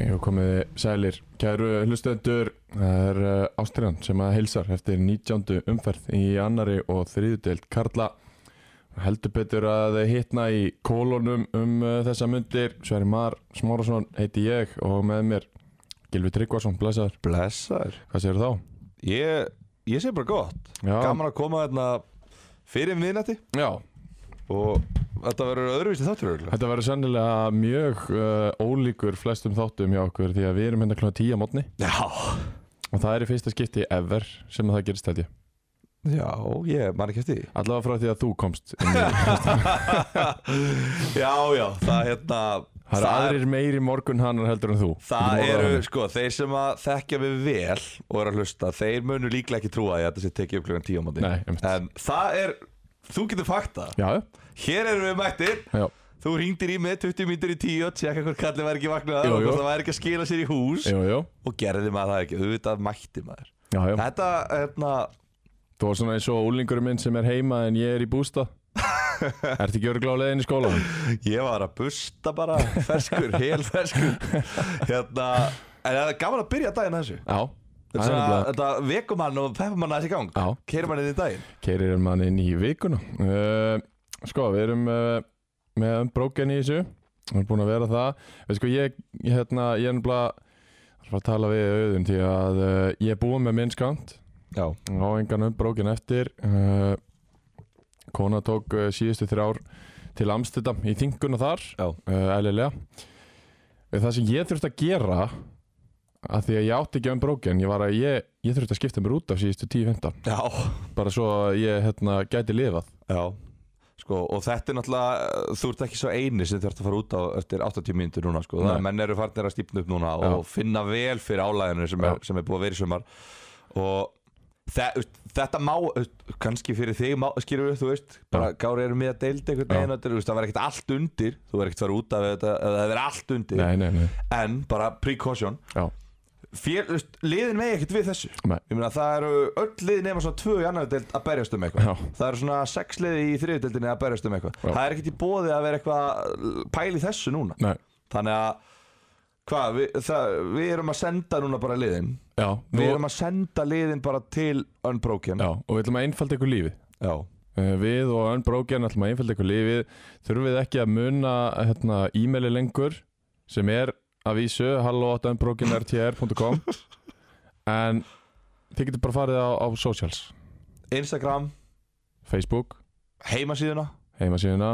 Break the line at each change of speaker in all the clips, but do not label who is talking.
Ég hef komið sælir, kæru hlustendur, það er uh, Ástriðan sem að heilsar eftir 19. umferð í annari og þriðudelt Karla. Heldur betur að hitna í kólunum um uh, þessa myndir, Sverri Mar Smárasson heiti ég og með mér Gilvi Tryggvarsson, blessaður.
Blessaður
Hvað séu þá?
Ég, ég sé bara gott
Já,
Gaman að koma þarna fyrir um miðnætti
Já.
Og þetta verður öðruvísi þáttur örugglega.
þetta verður sennilega mjög uh, ólíkur flestum þáttum hjá okkur því að við erum hérna klokka 10 á mótni
Já
og það er í fyrsta skipti ever sem að það gerist held ég.
Já, ég man ekki eftir því
Allavega frá því að þú komst inn í
Já, já, það hérna
Það eru aðrir meiri morgun hannar heldur en þú
Það
Getum orðað
eru,
þannig.
sko, þeir sem að þekkja mig vel og eru að hlusta, þeir munu líklega ekki trúa að ég ætla sér tekið upp klukkan tíu á móti
Nei, einmitt.
En það er, þú getur fakta
Já,
Hér erum við mættir
já,
Þú ringdir í mig 20 mínútur í 10 og tjekka hvort kallið væri ekki vaknað
Jú,
og
jú.
hvort það væri ekki að skila sér í hús
jú, jú
og gerði maður það ekki, auðvitað mætti maður
Já, já,
Þetta, hérna,
þú var svona eins og úlingurinn minn sem er heima en ég er í bústa Ertu ekki örgla á leiðin í skólan?
ég var að busta bara ferskur, hel ferskur Hérna, en það er gaman að byrja daginn á þessu
Já, það er
Þetta,
nefnilega
þetta vekum hann og peppum hann aðeins í gang
Já.
Keirum hann inn í daginn
Keirir mann inn í vikuna uh, Sko, við erum uh, með umbróken í þessu Við erum búin að vera það Við sko, ég, ég, hérna, ég er nefnilega Það er að tala við auðun því að uh, ég er búin með minn skant
Já,
á engan umbrókin eftir uh, kona tók uh, síðustu þrjár til Amsterdam í þinguna þar
Já.
uh, eðlilega Eh, það sem ég þurfti að gera að því að ég átti ekki umbrókin ég, var að ég, ég þurfti að skipta mér út af síðustu 10-15
já,
bara svo að ég hérna, gæti lifað
já Sko, og þetta er náttúrulega, þú ert ekki svo eini sem þurft að fara út á eftir 80 mínútur núna sko. það
Nei.
er menn eru farnir að stípna upp núna og finna vel fyrir álæðinu sem, er-
Já.
sem er búið að vera í sumar og þe þú veist, þetta má þú veist, kannski fyrir þig, má- skilur við, þú veist bara Gári eru með að deildi einhvern
Já.
veginn þetta er, þú veist, það verður ekkert allt undir þú verður ekkert að fara út af þetta, ef það verður allt undir
nei, nei, nei,
en bara precaution
já,
Fél, þú veist, liðin með ekkert við þessu
nei
Ég meina það eru öll lið nema svona tvö í annar deild að berjast um eitthvað
Já.
Það eru svona sex lið í þriðju deildinni að berjast um eitthvað
Já.
Það er ekkert í bóði að vera eitthvað pæli þessu núna
Nei,
Þannig að hvað, við, það, við erum að senda núna bara liðin
já, nú,
Við erum að senda liðin bara til Unbroken
já, og við ætlum að einfalda ykkur lífið
Já.
Eh, Við og Unbroken ætlum að einfalda ykkur lífið Þurfum við ekki að muna hérna, e-maili lengur sem er að vísu hallo.unbrokenrtr.com en þið getur bara farið á, á socials
Instagram,
Facebook,
heimasíðuna
heimasíðuna,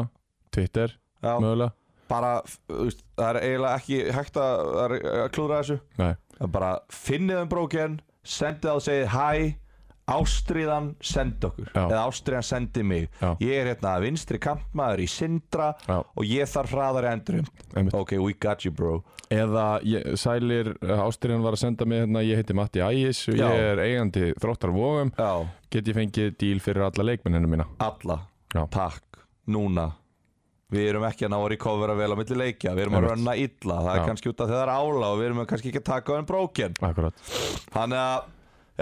Twitter
Já.
mögulega
Bara, þú veist, það er eiginlega ekki hægt að, að, að klúra þessu
Nei,
Það er bara finnið Unbroken, sendið það og segið hæ Ástriðan sendi okkur
Já.
eða Ástriðan sendi mig
Já.
ég er hérna vinstri kampmaður í Sindra
já,
og ég þarf hraðari endurum
einmitt
ok, we got you bro
Eða ég, Sælir Ástriðan var að senda mig hérna, ég heiti Matti Ægis og
Já.
ég er eigandi þróttar vógum
já,
get ég fengið díl fyrir alla leikmennina mína
alla,
Já.
takk, núna við erum ekki að ná að recovera vel á milli leikja við erum að
Einmitt.
runna illa, það
Já.
er kannski út af þegar ála og við erum kannski ekki að taka á enn brókin
Akkurat
þannig að,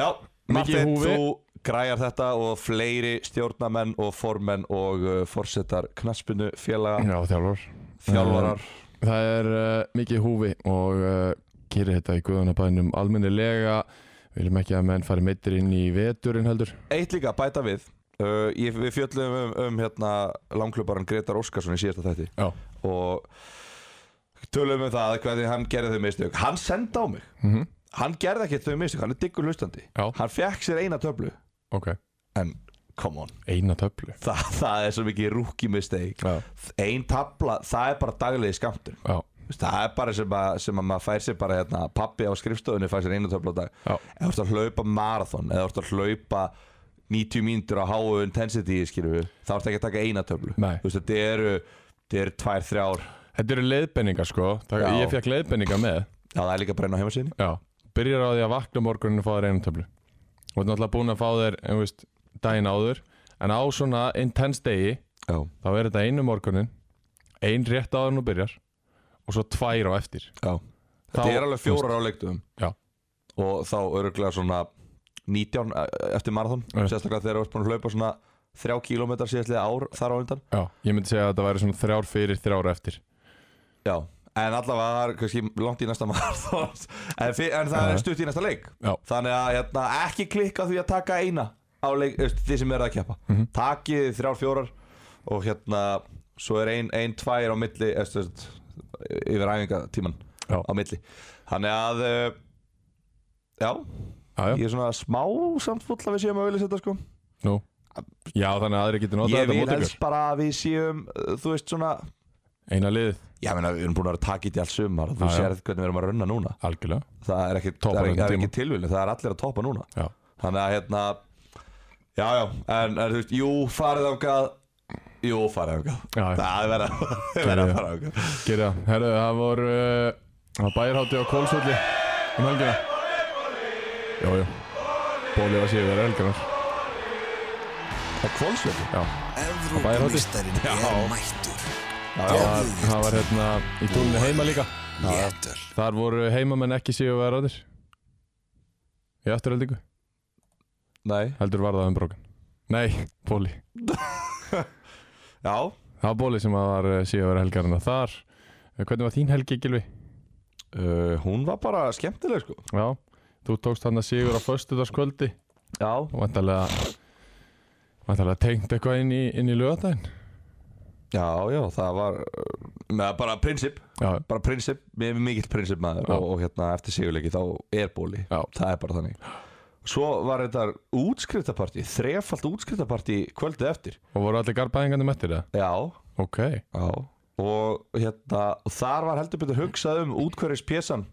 já,
Mikið í
Martin,
húfi.
þú græjar þetta og fleiri stjórnamenn og formenn og uh, forsetar knaspinu félaga
Já, þjálfur
þjálfarar
Það er uh, mikið í húfi og uh, gerir þetta í guðanabænum almennilega Við viljum ekki að menn fari meittir inn í veturinn heldur
Eitt líka, bæta við uh, ég, Við fjöllum um, um hérna, langklubbaran Gretar Óskarsson í síðasta þætti
Já,
og tölum um það hvernig hann gerði þau mistök Hann sendi á mig
Mhm.
Hann gerði ekki þau mistök, hann er diggur hlustandi
Já.
Hann fekk sér eina töflu
ok
En, come on
Eina töflu
Þa, það er svo mikið rúki mistök
Já,
Ein tabla, það er bara daglegi skamtur
já,
Það er bara sem að, sem að maður fær sér bara hérna, pappi á skrifstofunni fær sér einu töfla á dag
Já.
Eða þú ert að hlaupa marathon eða þú ert að hlaupa 90 mínútur á háu intensity skilur við þá ertu ekki að taka eina töflu
Nei.
Þú veist þetta eru þetta eru tvær, þrjár
Þetta eru leiðbenningar sko það,
Já.
Ég fekk leiðbenningar með
Já, það er líka að brenna á heimasinni
Já Byrjar á því að vakna morguninu og fá þér eina töflu Og og ert náttúrulega búin að fá þér en, veist, daginn áður en á svona intense degi
Já,
þá er þetta einu morgunin ein rétt áður nú byrjar og svo tvær á eftir
já
Þá-
Þetta er alveg fjórar á leiktum
Já.
Og þá öruglega svona 19 e- eftir marathon
Já.
Sérstaklega þegar þú ert búin að hlaupa svona 3 km síðastlega ár þar á undan
Já, ég myndi segja að þetta væri svona þrjár fyrir þrjár eftir
Já En allavega það er kannski langt í næsta marathon En, fi- en það
Já.
er stutt í næsta leik
Já.
Þannig að hérna, ekki klikka því að taka eina á leik, þú veist, Þið sem eru að keppa
Mhm.
Takið þrjár fjórar Og hérna Svo er ein, ein tvær á milli þú veist, Yfir æfingatíman
Já.
Á milli Þannig að uh, Já,
Já, já,
ég er svona smá samt full að við séum að auðvitað þetta sko
nú Já, þannig að aðri getur notað
Ég
þetta
vil
mót ykkur
helst bara að við séum uh, Þú veist svona
Eina liðið,
Já, meina, við erum búin að vera takit í allt sumar og Þú
Já, já.
sérð hvernig við erum að runna núna
algjörlega
það er ekki,
Toppar
það er
öllum
ekki, það er
tíma.
ekki tilvílin það er allir að toppa núna
Já.
þannig að hérna já já, en, en þú veist, jú farið ángað jú farið ángað
Já, já.
það er verið að- það er verið að fara ángað
Gerið það, herðu, það voru uh, bæjarhátti á Kólsvöldi um helgina Jú, jú, bólið var síðan verið helginar
það er kvólsvöldi
Já,
Evrópumeistarinn er mættur
það, það var hérna í túninu heima líka
Léttöl
Þar voru heimamenn ekki síðan verið ræðir Í afturheldingu,
nei,
heldur var það um brókin Nei, bóli
já
Það var bóli sem að var eh, síðan verið helgarina þar Eh, Hvernig var þín helgi, Gilvi?
uh, hún var bara skemmtileg sko
Já, þú tókst hann að sigur á föstudagskvöldi
já,
og vantarlega vantarlega tengt eitthvað inn í, inn í lögadaginn
já, já, það var uh, með bara prinsip,
Já,
bara prinsip mér er mikill prinsip maður
Já.
og, og hérna eftir sigurleiki þá er bóli
já,
það er bara þannig svo var þetta útskriftapartí þrefalt útskriftapartí kvöldið eftir
og voru allir garbaðingandi mættir það?
Já,
Ok,
já Og hérna, og þar var heldur betur hugsað um útkverjus pjesan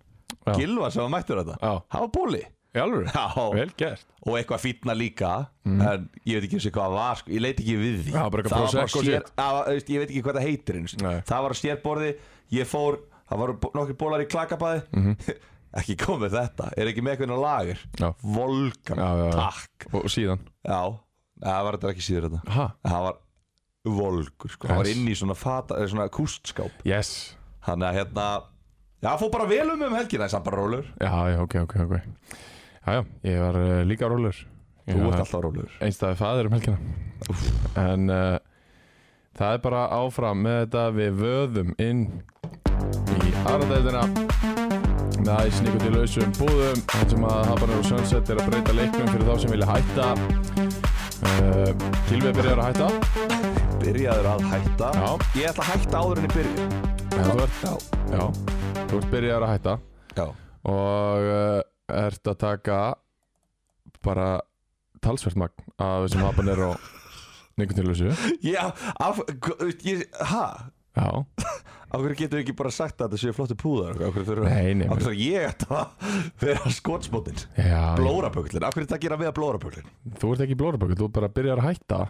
Já.
Gilva sem var mættur þetta
já,
Það var bóli
í alvöru,
Já,
vel gert
og eitthvað fýtna líka En ég veit ekki eins og hvað það var sko. Ég leit ekki við því
Já, bara eitthvað Prosecco
sér,
shit.
að, veist, Ég veit ekki hvað það heitir eins
Nei.
Það var á sérborði, ég fór Það voru bó- nokkrir bólar í klakabæði
Mhm.
Ekki komið þetta, er ekki með eitthvað á lager
Já.
Volkan,
Já, já, já.
takk
og síðan,
Já, það var þetta ekki síður þetta
ha,
það var volgur sko. það var
Yes.
inn í svona, fata, eh, svona kústskáp
yes
þannig að hérna já, fór bara vel um um helgina þess að bara rólur
Já, já, ok, ok, ok Já, já, ég var uh, líka rólur
þú ert alltaf rólur
einstæði fæðir um helgina en uh, það er bara áfram með þetta við vöðum inn í aðradæðina með æsningu til lausum búðum þar sem að Habanur og Sunset er að breyta leiknum fyrir þá sem vilja hætta uh, Kilvið byrjar að hætta
byrjaður að hætta
Já.
ég ætla að hætta áður en ég byrja
Já, þú ert,
já,
já, þú ert byrjar að hætta
já,
og uh, ert að taka bara talsvert magn af þessum Habanur og Nikotinlausu
já af, gu- ég, ha
Já,
af hverju getur ekki bara sagt að þetta séu flottu púðar af hverju þurfa
nei, nei
af
menn-
hverju þarf ég ætti að vera skotsmótin
Já, já.
blórapöklin, af hverju þetta gera við að blórapöklin
Þú ert ekki í blóraböku, þú bara byrjar að hætta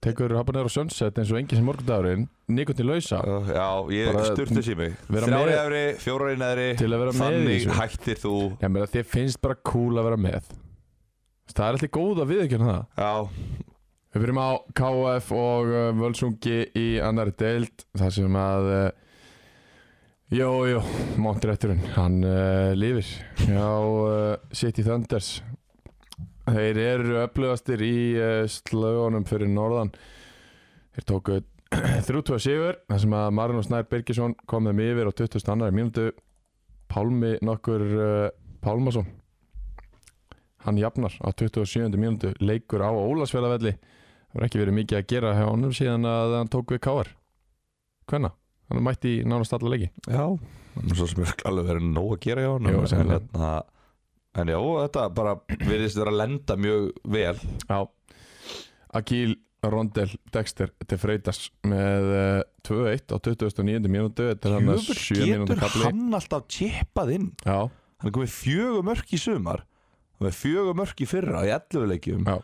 Tekur habanero sunset eins og engin sem morgundagurinn Nikotin lausa
já, ég
Bara-
sturtu sér mig
Vera
þrjári
með-
efri, fjórari neðri
Til að vera með í
þannig
þessu.
hættir þú
Ég meina þér finnst bara cool að vera með Það er alltaf góð að viðekjörna það
já,
Við byrjum á KF og uh, Völsungi í annari deild þar sem að uh, Jó, jó, Montrétturinn hann uh, lifir Já, uh, City Thunders Þeir eru öflugastir í uh, slögunum fyrir norðan Þeir tóku 32 sigur þar sem að Marino Snær Birgisson kom þeim yfir á 22. mínútu Pálmi nokkur uh, Pálmason hann jafnar á 27. mínútu leikur á Ólasfjörðavelli Það hefur ekki verið mikið að gera hjá honum síðan að hann tók við káar Hvenna? Hann er mætti í nánast alla leiki
Já, hann er svo sem er alveg verið nóg að gera hjá hann
Jú,
en,
sennilega.
hérna, en já, þetta bara virðist vera að lenda mjög vel
Já Akil Rondel Dexter til Freitas með eh, 2-1 á 29. mínútu Þetta er hann að
Jöfull,
7 mínútu
getur
kapli
hann alltaf tjeppað inn
Já,
Hann er komið fjögur mörk í sumar Hann er fjögur mörk í fyrra í 11 leikjum
Já.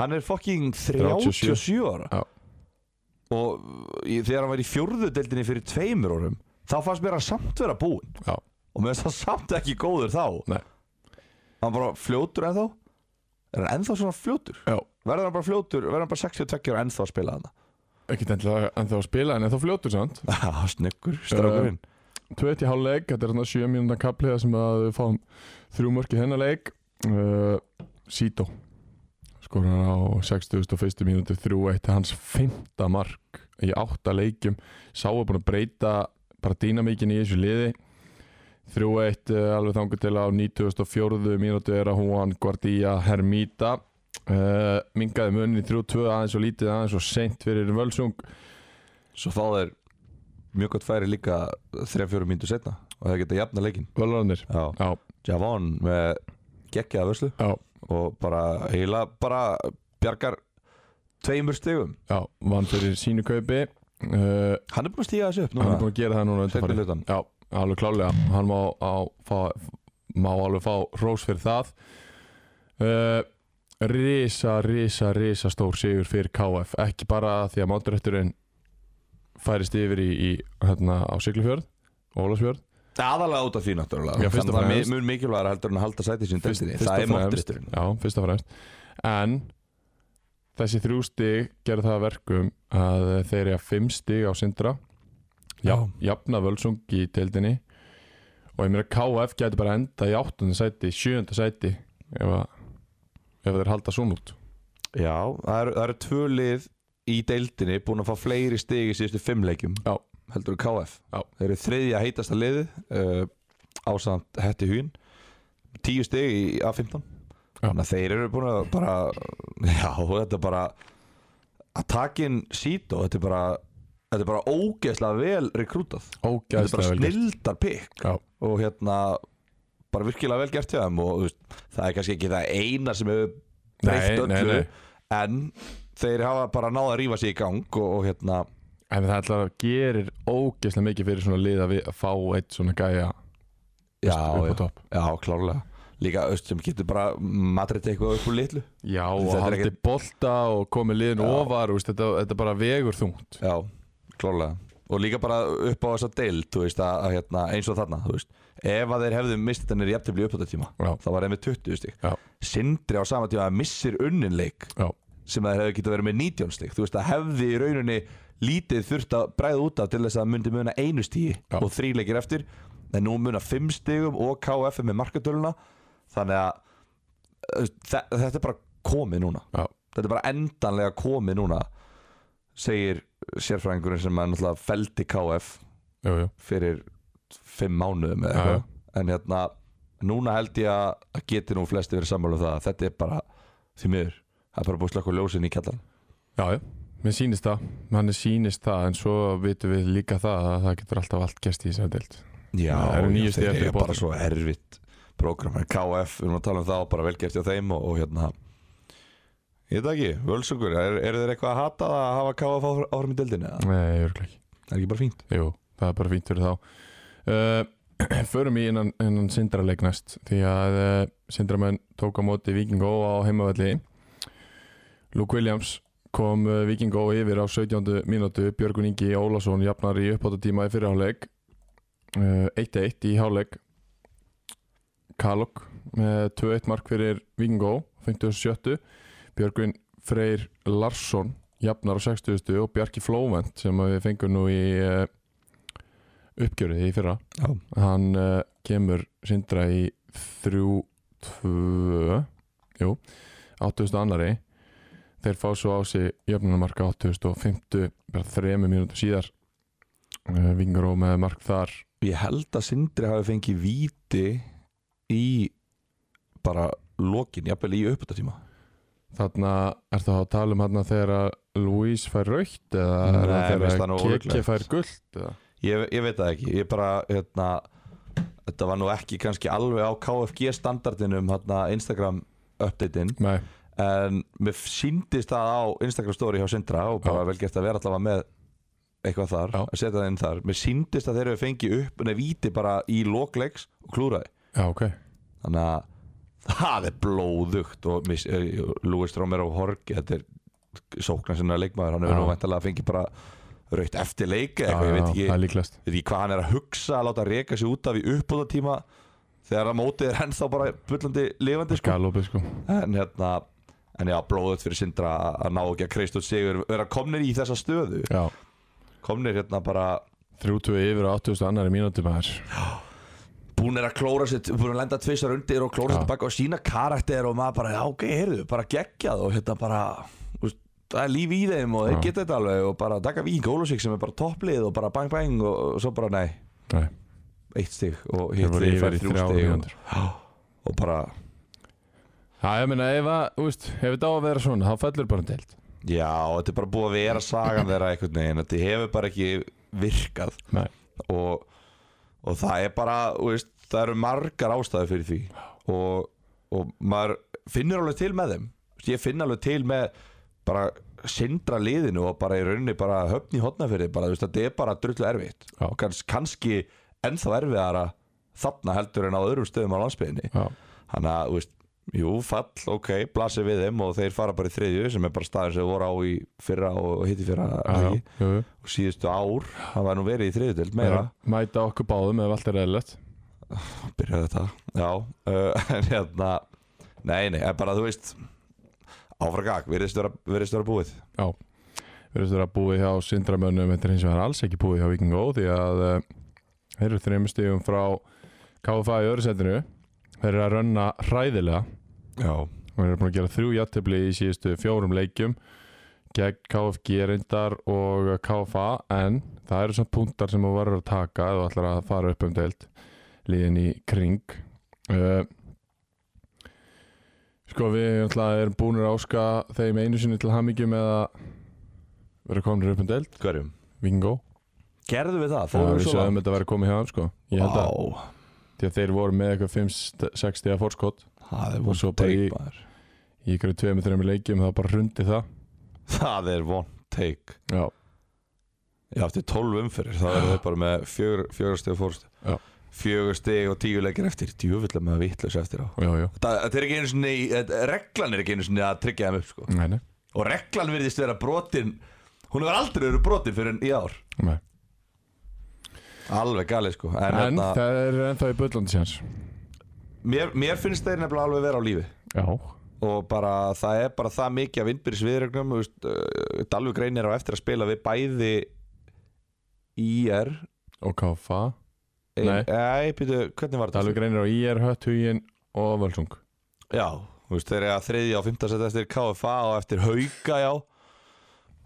Hann er fucking
37
37 ára
Já.
Og í- þegar hann var í fjórðu deildinni fyrir tveimur orum Þá fannst mér hann samt vera búinn
Já.
Og mér fannst hann samt ekki góður þá
Nei.
Hann bara fljótur ennþá er hann ennþá svona fljótur
Já,
verður hann bara fljótur, verður hann bara 62 ára ennþá að spila hana
ekkert endilega ennþá að spila en ennþá fljótur samt
Já, snyggur, strákurinn
Tvöitt í hálfleik, þetta er svona 7 mínúna kapliða sem að við fáum þrjú mörk í þennan leik uh, Sito skor hann á 61. mínútu 3-1, hans fymta mark í átta leikjum sá er búin að breyta bara dýnamíkin í þessu liði 3-1 uh, alveg þangur til á 94. mínútu er að hún Guardía Hermita uh, mingaði munin í 3-2 aðeins og lítið aðeins og seint fyrir Völsung
Svo fá þeir mjög gott færi líka 3-4 mínútur setna og þeir geta jafna leikin
Völvarnir
Já,
Já,
Javon með geggjaða vörslu
já
og bara heila bara bjargar tveimur stigum
Já, vann fyrir sínu kaupi uh,
Hann er búin að stíga þessu upp
Hann er
núna
búin að gera það núna
Seinni
undanfarið.
hlutan
Já, alveg klálega Hann má, á, fá, má alveg fá rós fyrir það uh, Risa, risa, risa stór sigur fyrir KF Ekki bara því að máturætturinn færist yfir í, í hérna, á Siglufjörð Ólafsfjörð
Aðalega út af því náttúrulega
Já, fyrst og
Þannig að það
fremst.
er mun mikilvægur heldur en að halda sæti sín
Fyrst-
deltinni
fyrst
Það
og
er
fremst.
móttisturinn
Já, fyrst af fremst En þessi þrjú stig gera það að verkum að þeir eru að fimm stig á Sindra Já, jafna völsung í deildinni og ég meira KF getur bara enda í áttunda sæti, sjöunda sæti ef, að, ef þeir halda svona út
Já, það eru, það eru tvö lið í deildinni búin að fá fleiri stig í síðustu fimm leikjum
Já.
heldur en KF
Já.
Þeir eru þriðja heitasta liði uh, ásamt hætti hún tíu stig í A15
Já.
þannig að þeir eru búin að bara já, þetta er bara að takin sít og þetta er bara þetta er bara ógeðslega vel rekrútað þetta er bara
Ógæðslega vel gert.
snildar pikk
Já,
og hérna bara virkilega vel gert hjá þeim og þú veist, það er kannski ekki það eina sem hefur breytt
Nei, nei,
öllu
nei.
en þeir hafa bara náða að rífa sig í gang og, og hérna
En það ætlar að gerir ógæðslega mikið fyrir svona lið að, við, að fá eitt svona gæja
já,
upp á
já,
topp
já, klárlega líka öst sem getur bara matrið eitthvað upp úr litlu
Já,
Þetta
og
er
haldi
ekkert-
bolta og komi liðin
Já.
ofar úst, þetta, þetta bara vegur þungt
já, klárlega og líka bara upp á þessa deild þú veist, að, að, hérna, eins og þarna þú veist, ef að þeir hefðu mistið þennir í eftirblíu upp á þetta tíma
Já,
það var einmitt 20 stík
Já.
Sindri á sama tíma missir unninleik
já,
sem að þeir hefðu getið að vera með 19 stík þú veist að hefði í rauninni lítið þurft að bræða út af til þess að myndi muna einu stíi
Já.
og þríleikir eftir en nú muna 5 stígum og KF er með markatöluna þannig að uh, þe- þetta er bara komið núna
já,
þetta er bara endanlega komið núna segir sérfræðingurinn sem er náttúrulega feldi KF
jú, jú
fyrir 5 mánuðum
Já,
eða
já.
eitthvað en hérna núna held ég að að geti nú flesti verið sammála um það að þetta er bara því miður það er bara búið slökkur ljósin í kjallan
Já, já, mér sýnist það Manni sýnist það, en svo vitum við líka það að það getur alltaf allt gerst í þessari deild
Já,
Það eru níu
já,
stig
þeir
eftir í
eru bara
botn.
svo erfitt prógram KF, við erum að tala um það og bara velgert hjá þeim og, og hérna Ég veit það ekki, völsungur, eru er þeir eitthvað að hata að hafa KF áfram- áfram í deildinni? eða?
Nei, örgleik
Það er ekki bara fínt
Jú, það er bara fínt fyrir þá uh, Förum í innan, innan sindraleik næst því að uh, sindramenn tók á móti Víkingó á heimavalli Luke Williams kom uh, Víkingó yfir á 17. mínútu Björgun Ingi Ólásson jafnar í uppáttatíma í fyrirháleik uh, 1-1 í háleik Kalok með 2-1 mark fyrir Víkingó 57. Björgun Freyr Larsson jafnar á 60. og Bjarki Flóvent sem að við fengum nú í uh, uppgjörið í fyrra
Já.
hann uh, kemur sindra í 3-2 jú 8000 annari þeir fá svo á sig jöfnumarka 8050 bara þremur mínútur síðar uh, vingur og með mark þar
Ég held að Sindri hafi fengið víti í bara lokin, jafnvel í uppbyrtatíma
þarna ertu að tala um hann þegar að Luis fær raukt eða er það
Nei, mér finnst það
þegar
nú
að Kiki
ólíklegt.
fær gullt eða?
ég, ég veit það ekki, ég bara hérna, þetta var nú ekki kannski alveg á KFG standardinum hérna, Instagram update-in
nei,
en mér síndist það á Instagram story hjá Sindra og bara
Já.
vel gert að vera allavega með eitthvað þar,
Já.
að setja það inn þar mér síndist að þeir eru fengið upp en víti bara í lokleiks og klúraði
já ok
þannig að það er blóðugt og mis, uh, Lúi Strómer og Horki þetta er sóknar sinna leikmaður hann hefur
Já.
nú vantalega að fengið bara raukt eftir leik eða
Já,
eitthvað,
já,
ég veit ekki
það er líklast
veit ekki hvað hann er að hugsa að láta reka sig út af í uppbúðatíma þegar að mótið er ennþá bara bullandi lifandi sko.
galopið sko
en hérna en já, blóðut fyrir sindra að- að ná ekki að Kristus sigur vera komnir í þessa stöðu
Já,
komnir hérna bara
30 yfir og 80 annari mínúti maður
búin er að klóra sitt, búin að lenda tvisar undir og klóra
Já.
sitt tilbaka og sína karakter og maður bara, já ok, heyrðu, bara geggjað og hérna bara, þú veist, það er líf í þeim og þeir
Já.
geta þetta alveg og bara taka vík Ólusík sem er bara topplið og bara bang bang og, og svo bara nei,
Nei,
eitt stig og
þeir
hitt
voru
stig
yfir
fær
í
þrjú
þrjá
stig og,
mínútur
og bara,
Já, ég meina, ef, að, þú veist, ef þetta á að vera svona, þá fellur bara deilt
já, og þetta er bara búið að vera sagan þeirra einhvern veginn, þetta hefur bara ekki virkað
Nei,
og, og það er bara þú veist, það eru margar ástæður fyrir því og, og maður finnur alveg til með þeim Þú veist, ég finn alveg til með bara sindra liðinu og bara í rauninni bara höfn í hotnafyrði bara, þú veist, þetta er bara drullu erfitt
Já.
og kanns, kannski ennþá erfiðara þarna heldur en á öðrum stöðum á landsbyðinni
já,
þannig að, þú veist, jú, fall, ok blasir við þeim og þeir fara bara í þriðju sem er bara staður sem þeir voru á í fyrra og hitti fyrra
já, já,
ekki?
jú, jú.
og síðustu ár, það var nú verið í þriðjudeld meira
Mæta okkur báðum ef allt er eðlilegt
byrjaði þetta Já, uh, en hérna Nei, nei, en bara þú veist Áfragag, virðist vera, virðist vera búið
Já, við erum þetta búið hjá sindramönnum Þetta er hins vegar alls ekki búið hjá Viking Ó Því að eh, þeir eru þreymur stífum frá KFA í öðru setinu Þeir eru að rönna hræðilega
Já,
og þeir eru búin að gera þrjú játtöfli í síðustu fjórum leikjum gegn KFG reyndar og KFA en það eru svona punktar sem þú verður að taka ef þú ætlar að fara upp um deild liðin í kring uh, Sko við náttúrulega erum búin að áska þeim einu sinni til hamingju með að vera komin upp um deild,
hverjum?
Vingo
Gerðu við það,
og
fórum
við
svo
sögum þetta að vera komið hjá þeim sko ég held að,
Vá,
því að þeir voru með eitthvað 5-6 stíða fórskot
Það er
Og
vond
svo bara
take
í-
maður.
í ykkur 2-3 leikjum það bara hrundi það
Það er vond take
Já,
Já, eftir 12 umferðir, það verður þau bara með fjögur, fjögur stig og
Já.
fórstu Fjögur stig og tíu leikir eftir Djúvill er maður vitlaus eftir á
já, já
Það, þetta er ekki einu sinni, í- þetta- reglan er ekki einu sinni að tryggja þeim upp sko.
Nei, nei,
Og reglan virðist vera brotin Hún hefur aldrei verið brotin fyrir en í ár
nei.
Alveg galið sko En,
En,
hérna,
það er ennþá í bullandi séns
mér, mér finnst þeir nefnilega alveg vera á lífi
Já,
Og bara, það er bara það mikið af innbyrðis viðregnum Dalvi Grein er eh, á eftir að spila við bæði IR
og KFA Nei.
Nei, býtu, hvernig var þetta?
Dalvik reynir á IR, Hött, Hugin og Völsung
Já, þú veist, þeir eru að þriðja og fymta setja eftir KFA og eftir Hauka, já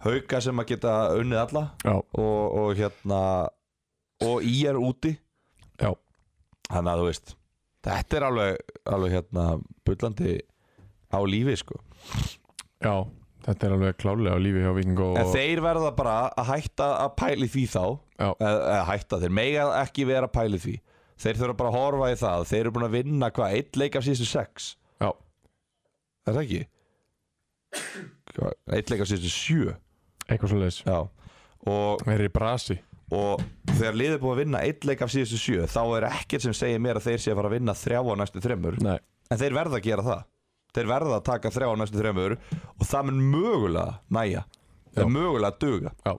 Hauka sem að geta unnið alla
Já,
Og, og hérna Og IR úti
já,
Þannig að þú veist Þetta er alveg, alveg hérna Bullandi á lífi sko
já Þetta er alveg klálega á lífi hjá Viking og
En þeir verða bara að hætta að pæli því þá
Já.
eða, eða hætta, þeir mega ekki vera að pæli því Þeir þurfa bara að horfa í það Þeir eru búin að vinna hvað, eitt leik af síðustu sex
Já,
Er það ekki? Hvað, Eitt leik af síðustu sjö
eitthvað svo leiðis
Já Og,
Þeir eru í brasi
og þegar liðið er búið að vinna eitt leik af síðustu sjö Þá er ekkert sem segir mér að þeir sé að fara að vinna þrjá á næstu þremur
Nei,
En þeir verða að gera það Þeir verða að taka þrjá á næstu þremur Og það mun mögulega næja Það
Já.
er mögulega að duga
já,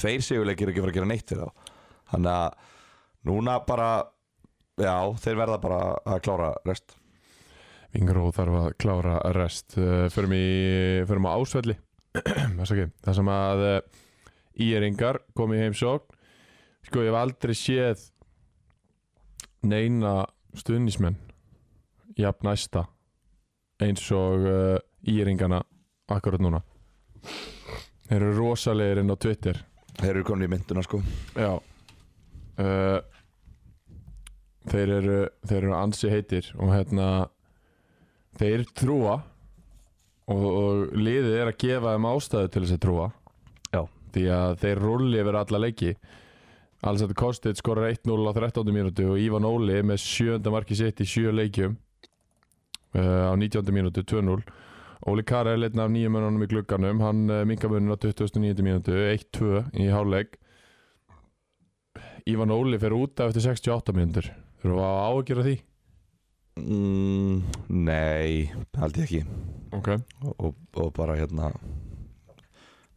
Tveir sigurleikir er ekki að fara að gera neitt fyrir þá Þannig að núna bara Já, þeir verða bara að klára rest
Vingró þarf að klára rest Uh, Förum í, förum á ásvelli Afsakið. Það sem að uh, íringar kom í heimsókn Sko, ég hef aldrei séð neina stuðnismenn jafn næsta eins og uh, íringana akkurat núna Þeir eru rosalegir inn á Twitter
Þeir eru komin í mynduna sko
Já uh, Þeir eru Þeir eru ansi heitir og hérna Þeir trúa og, og liðið er að gefa þeim ástæðu til þess að trúa
Já.
Því að þeir rulli yfir alla leiki Alls að Kostið skorar 1-0 á 13. mínútu og Ívan Óli með 7. marki sitt í 7 leikjum uh, á 19. mínútu 2-0 Óli Kara er leitna af nýjum mönnunum í glugganum hann uh, minkamunin á 29. mínútu 1-2 í hálfleik Ívan Óli fer út af eftir 68 mínútur Þurfum við að ágjöra því
mm, Nei, held ég ekki
Ok
og, og, og bara hérna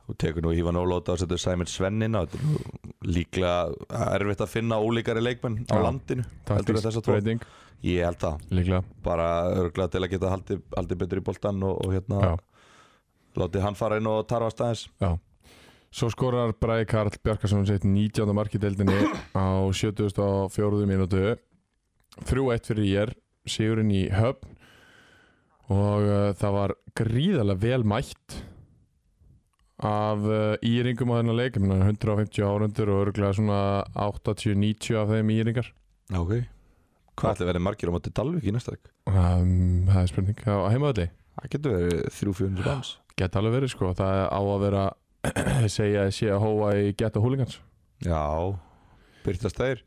Þú tekur nú Ívan Ólóta og setur Sæmund Svennin á Þetta er nú líklega erfitt að finna ólíkari leikmenn á
Já.
landinu heldur en þessa tvo
taktíksbreyting
ég held það,
líklega
bara örglega til að geta haldið, haldið betur í boltan og, og hérna
já,
látið hann fara inn og tarfa staðins
já. Svo skorar Bræði Karl Bjarkarsson sitt 19. mark í deildinni á 74. mínútu 3-1 fyrir ég sigurinn í höfn og uh, það var gríðarlega vel mætt af uh, íringum á þennan leik, ég meina 150 árendur og örglega svona 80-90 af þeim íringar
ok hvað ætli verið margir á móti Dalvik í næsta leik?
um, Það er spurning, á heimaðalli
það getur verið 300-400 manns
Geta alveg verið sko, það á að vera segja að sé að hóa í geta húlingans
já, byrtast þeir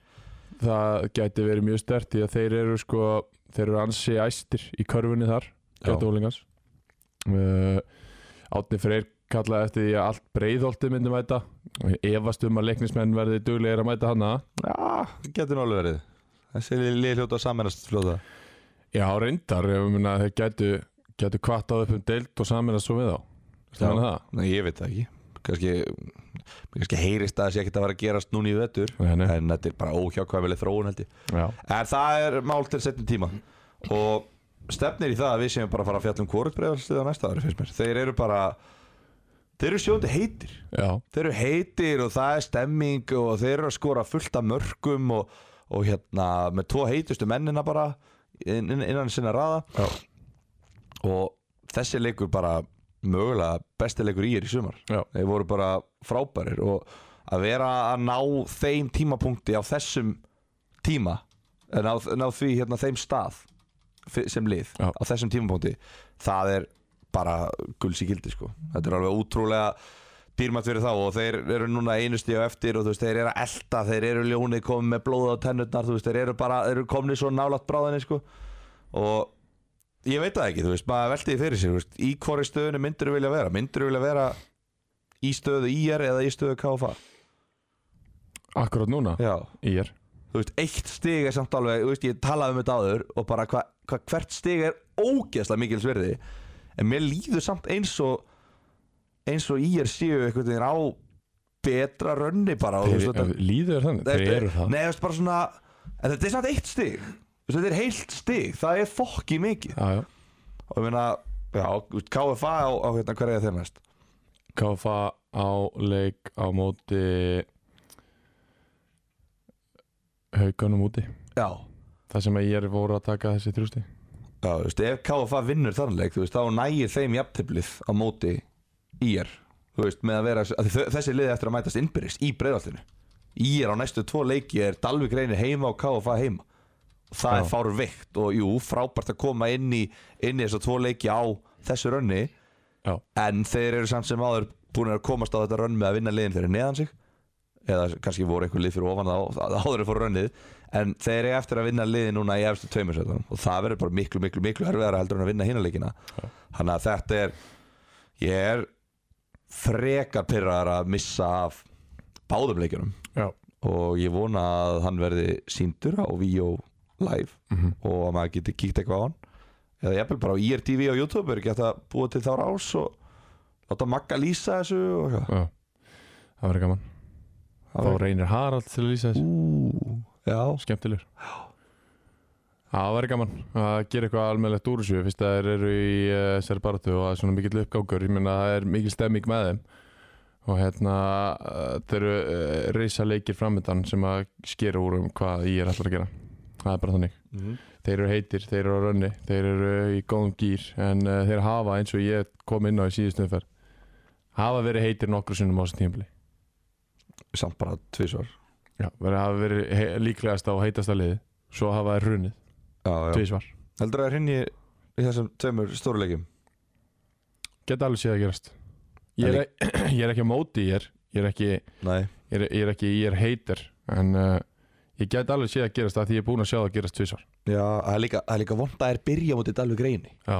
það gæti verið mjög stert því að þeir eru sko þeir eru ansi æstir í körfunni þar gæti hólingans uh, Átni Freyr kallaði eftir því að allt breiðholti myndi mæta Ég efast um að leiknismenn verði duglegir að mæta hana
Já, getur nú alveg verið Þessi lið hljóta að samennast fljóta
Já, reyndar, ég meina að þeir gætu gætu kvartað upp um deilt og saminast svo við þá Ertu að
Já.
meina það?
Nei, ég veit það ekki Kanski, kannski heyrist að það sé ekkert að vera að gerast núna í vettur
Nei, nei.
En þetta er bara óhjákvæmileg þróun held ég
Já,
En það er mál til setjum tíma Og stefnir í það að við séum bara að fara að fjalla um hvort bregðalstuð á næsta ári finnst mér Þeir eru bara Þeir eru sjóndi heitir
já,
Þeir eru heitir og það er stemming og þeir eru að skora fullt af mörgum og, og hérna með tvo heitustu mennina bara inn, inn- innan sinna raða
já.
og þessi leikur bara mögulega besti leikur í er í sumar
Já.
þeir voru bara frábærir og að vera að ná þeim tímapunkti á þessum tíma ná, ná því hérna þeim stað fi- sem lið
Já.
á þessum tímapunkti það er bara gulls í gildi sko þetta er alveg útrúlega dýrmætt fyrir þá og þeir eru núna einusti og eftir og þú veist, þeir eru að elta, þeir eru ljónið komið með blóð á tennurnar, þú veist, þeir eru bara þeir eru komnið svo nálaðt bráðinni sko og ég veit það ekki, þú veist, maður veldi því fyrir sér þú veist, í hvori stöðunni myndur þú vilja vera myndur þú vilja vera í stöðu IR eða í stöðu KFA
Akkurat núna,
já.
ég er
þú veist, eitt stig er samt alveg þú veist, ég talaði um þetta áður og bara hva, hva, hvert stig er ógeðslega mikil sverði en mér líður samt eins og eins og IR séu einhvern veginn á betra rönni bara og þú veist, þetta-
Líður þannig, þeir eru það
Nei, þú veist, bara svona en þetta er samt eitt stig Þú veist, þetta er heilt stig, það er fokki mikið
Já, já
og ég meina, já, þú veist, KFA á, á hérna, hver er þeir næst?
KFA á leik á móti haugunum úti
Já,
það sem að ég er voru að taka þessi þrjústi
já, þú veist, ef KFA vinnur þannleik, þú veist, þá nægir þeim jafntöflið á móti ír þú veist, með að vera, að þau- þessi liði eftir að mætast innbyrjist í breyðaltinu ír á næstu tvo leiki er Dalvik reynir heima og KFA heima það
Já.
er fárveikt og jú, frábært að koma inn í, inn í þessa tvo leiki á þessu rönni
Já,
en þeir eru samt sem áður búin að komast á þetta rönn með að vinna liðin fyrir neðan sig eða kannski voru einhver lið fyrir ofan það á- áður en fóru rönnið en þeir eru eftir að vinna liðin núna í efstu tveimur svetunum og það verður bara miklu, miklu, miklu erfiðara heldur en að vinna hinaleikina þannig að þetta er ég er frekar pyrraðar að missa af báðum leikjunum
já,
og ég vona að hann verði síndur á Víó live og að maður geti kíkt eitthvað á hann eða ég bara á E IRTV á YouTube er ekki hægt að búa til þá rás og láta Magga lýsa þessu og eitthvað
já. það verður gaman
Það
þá
væri-
reynir Harald til að lýsa þessu
Ú, Já,
skemmtilegur það verður gaman að gera eitthvað almennlegt úr þessu fyrst að þeir eru í uh, sérbaratu og það er svona mikill uppgákur ég meina það er mikil stemming með þeim og hérna uh, þeir eru uh, reysa leikir framöndan sem að skera úr um hvað ég er alltaf að gera það er bara þannig þeir eru heitir, þeir eru á rönni þeir eru í góðum gýr en uh, þeir hafa eins og ég kom inn á í síðustu umferð hafa verið heitir nokkru sinnum á þessu tímpli
samt bara tvisvar
Já, verið hafa verið he líklegast á heitasta liði svo hafa þeir runnið,
já, já.
tvísvar
Heldur það hinn í í þessum tveimur stóruleikjum
geta alveg séð að gerast ég er, ég er ekki á móti ég er ég er ekki,
Nei,
ég er, ég er, ekki, ég er heitir en uh, ég get alveg séð að gerast af því ég er búin að sjá það gerast tvísvar
já, það er líka, það er líka vond að er byrja mútið Dalvik reyni
Já,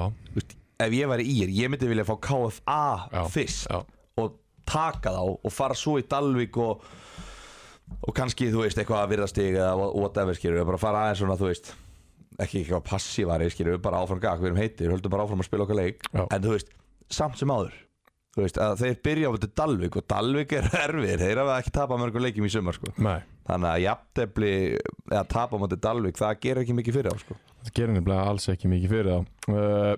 Ef ég væri ír, ég myndi vilja fá KFA
Já.
fyrst
já,
og taka þá og fara svo í Dalvik og, og kannski þú veist eitthvað að virðastig eða whatever skilur bara fara aðeins svona þú veist ekki eitthvað passívari skilur bara áfram gag við erum heitir, höldum bara áfram að spila okkar leik
Já.
en þú veist, samt sem áður þú þú veist, að þeir byrja á þetta Dalvik og Dalvik er erfir, þeir hafa ekki tapað mörgum leikjum í sumar sko.
Nei,
þannig að jafntefli eða tapa á móti Dalvik, það gerir ekki mikið fyrir á sko.
það gerir nefnilega alls ekki mikið fyrir þá uh,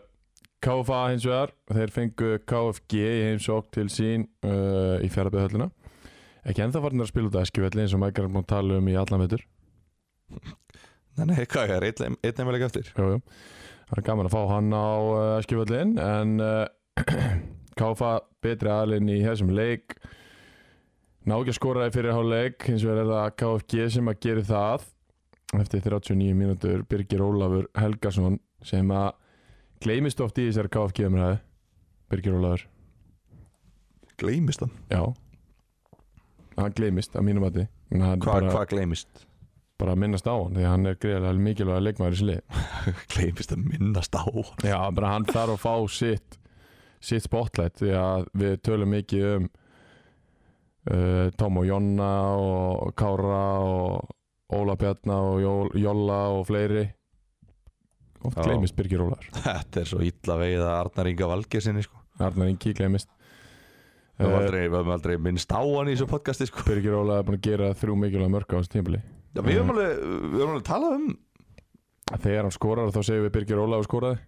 KFA hins vegar þeir fengu KFG í heimsók til sín uh, í fjarabyðhöllina ekki ennþá farnir að spila út að eskjuvelli eins og mækkar er búin að tala um í allan veitur
þannig að hvað er einn nefnileg eftir
Jú, jú. Það er gaman að fá hann á uh, skjöfallin en uh, Káfa betri aðlinn í þessum leik ná ekki að skora í fyrirháleik hins vegar er það KFG sem að gera það eftir 39 mínútur Birgir Ólafur Helgason sem að gleymist oft í þessari KFG umræði Birgir Ólafur,
gleymist hann?
já hann gleymist að mínum að því
Hvað
bara,
hva gleymist?
bara að minnast á hann því að hann er greiðlega mikilvæg leikmaður í slið
gleymist að minnast á hann
Já, bara hann þarf að fá sitt sitt spotlight því að við tölum mikið um uh, Tom og Jonna og Kára og Óla Bjarnar og Jól, Jóla og fleiri oft
Já.
gleymist Birgir Ólar
þetta er svo illa veið að Arnar Inga Valgeir sinni sko.
Arnar Ingi gleymist
við höfum
uh,
aldrei, við höfum aldrei minnst á hann í þessu podcasti sko.
Birgir Ólar er búin að gera þrjú mikilvæg mörg á þessu tímpili
Já, við höfum alveg, við höfum alveg talað um
Þegar hann skorar þá segir við Birgir Ólar skoraði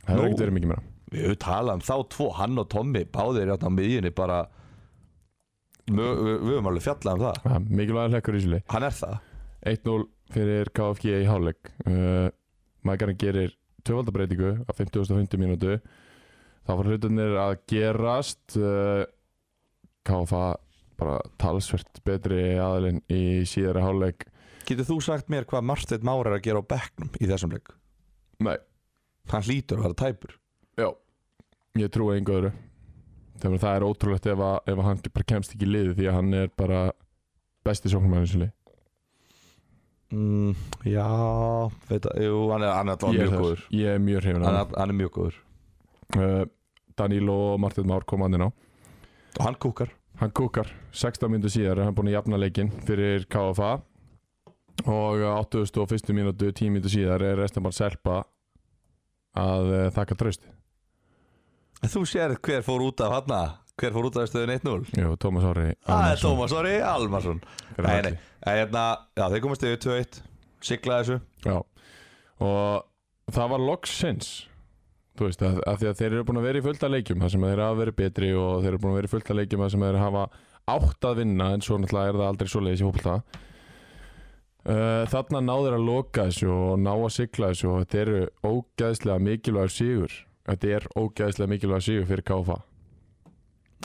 Það hefur
Nú.
ekkert verið mikið meira
við höfum talað um þá tvo, hann og Tommi báðir hérna á miðjunni bara Mö- við við höfum alveg fjallað um það
Ja, Mikilvæg hlekkur í sili
hann er það
1-0 fyrir KFG í hálfleik uh, Mækarinn gerir tvöfaldabreitingu á 50.50 mínútu þá var hlutunir að gerast uh, KFA bara talsvert betri aðilinn í síðara hálfleik
getur þú sagt mér hvað Marsteinn Már er að gera á bekknum í þessum leik
Nei,
hann hlýtur að vera tæpur
já Ég trúi engu öðru Þegar það er ótrúlegt ef, að, ef að hann bara kemst ekki í liði því að hann er bara besti sóknumæðinsli
mm, já, veit að jú, hann er, hann er,
ég,
mjög
er
góður
þar. ég er mjög hrifin
hann
af
er, hann er mjög góður
hann Daníl og Martin Már koma hann inn á
og hann kúkar
Hann kúkar 16 mínútur síðar er hann búinn að jafna leikinn fyrir KFA og á 81. mínútu 10 mínútur síðar er restan bara selpa að eh, þakka trösti
En þú sér hver fór út af hann hver fór út af stöðun 1-0
Jú, Tómas Ári
það er Tómas Orri Almarsson nei, nei,
Tómas
nei, hérna, já, þeir komast yfir 2-1 siglaði þessu
Já og það var loksins þú veist að, að því að þeir eru búin að vera í fullta leikjum þar sem þeir hafa verið betri og þeir eru búin að vera í fullta leikjum þar sem þeir hafa átt að vinna en svo náttúrulega er það aldrei svo leiðis í fólkta uh, þarna náður að loka þessu og ná að sigla þessu og þetta eru ógæðslega mikilvægur sigur þetta er ógæðslega mikilvægur sigur fyrir KFA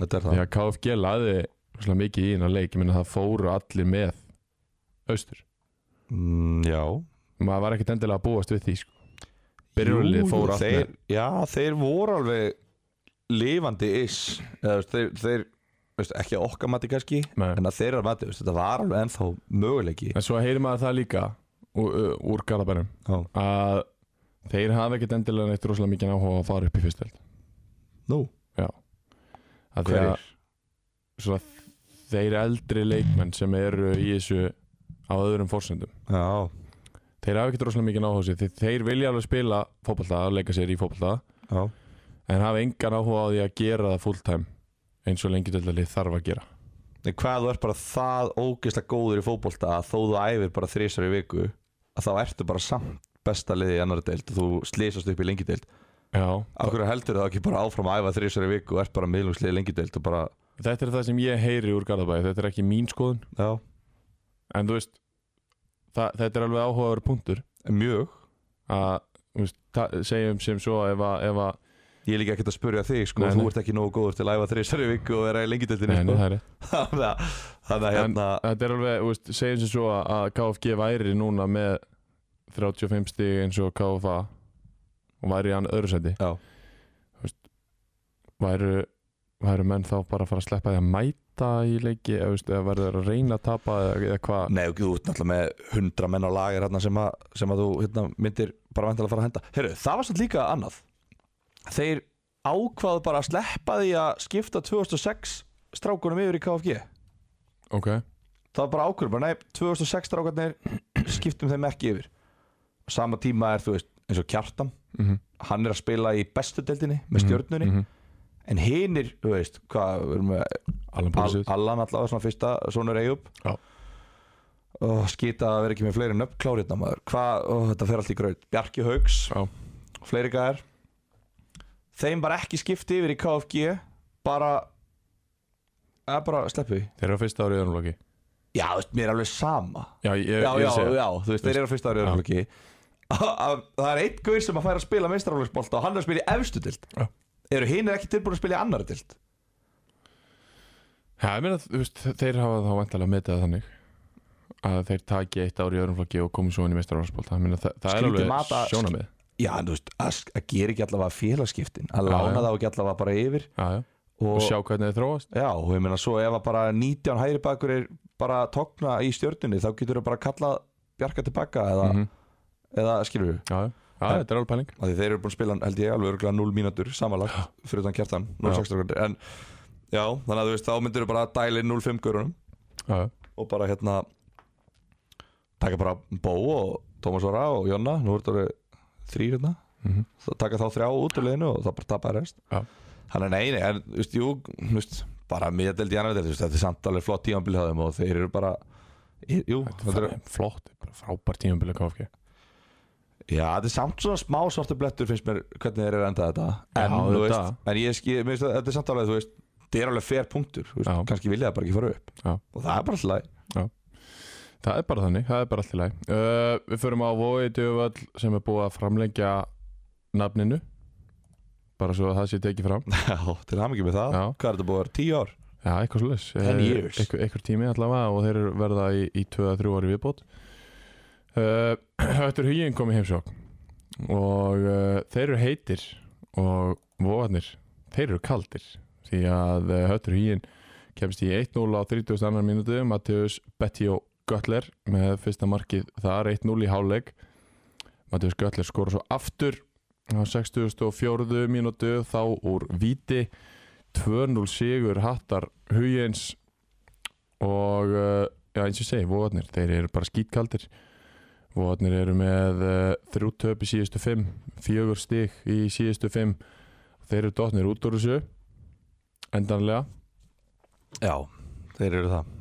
þetta er það
því að KFG laði rosalega mikið í hérna leik ég minna það fóru allir með austur
Mm, já
maður var ekkert endilega að búast við því sko. byrjunlið fór allt með
þeir, Já, þeir voru alveg lifandi ish eða, þú veist, þeir, þeir veist, ekki að okkar mati kannski
Nei.
en að þeirra mati, veist, þetta var alveg ennþá möguleiki
En svo heyrir maður það líka úr, úr Garabænum
Já.
að þeir hafa ekkert endilega neitt rosalega mikið áhuga á að fara upp í fyrstöld
Nú,
Af því að
hverjir?
svona, þeir eldri leikmenn sem eru í þessu á öðrum forsendum
Já,
þeir hafa ekkert rosalega mikið áhuga á þessu því þeir vilja alveg spila fótballta að leika sér í fótballta
já
en hafa engan áhuga á því að gera það fulltime eins og lengi dildalið þarf að gera
En hvað þú ert bara það ógeðslega góður í fótbolta að þó þú æfir bara þrísar í viku að þá ertu bara samt besta liði í annari deild og þú slýsast upp í lengi deild
Já,
Af hverju heldur það ekki bara áfram að æfa þrísar í viku og ert bara miðlungsliði lengi deild og bara,
þetta er það sem ég heyri úr Garabæði þetta er ekki mín skoðun
já,
en þú veist það, þetta er alveg áhugaður punktur
mjög
að þú veist, ta- segjum sem svo ef að, ef að
Ég er líka ekkert að spurja þig sko,
Nei,
þú
nei.
ert ekki nógu góður til að æfa þrjusari viku og vera í lengideldinni
nei, nei,
sko.
það er, rétt.
Þannig að- þannig að
en
hérna
þetta er alveg, þú veist, segjum sem svo að- að KFG væri núna með 35 stig eins og KFA og væri í hann öðru seti
Já.
Þú veist, væru, væru menn þá bara að fara að sleppa því að mæta í leiki eða, þú veist, eða verður að reyna að tapa eða, eða hvað
Nei, þú ert náttúrulega með 100 menn á lagir hérna, sem, að, sem að þú hérna, myndir bara vantilega að fara að henda Herru, það var samt líka annað Þeir ákvaðu bara að sleppa því að skipta 2006 strákunum yfir í KFG
ok,
Það var bara ákvörðu, bara nei, 2006 strákarnir skiptum þeim ekki yfir Á Sama tíma er, þú veist, eins og Kjartan
Mhm.
Hann er að spila í bestu deildinni með stjörnunni
mhm.
en hinir, þú veist, hvað við erum með
Allan
Al
Púlisut
Allan allavega svona fyrsta, sonur Eyjup
Já.
og skita að vera ekki með fleiri nöfn klárið maður, hvað, ó, þetta fer allt í gröð Bjarki Haugs,
Já.
fleiri gæðar þeim bara ekki skipti yfir í KFG bara eða bara sleppu því
Þeir eru á fyrsta árið öðrum loki
já, þú veist, mér er alveg sama
Já, ég,
já,
ég er
já,
að segja
já, þú veist, þeir eru á fyrsta árið öðruflokki það er einn guður sem að færa að spila meistarálfsbolta og hann er að spila í efstu dild
Já.
eru hinn ekki tilbúin að spila í annari dild
Já, ég meina, þú veist, þeir hafa þá vantilega metið það þannig að þeir taki eitt ár í öðrum flokki og komi svo inn í meistarálsbólta það, það er
Skrítið
alveg
mat að-
sjónamið
já, en þú veist, að, að gera ekki allavega félagskiptin að
Já,
lána
já.
þá ekki allavega bara yfir
Já, já, og
og,
sjá hvernig þið þróast
já, og ég meina svo ef að bara 19 hægri bakur er bara að togna í stjörnunni þá getur þau bara að kalla Bjarka tilbaka eða,
Mhm.
eða skilur við
Já, já, já,
En-
þetta er alveg pæling
að því þeir eru búin að spila held ég alveg örgulega 0 mínútur samanlagt fyrir utan kjartan 0
Já.
6 en já þannig að þú veist þá myndir þú bara dæli 0 5 görunum
Já, já,
og bara hérna taka bara Bó og Tómas Vara og Jonna nú eru þetta þrýr hérna
Mhm.
það taka þá þrjá út úr liðinu og það bara tapar rest
Já.
þannig að nei, nei en þú veist, jú, þú veist, bara miðdeld í annar deild, þú veist, þetta er samt alveg flott tímanbíl hjá þeim og þeir eru bara jú,
þetta er flott, þetta er bara frábær tímabilið KFG
Já, þetta er samt svona smá svartu blettur finnst mér hvernig þeir eru endað þetta
Já,
en, þú
auðvitað.
veist, en ég skil, mér finnst að þetta er samt alveg, þú veist þetta er alveg fair punktur, þú veist,
Já.
kannski vilja það bara ekki fara upp
Já.
og það er bara alltaf læg
Það er bara þannig, það er bara allt í lagi uh, Við förum á Vói Djöfall sem er búið að framlengja nafninu bara svo að það sé tekið fram
Já, til hann með það,
Já.
hvað er þetta búið að vera, tíu ár?
Já, eitthvað slúðis
Ten years.
Eitthvað tími allavega og þeir eru verða í, í 2-3 ári viðbót uh, Höttur Hugin kom í heimsók og uh, þeir eru heitir og vofarnir þeir eru kaldir því að uh, Höttur Hugin kemst í 1-0 á 32. mínútu Mattius Bettio Götler með fyrsta markið þar 1-0 í háleik Mattius Götler skora svo aftur á 64. mínútu þá úr víti 2-0 sigur hattar Huyens og uh, já, eins og ég segi, vóðarnir þeir eru bara skítkaldir vóðarnir eru með uh, þrjú töp í síðustu fimm, fjögur stig í síðustu fimm þeir eru dotnir út úr þessu endanlega
Já, þeir eru það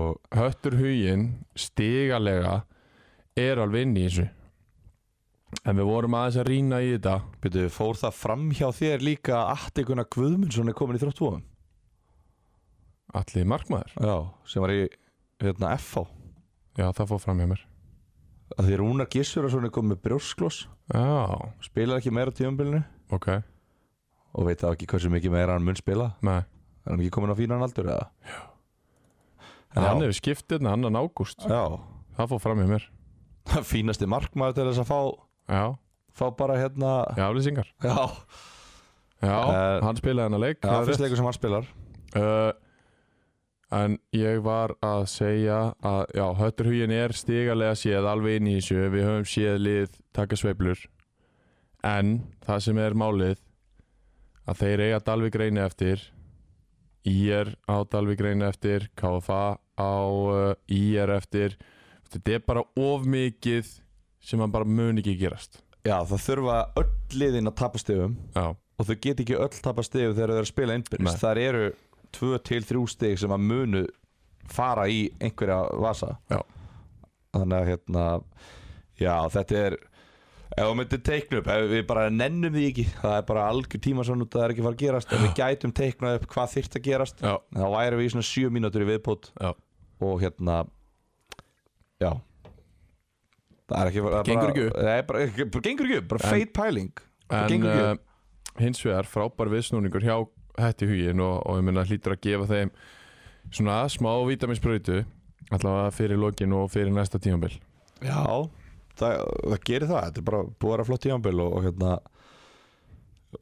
og
höttur huginn stigalega er alveg inn í þessu en við vorum aðeins að rýna í þetta
byrju, fór það fram hjá þér líka að Atti Gunnar Guðmundsson er komin í þróttvóðum
allir markmaður,
Já, sem var í, hérna, FH
já það fór fram hjá mér
að því Rúnar Gissurason er komin með brjóskloss
já,
spilar ekki meira á tímanbílinu
ok,
og veit það ekki hversu mikið meira hann mun spila
nei
Er hann ekki komin á fínan aldur eða?
en hann
Já.
hefur skipt hérna annan ágúst
Já,
það fór fram hjá mér
það fínasti markmaður til þess að fá,
Já,
fá bara hérna
í aflýsingar
Já,
Já,
Eh,
hann spilaði hennar leik
það
það
er
er
fyrst
rétt.
leikur sem hann spilar
uh, En ég var að segja að já, hötturhugin er stigalega séð alveg inn í þessu Við höfum séð lið taka sveiflur En það sem er málið að þeir eiga Dalvik reyni eftir IR á Dalvik reyni eftir KFA á uh, IR eftir Þetta er bara of mikið sem hann bara mun ekki gerast
Já, það þurfa öll liðin að tapa stegum
Já,
og þau get ekki öll tapa stegum þegar þau eru að spila
Nei.
innbyrðis Þar eru tvö til þrjú steg sem að munu fara í einhverja vasa
Já.
Þannig að hérna Já, þetta er Ef við myndum teikna upp, ef við bara nennum því ekki Það er bara algjör tíma svona út að það er ekki að fara að gerast Ef við gætum teiknað upp hvað þyrft að gerast
já,
þá væri við í svona 7 mínútur í viðbót
já
og hérna já það er ekki það er
Gengur ekki upp.
bara, nei, bara, ekki- bara gengur ekki upp, bara
En-
feit pæling Bara
En
gengur ekki
uh,
upp.
hins vegar frábær viðsnúningur hjá hætti hugin og, og ég meina hlýtur að gefa þeim svona smá vitaminsbröytu allavega fyrir lokin og fyrir næsta tímabil
já, það, það gerir það þetta er bara búið að vera flott tímanbíl og, og hérna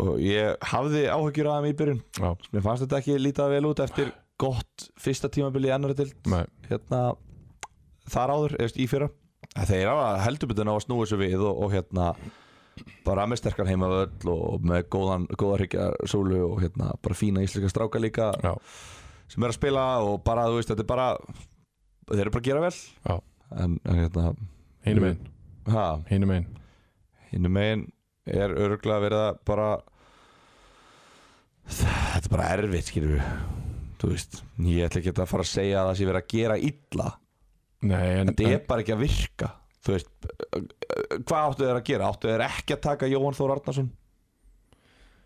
og ég hafði áhyggjur af þeim í byrjun
Já,
mér fannst þetta ekki lítið vel út eftir gott fyrsta tímanbíl í ennari til
nei,
hérna þar áður, eða í fyrra Að þeir hafa heldurbyrðin á að snúa þessu við og, og hérna bara með sterkan heima öll og með góðan, góðarhyggja sólu og hérna bara fína íslenska stráka líka
já,
sem er að spila og bara þú veist þetta er bara þeir eru bara að gera vel
Já.
en, en hérna
hinum einn
ha,
hinum einn,
hinn megin er örgulega verið að bara er bara erfitt skilur við þú veist, ég ætla ekki að fara að segja að það sé verið að gera illa
Nei, en,
þetta er bara ekki að virka þú veist, hvað áttu þeir að gera áttu þeir ekki að taka Jóhann Þór Arnarsson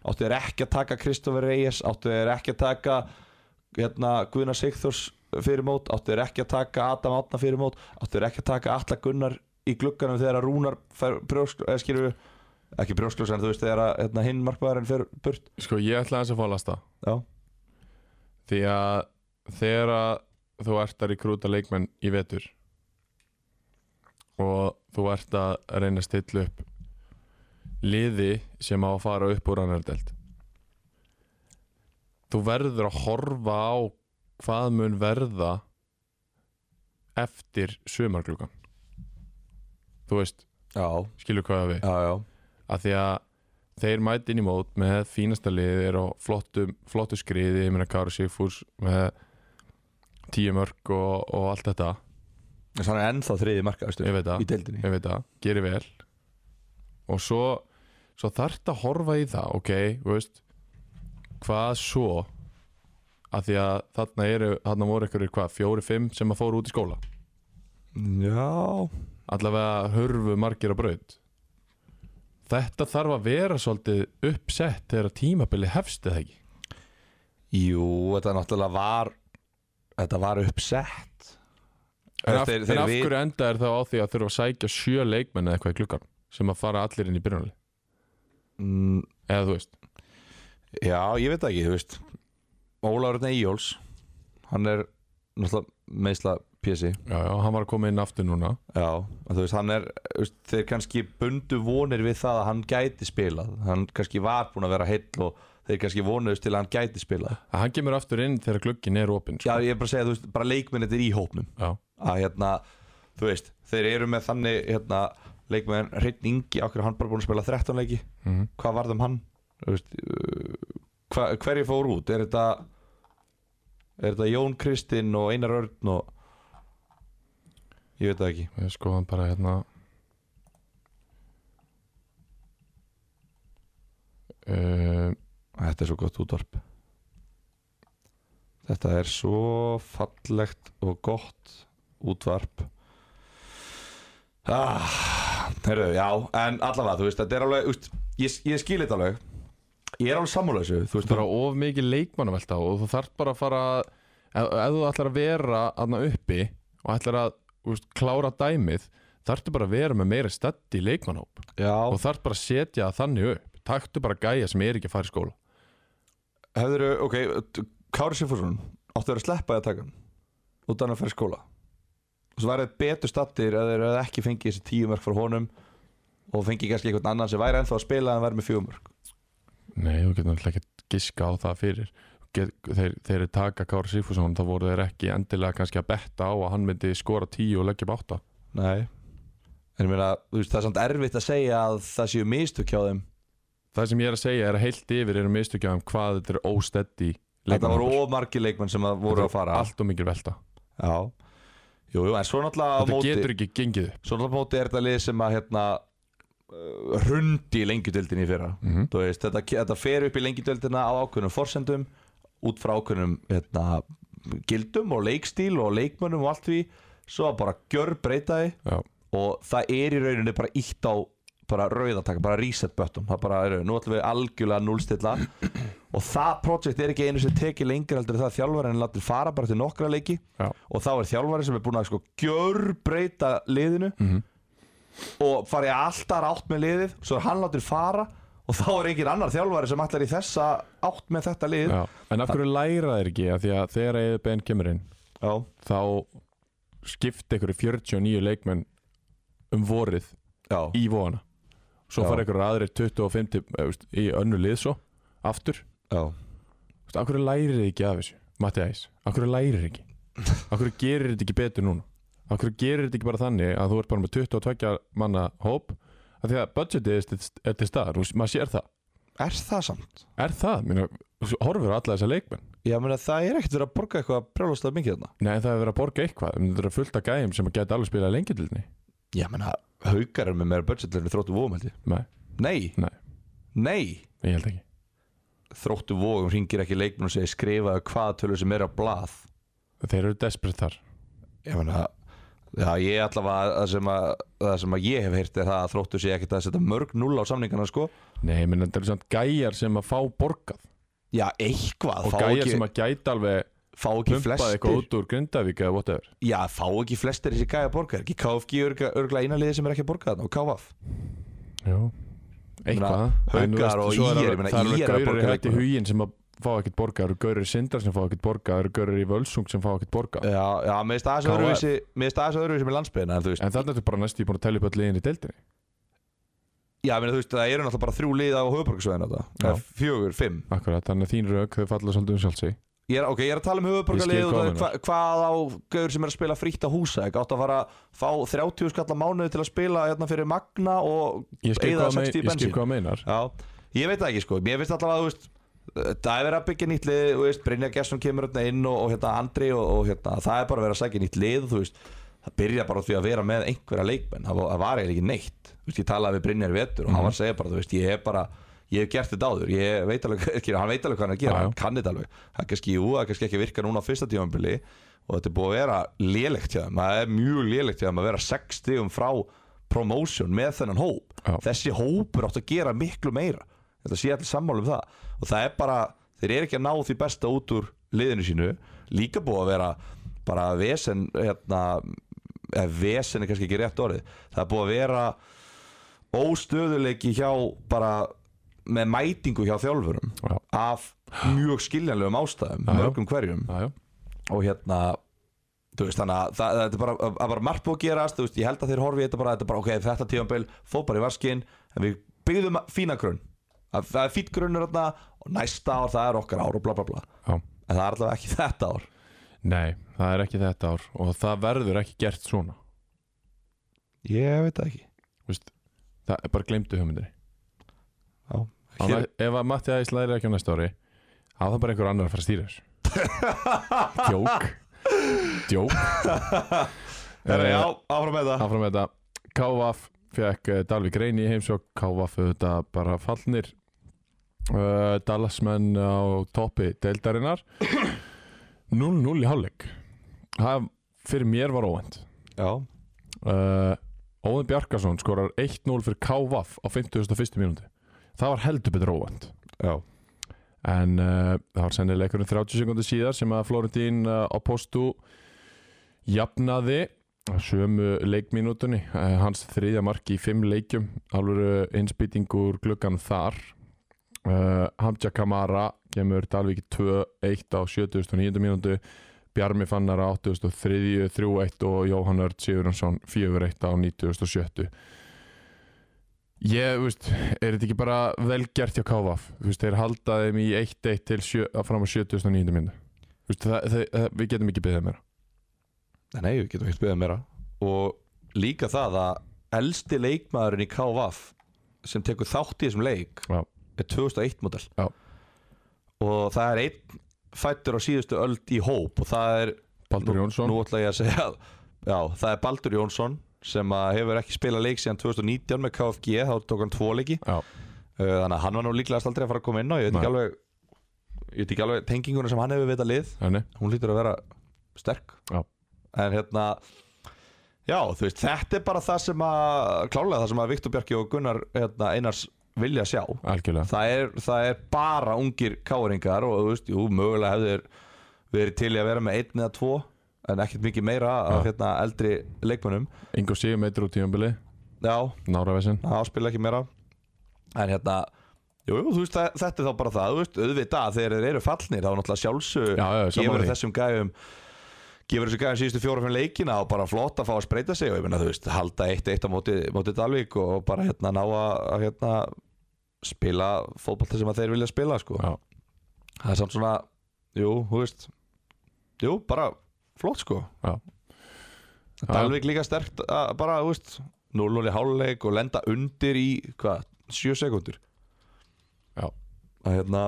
áttu þeir ekki að taka Kristoffer Reyes, áttu þeir ekki að taka hérna Guðna Sigþórs fyrir mót, áttu þeir ekki að taka Adam Átna fyrir mót, áttu þeir ekki að taka Alla Gunnar í glugganum þegar að Rúnar fer brjósk, eða skilur við ekki brjóskljós en þú veist þegar að hérna, hinn markmaðurinn fer burt,
en sko ég ætla aðeins að fá að lasta
já,
Því að þegar að þú ert að rekrúta leikmenn í vetur og þú ert að reyna að stilla upp liði sem á að fara upp úr annardelt þú verður að horfa á hvað mun verða eftir sömarglúkan þú veist,
já,
skilur hvað við
já, já
að því að þeir mæti inn í mót með fínasta liðið er á flottu, flottu skriði, ég meina Káru Sigfús með tíu mörg og, og allt þetta
en þannig er ennþá þriði markaðastur
Ég veit það.
í deildinni,
ég veit það, gerir vel og svo, svo þarft að horfa í það ok, þú veist hvað svo að því að þarna eru, þarna voru ykkur hvað, fjóri, fimm sem að fóru út í skóla
já
allavega hörfu margir á braut þetta þarf að vera svolítið uppsett þegar tímabili hefst eða ekki
Jú, þetta náttúrulega var Þetta var uppsett
En, af,
Þeir-
en
þeir
af
við-
hverju enda er þá á því að þurfa að sækja sjö leikmenn eða eitthvað í klukkan sem að fara allir inn í byrjunali
mm,
eða þú veist,
Já, ég veit það ekki, þú veist Ólafur Örn Eyjóls Hann er náttúrulega meðsla PSI
já, já, hann var að koma inn aftur núna
Já, en þú veist, hann er þú veist, Þeir kannski bundu vonir við það að hann gæti spilað Hann kannski var búinn að vera heill og þeir kannski vonuðust til að hann gæti spilað
að hann kemur aftur inn þegar glukkin er opinn
Já,
sko.
ég er bara að segja, þú veist, bara leikmennið er í hópnum
já,
að hérna, þú veist, þeir eru með þannig hérna, leikmenn Hreinn Ingi, okkur hann bara búin að spila 13 leiki
Mhm.
hvað varð um hann Þú veist, uh, hva, hverju fór út er þetta er þetta Jón Kristinn og Einar Örn og ég veit það ekki
ég sko hann bara hérna uh,
þetta er svo gott útvarp þetta er svo fallegt og gott útvarp ah, heyrðu, já en allavega, þú veist, þetta er alveg úst, ég, ég skil þetta alveg ég er alveg sammála þessu, þú veist,
bara of mikið leikmannum velta og þú þarf bara að fara ef, ef þú ætlar að vera aðna uppi og ætlar að úst, klára dæmið þarftu bara að vera með meira stætt í leikmannhóp
já,
og þarf bara að setja það þannig upp taktu bara gæja sem er ekki að fara í skóla
hefðurðu, ok t- Kári Sifursson, áttu að vera að sleppa því að taka hann út af hann að fara í skóla og svo værið betur stattir að þeir hefðu ekki fengið þessi tíu mörg frá honum og fengið kannski einhvern annan sem væri ennþá að spila en væri með fjögumörk
nei, þú getur náttúrulega ekki giska á það fyrir Get, þeir, þeir eru taka Kára Sigfússon þá voru þeir ekki endilega kannski að betta á að hann myndi skora tíu og leggja upp átta
Nei En ég meina, þú veist, það er samt erfitt að segja að það séu mistök hjá þeim
það sem ég er að segja er að heilt yfir eru mistökja um hvað þetta er ósteddi
Þetta voru ómargi leikmenn sem að voru að fara
allt og mikil velta
Já Jú, jú, en svo náttúrulega á
þetta
móti
getur ekki gengið upp
Svo náttúrulega á móti er þetta lið sem að hérna uh, hrundi í lengjudöldinni í fyrra
Mhm.
Þú veist, þetta, þetta fer upp í lengjudöldina á ákveðnum forsendum út frá ákveðnum hérna, gildum og leikstíl og leikmönnum og allt því svo að bara gjör breyta því
já,
og það er í rauninni bara ítt á bara rauðataka, bara reset button það bara er, nú ætlum við algjörlega núlstilla og það projekt er ekki einu sem tekið lengur heldur en það að þjálfarinn latir fara bara til nokkra leiki
já,
og þá er þjálfarinn sem er búin að sko gjörbreyta liðinu
Mhm.
og farið alltaf átt með liðið svo er hann latir fara og þá er engin annar þjálfari sem allar í þessa átt með þetta lið
já. en af hverju læra þeir ekki að því að þegar EFBN kemur inn
Já.
þá skipta ykkur 49 leikmenn um vorið
Já.
í vóana svo
Já.
fara ykkur aðrir 25 til, eh, veist, í önnu lið svo aftur,
Já.
Vist, akkur lærir þið ekki af þessu Matti Æs, akkur lærir þið ekki akkur gerir þetta ekki betur núna akkur gerir þetta ekki bara þannig að þú ert bara með 22 manna hóp að því að budgetið er til- er til staðar þú- maður sér það,
er það samt?
er það Minna, horfur á alla þessa leikmenn
Já, meni, það er ekkert verið að borga eitthvað brjálastlega mikið þarna
nei það er verið að borga eitthvað, Menn, þetta er fullt af gæjum sem að geta alveg spilað lengi til þinni
Já, menna, haukar er með meira budgetlega þróttu vóum held ég
nei,
Nei,
nei,
nei
ég held ekki
þróttu vógum ringir ekki leikmenn og segir skrifaðu hvaða tölu sem er á blað
Þeir eru desperate þar
ég meina Já, ég allavega, það sem, að, það sem að ég hef heyrt er það að þróttu sé ekkert að setja mörg null á samningana sko
Nei, menn þetta eru samt gæjar sem að fá borgað
Já, eitthvað,
og
fá
gæjar
ekki,
sem að gæta alveg
fá ekki
pumpað eitthvað
flestir
út úr Grindavík eða whatever
Já, fá ekki flestir þessi gæja að borga er ekki KFG örgla, örgla eina liði sem er ekki að borga þarna og KF
Já Eitthvað
Meina,
En þú
Haukar
veist,
og
svo er
IR,
alveg-
ég meina,
Það eru
IR að
alveg
borga
gaurir hætti
leikmenn.
huginn sem að fá ekkert borgað Það eru gaurir í sindar sem fá ekkert borgað Það eru gaurir í völsung sem fá ekkert borgað
Já, já, mér finnst aðeins
KF.
öðruvísi Mér finnst aðeins öðruvísi með landsbyðina En þú veist,
En þannig að þú bara næstu búin að telja upp öll liðin í deildinni
já, mér þú veist, það eru náttúrulega bara þrjú lið á höfuborgarsvæðinu
Já.
þetta Fjögur, fimm
Akkurat, þannig að þín rauk þau falla svolítið um sjálfsig
Ég er, ok, ég er að tala um
Ég skil hvað þú
höfuborgarlið og hva, hvað á gauður sem er að spila frítt á húsa ekki átt að fara að fá 30 skalla mánuði til að spila hérna fyrir Magna og
Ég skil
eyða
hvað mein-
60 í
ég skil
bensín
hvað meinar
Já, ég veit það ekki sko, mér finnst allavega að þú veist það er verið að byggja nýtt lið, þú veist Brynja Gesson kemur hérna inn og, og hérna Andri og, og hérna, það er bara að vera að sækja nýtt lið þú veist, það byrja bara á því að vera með einhverja leikmenn, það, var- það var eiginlega ekki neitt þú veist, ég talaði við Brynjar í vetur og hann var að segja bara þú veist, ég er bara, ég hef gert þetta áður ég veit alveg, ekki, hann veit alveg hvað hann er að gera
Já, já.
hann kann þetta alveg, það er kannski, jú, það er kannski ekki að virka núna á fyrsta tímanbili og þetta er búið að vera lélegt hjá þeim, það er mjög lélegt hjá þeim að vera 6 stigum frá promotion með þennan hóp,
Já.
þessi hópur átt að gera miklu meira, þetta sé allir sammála um það og það er bara, þeir eru ekki að ná því besta út úr liðinu sínu líka búið að vera bara vesen hérna, eða vesen er kannski ekki rétt orðið, það er búið að vera óstöðuleiki hjá bara með mætingu hjá þjálfurum
Já.
af mjög skiljanlegum ástæðum
já.
mörgum hverjum
Já, já.
og hérna þú veist þannig að það, það er bara, að bara margt búið að gerast, þú veist, ég held að þeir horfi í þetta bara, þetta er bara, ok, þetta tímanbel, fór bara í vaskinn en við byggðum fína grunn það það er fýtt grunnur þarna og næsta ár það er okkar ár og bla bla bla
Já.
en það er allavega ekki þetta ár
Nei, það er ekki þetta ár og það verður ekki gert svona
ég veit það ekki
Þú veist, það er bara glemdu hugmyndinni
Já.
Á
Hér,
næ- Ef að Matti Æs læri ekki á næsta ári þá er það bara einhver annar að fara að stýra þessu Djók Djók
herra,
Eh,
já, áfram með það
Áfram með þetta Kávaf fekk uh, Dalvik Reyni í heimsók Kávaf auðvitað bara fallnir uh, Dallasmenn á toppi deildarinnar 0-0 í hálfleik Það fyrir mér var óvænt
já,
uh, Óðin Bjarkarsson skorar 1-0 fyrir Kávaf á 51. mínúti Það var heldur betur óvænt
já,
en uh, það var sennilega einhverjum 30 sekundu síðar sem að Florentín uh, á postu jafnaði á sömu leikminútunni uh, hans þriðja marki í fimm leikjum alvöru innspýtingur gluggan þar uh, Hamja Kamara kemur Dalvík 2-1 á 79. mínútu Bjarmi Fannar á 83. 3-1 og Jóhann Örd Sigurðansson 4-1 á 97. Ég, þú veist, er þetta ekki bara vel gert hjá KVF? Þú veist, þeir halda þeim í 1-1 til sjö, að fram á 79. mínútu. Þú veist, það, það, það, við getum ekki beðið meira.
nei, við getum ekkert byggðið meira og líka það að elsti leikmaðurinn í KVF sem tekur þátt í þessum leik
Já,
er 2001 model
Já.
og það er einn fættur á síðustu öld í hóp og það er,
Baldur
nú,
Jónsson.
nú ætla ég að segja já, það er Baldur Jónsson sem að hefur ekki spilað leik síðan 2019 með KFG, þá tók hann tvo leiki
já,
Uh, þannig að hann var nú líklegast aldrei að fara að koma inn á ég veit ekki
Nei.
alveg ég veit ekki alveg tenginguna sem hann hefur vita lið
þannig.
hún lítur að vera sterk
Já.
en hérna já þú veist þetta er bara það sem að klálega það sem að Viktor Bjarki og Gunnar hérna, Einars vilja sjá
Algjörlega.
það er, það er bara ungir káringar og þú veist, jú, mögulega hefur verið til í að vera með einn eða tvo en ekkert mikið meira af
Já.
hérna, eldri leikmönnum
Ingo Sigur meitur út í umbili.
já,
Náravesen.
það áspila ekki meira en hérna jú, jú, þú veist, það, þetta er þá bara það, þú veist, auðvitað þegar þeir eru fallnir, þá náttúrulega sjálfsög
Já, já, sammála
gefur
því.
þessum gæfum gefur þessum gæfum síðustu fjóra fimm leikina og bara flott að fá að spreita sig og ég meina, þú veist, halda eitt eitt á móti, móti Dalvík og bara hérna ná að að, hérna, spila fótbolta sem að þeir vilja spila sko.
Já.
það er samt svona, jú, þú veist jú, bara flott sko
Já. Já.
Dalvik líka sterkt að bara, þú veist 0-0 í háluleik og lenda undir í hvað, 7 sekundur
Já.
að hérna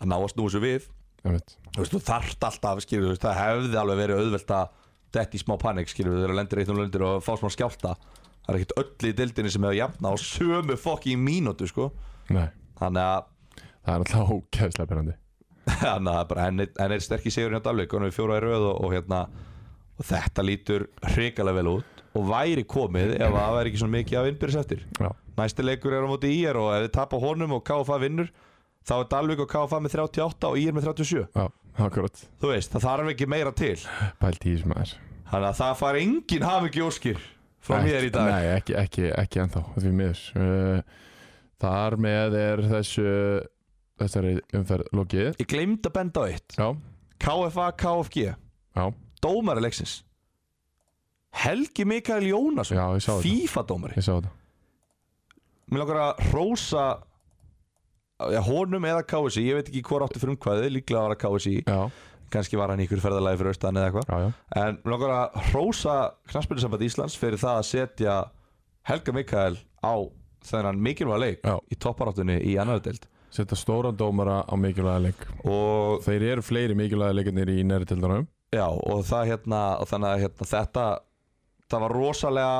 að ná að snúa sér við
Ég veit.
þú veist, þú þarft alltaf, skilur þú veist, það hefði alveg verið auðvelt að detti í smá panik, skilur þú, þegar lendir eitt um lendir og fá smá skjálta það er ekkert öll í dildinni sem hefur jafna á sömu fokki í mínútu, sko
Nei.
þannig að
það er alltaf ógeðslega berandi
Þannig að það er bara enn, enn er sterk í sigur hjá Dalvik og hann er fjóra í röð og, og hérna og þetta lítur hrikalega vel út og væri komið ef að það væri ekki svona mikið af innbyrðis eftir
Já,
næsti leikur er á móti IR og ef þið tapa honum og KFA vinnur þá er Dalvik og KFA með 38 og IR með 37
já, akkurat
þú veist, það þarf ekki meira til
Pælt í þessum aðeins
þannig að það far engin hafingi óskir frá mér í dag
Nei, ekki, ekki, ekki ennþá, því miður uh, Þar með er þessu þessari umferð lokið
ég glemd að benda á eitt
Já,
KFA, KFG,
já,
dómari leiksins Helgi Mikael Jónasson
já, ég sá þetta
FIFA dómari
Ég sá þetta
Mér langar að hrósa já, honum eða KSI, ég veit ekki hvort átti frumkvæði, líklega var það KSI
Já,
kannski var hann í ykkur ferðalagi fyrir austan eða eitthvað
já, já,
En mér langar að hrósa knarspilnusamband Íslands fyrir það að setja Helga Mikael á þennan mikilvæg leik
Já.
í topparáttunni í annar deild
setja stóran dómara á mikilvæga leik
og,
Þeir eru fleiri mikilvæga leikarnir í næri tildanum
já, og það hérna og þannig að hérna, þetta það var rosalega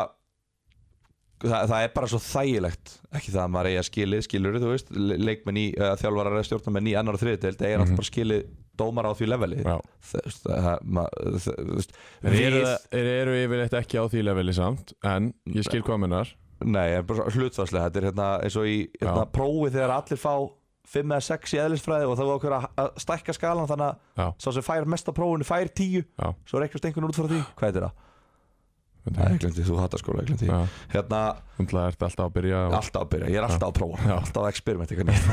það, það er bara svo þægilegt ekki það að maður eigi að skilið, skilur þú veist le- leikmenn í, uh, þjálfarar eða stjórnarmenn í annar og þriði deild, eigi mm
Mhm.
bara skilið dómar á því leveli
Já
það, það, maður, það, þú veist,
Þeir eru, þeir eru yfirleitt ekki á því leveli samt En ég skil hvað minnar
Nei, en bara hlutfarslega Þetta er hérna, eins og í hérna,
Já.
prófi þegar allir fá 5 eða 6 í eðlisfræði og þá var okkur að að stækka skalan þannig að
Já,
sá sem fær mest á prófinu fær 10
Já.
svo reiknast einhvern út frá því Hvað heitir það?
þetta
Nei,
er
ég glemdi, þú hattar skóla, ég glemdi
Já,
Hérna,
þannig að þetta alltaf að byrja og,
alltaf að byrja, ég er alltaf að prófa
Já.
alltaf að experimenti hvernig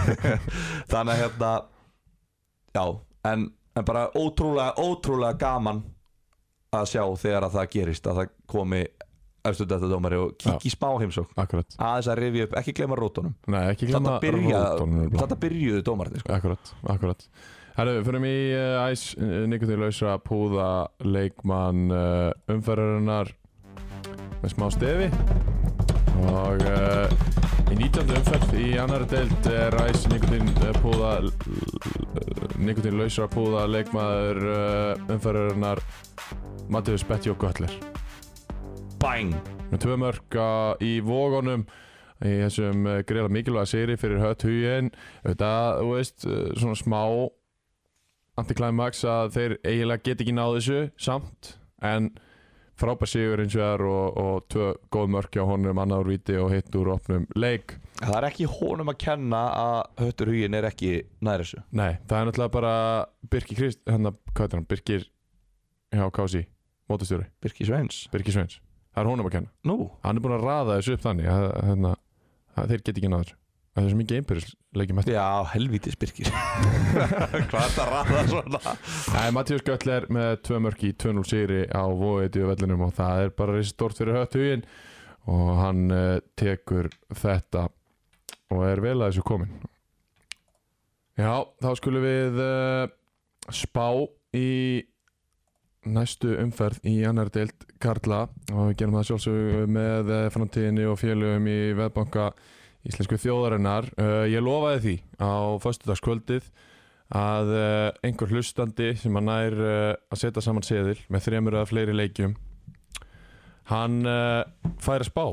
Þannig að hérna Já, en, en bara ótrúlega ótrúlega gaman að sjá þegar að það gerist að það komi eftir þetta dómari og kíkja í smá heimsókn
Akkurat
aðeins að rifja upp, ekki gleyma rótunum
Nei, ekki
Þarna
glemma
byrja-
rótunum nefnilega.
Þetta byrjuðu dómarnir sko.
Akkurat, akkurat Herru, fyrir mig uh, æs nikotinlausra púða leikmann uh, umferðarinnar með smá stefi og uh, í 19. umferð í annari deild er æs nikotin uh, púða nikotinlausra púða leikmaður uh, umferðarinnar Matheus Betty og Götler
Bang!
með tvö mörg uh, í vógunum í þessum uh, greiðlega mikilvæga sigri fyrir hött hugin auðvitað, þú veist, uh, svona smá antiklæmax að þeir eiginlega get ekki náð þessu samt en frábær sigur eins og þar og, og tvö góð mörg hjá honum annar úr viti og hitt úr opnum leik
Það er ekki honum að kenna að höttur hugin er ekki nær þessu
Nei, það er náttúrulega bara Birkir Krist, hérna, hvað er hann, Birkir já, Kási, mótastjóri
Birki Sveins
Birkir Sveins, það er honum að kenna
Nú,
hann er búinn að raða þessu upp þannig að, hérna, að þeir geti ekki náður það er svo mikið einbyrðisleikjum eftir
já, helvítis Birkir Hvað er það ræða svona?
yeah. Mattíus Göll er með tvö mörk í 2-0 sigri á vóiði og vellinum og það er bara reysi stort fyrir hött hugin og hann uh, tekur þetta og er vel að þessu komin Já, þá skulum við uh, spá í næstu umferð í annar deild Karla og við gerum það sjálfsög með eh, framtíðinni og félögum í veðbanka íslensku þjóðarinnar uh, ég lofaði því á föstudagskvöldið að uh, einhver hlustandi sem hann nær uh, að setja saman seðil með þremur eða fleiri leikjum hann uh, fær að spá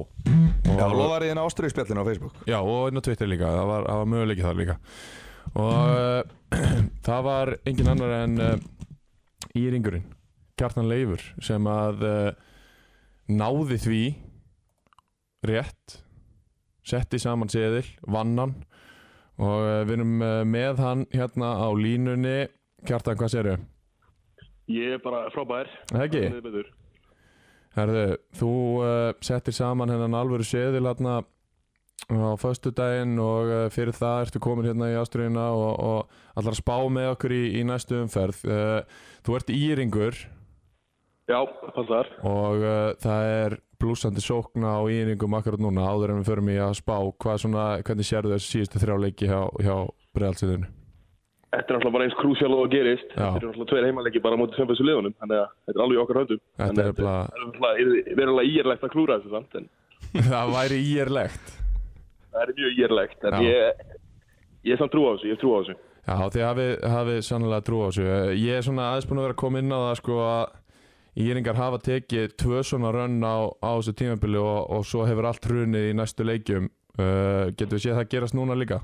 Já,
Og-
lofaði þín ástriðspjallinu á Facebook
Já, og inn á Twitter líka, það var, það var möguleiki þar líka Og uh, það var engin annar en uh, Íringurinn, Kjartan Leifur sem að uh, náði því rétt setti saman seðil, vannan og uh, við erum uh, með hann hérna á línunni Kjartan, hvað sérðu?
Ég er bara frábær.
Heggi?
Mér betur.
Herðu, þú uh, settir saman hennan alvöru seðil hérna á föstudaginn og uh, fyrir það ertu komin hérna í ástriðina og, og allar að spá með okkur í, í næstu umferð. Uh, þú ert íringur
Já, passar.
og uh, það er blúsandi sókna á íringum akkurat núna áður en við förum í að spá hvað svona, hvernig sérðu þessu síðustu þrjá leiki hjá, hjá breðalsöðinu.
Þetta er náttúrulega bara eins krúsjál og það gerist.
Já.
Þetta eru náttúrulega tveir heimaleiki bara á móti sem þessu liðunum. Þannig að þetta er alveg í okkar höndum.
Þetta
Þannig
er
að
bara-
Það er náttúrulega verulega íjarlegt að klúra þessu samt. En
það væri íerlegt.
það er mjög íjarlegt. En
Já.
ég, ég er samt trú á þessu. Ég er trú á þessu.
Já, þið hafið, hafið sannlega trú á þessu. Eh, Ég er svona aðeins búin að vera að koma inn á það sko að Íringar hafa tekið tvö svona rönn á, á þessu tímabili og, Eh, og svo hefur allt hrunið í næstu leikjum. Uh, getur við séð það gerast núna líka?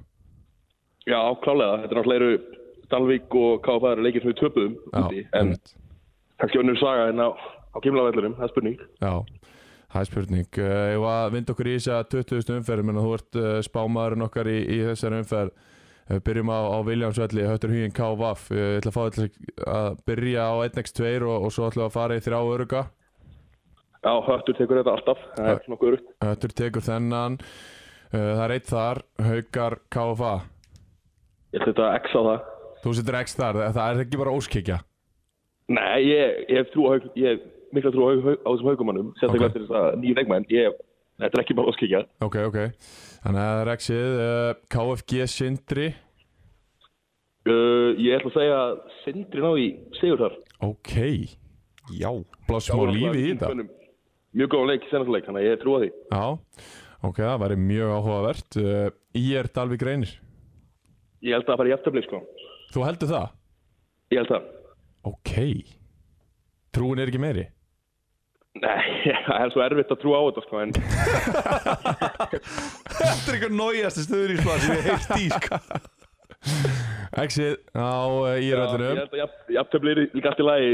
Já, klálega, þetta er náttúrulega eru Dalvík og KFA eru leikir sem við töpuðum úti, en
einmitt.
kannski önnur saga en á, á gimlavellurum, það er spurning
Já, það er spurning uh, Ef að vinda okkur í þess að 20. umferð menn að þú ert uh, spámaðurinn okkar í, í þessari umferð Ef Við byrjum á, á Viljámsvelli, Höttur Hugin K.V.A.F. Uh, Ég ætla að fá þetta að byrja á 1x2 og, og svo ætla að fara í þrjá öruga
Já, höttur tekur þetta alltaf, það er nokkuð örugt
Höttur tekur þennan uh, Það er eitt þar, Haukar K.V.A.
Ég ætla þetta að exa á það
Þú setur x þar, það er ekki bara óskikja
Nei, ég, ég hef trú á haug, ég hef mikla trú á, haug, á þessum haugumannum,
Ok.
sérstaklega okay. þess að nýjum leikmenn, ég, þetta er ekki bara óskikja.
Ok, ok Þannig að það er x-ið uh, KFG Sindri
Uh, ég ætla að segja að Sindri náði í sigur þar.
Ok,
Já
blá smá lífi í þetta
Mönnum Mjög góðan leik, senast leik, þannig að ég trú á því.
Já, ok, það væri mjög áhugavert uh, Í er Dalvik reynir
Ég held að það fara í eftirblíð, sko.
Þú heldur það?
Ég held að,
Ok Trúin er ekki meiri
nei, það er svo erfitt að trú á þetta, sko, en
Þetta er eitthvað nájast stuðurísmaður sem ég heilt í sko.
Exit á eh, í
Já, ég
röllinu
held að jafntöfli er líka allt í lagi,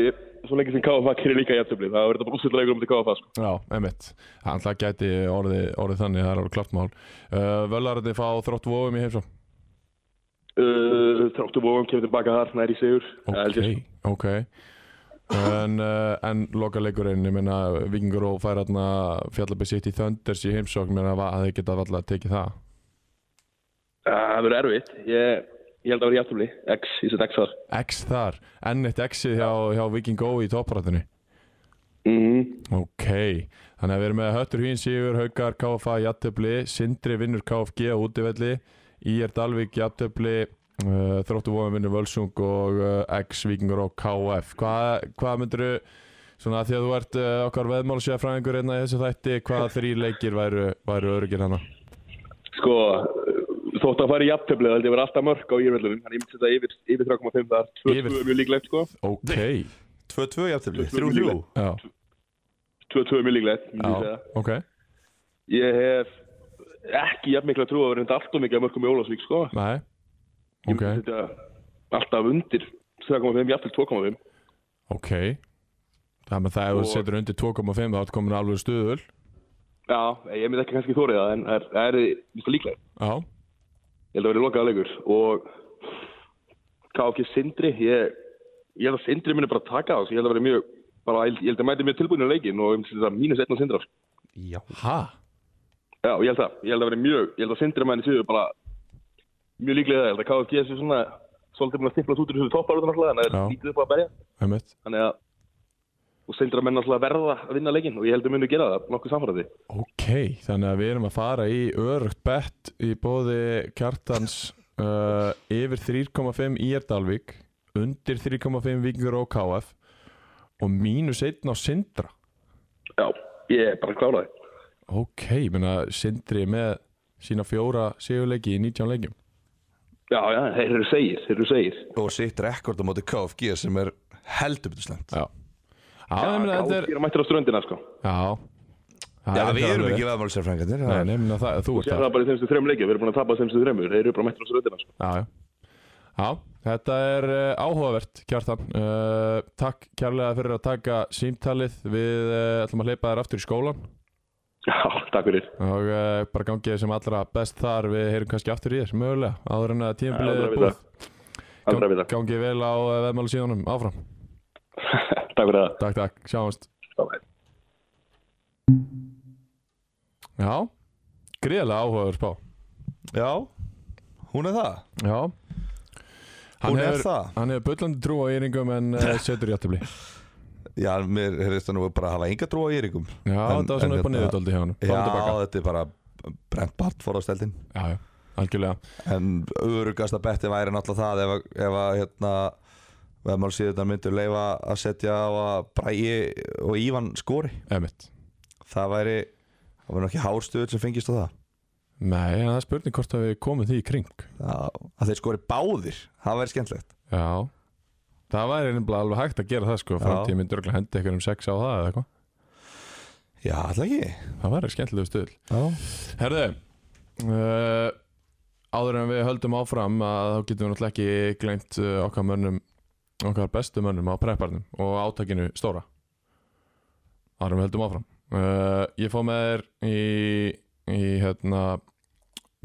svo lengi sem KFA gerir líka jafntöfli, það verður þetta bara úsvitað leikur um til KFA, sko.
Já, einmitt Hann það gæti orðið, orðið þannig, það er alveg klart mál uh, Völarði fá þrótt vofum í heimsum
Uh, Þráttu vóum kemur tilbaka þar, nær í sigur. Það held
Ok,
ég, sko.
ok En, uh, en lokaleikurinn, ég meina Vikingur og fær hérna fjallabæð sitt í Thunders í heimsókn, menna að þið geta alltaf tekið það
Eh, Það verður erfitt, ég, ég held að vera í afturli, X, ég set X þar.
X þar, enn eitt X-ið hjá, hjá Viking Go í topprættinu
Mm
Ok, þannig að við erum með Höttur Hvín Sigur, Haukar, KFA, Jattöfli Sindri vinnur KFG á útivelli Ír Dalvik, Jattöfli uh, Þróttu Vóðum vinnur Völsung og uh, X, Vikingur og KF Hvað hva myndirðu, svona því að þú ert uh, okkar veðmálsjafræðingur hérna í þessu þætti, hvaða þrý leikir væru, væru öryggir hana?
Sko, þótt að fara í jafntöfli, það held ég verið alltaf mörg á írvellunum, þannig ég myndi setja yfir, yfir 3,5 þar, 2-2
Yfir.
er mjög líklegt, sko.
Ok,
2-2 jafntöfli,
3-3.
3-3
já,
2-2 er mjög líklegt, myndi ég
já,
segja.
ok
Ég hef ekki jafn mikla trú að vera þetta allt og mikið að mörgum í Ólásvík, sko.
Nei,
Ég
ok,
myndi setja alltaf undir 3,5, jafnvel 2,5.
ok Þannig að það ef þú
Og-
setur undir 2,5 þá ertu komin alveg stuðul
Já, ég myndi ekki kannski þórið það, en það er, það er mjög líklegt.
Já,
Ég held að verið lokaða leikur og KFG Sindri, ég, ég held að Sindri minni bara taka það, ég held að verið mjög, bara, ég held að mæti mjög tilbúinu leikin og ég myndi setja mínus 1 á Sindra, sko.
Já
ha?
Já, ég held það. Ég held að vera mjög, ég held að sindri menni séu bara mjög líklega það. Ég held að KFG séu svona svolítið búin að stimplast út úr þessu topparöðun alltaf, þannig að
Já.
það er lítið upp að berja.
Einmitt.
Þannig að, og sindra menn alltaf verða að vinna leikinn og ég held að munu gera það, nokkuð samfæraði.
Ok, þannig að við erum að fara í örugt bett í bóði kjartans uh, yfir 3,5 IR Dalvik undir 3,5 Víkingur og KF og mínus 1 á Sindra
Já, ég er bara kláraði.
Ok, ég meina Sindri með sína fjóra sigurleiki í 19 leikjum
Já, já, þeir eru segir, þeir eru segir.
Og sitt rekord á móti KFG sem er heldur betur slæmt
Já, já,
Já,
ég meina þetta er
KFG er mættir á ströndina, sko.
Já, það
Já,
er
við
það
erum
alveg.
ekki veðmálsjafræðingarnir
Nei, nei, ég meina það, þú ert
Sér
það
það bara í þeimstu þrejum leikjum, við erum búin að tapa þeimstu þrejum, þeir eru bara mættir á ströndina, sko.
Já, já. já þetta er uh, áhugavert, Kjartan. Uh, takk kærlega fyrir að taka símtalið. Við uh, ætlum að hleypa þér aftur í skólan
Já, takk fyrir.
og uh, bara gangið þér sem allra best þar. Við heyrum kannski aftur í þér, mögulega, áður en að tímabilið
Aldrei
er
að
búið.
Aldrei að vita.
Gangið vel á uh, veðmálu síðanum, áfram.
Takk fyrir það.
Takk, takk, sjáumst.
Bye-bye.
Já, gríðlega áhugaður spá.
Já, hún er það
Já. Hann
Hún er
hefur,
það.
hann hefur bullandi trú á yringum en uh, setur jættibli.
Já, mér hefðist það nú bara að hafa enga trú á Eiríkum
Já,
En-
þetta var svona
en
upp og
þetta-
niður dóldi hjá hann.
Já, þetta er bara brent bart forðasteldin
Já, já, algjörlega
En örugasta betti væri náttúrulega það ef, að- ef að hérna veðmálsíðurnar myndu leifa að setja á að Bræi og Ívan skori
Emmett
það væri það væri nú ekki hárstuður sem fengist á það
Nei, en það er spurning hvort að við komum því í kring
að, að þeir skori báðir það væri skemmtlegt
Já Það væri nefnilega alveg hægt að gera það sko Framtíð myndur örugglega hendi eitthvað um sex á það eða eitthvað
já, alltaf ekki
Það væri skemmtilegu stöðl
já.
Herðu uh, Á áður en við höldum áfram að þá getum við náttúrulega ekki gleymt uh, okkar mönnum okkar bestu mönnum á prepparnum og átakinu stóra áður en við höldum áfram uh, ég fóð með þér í, í hérna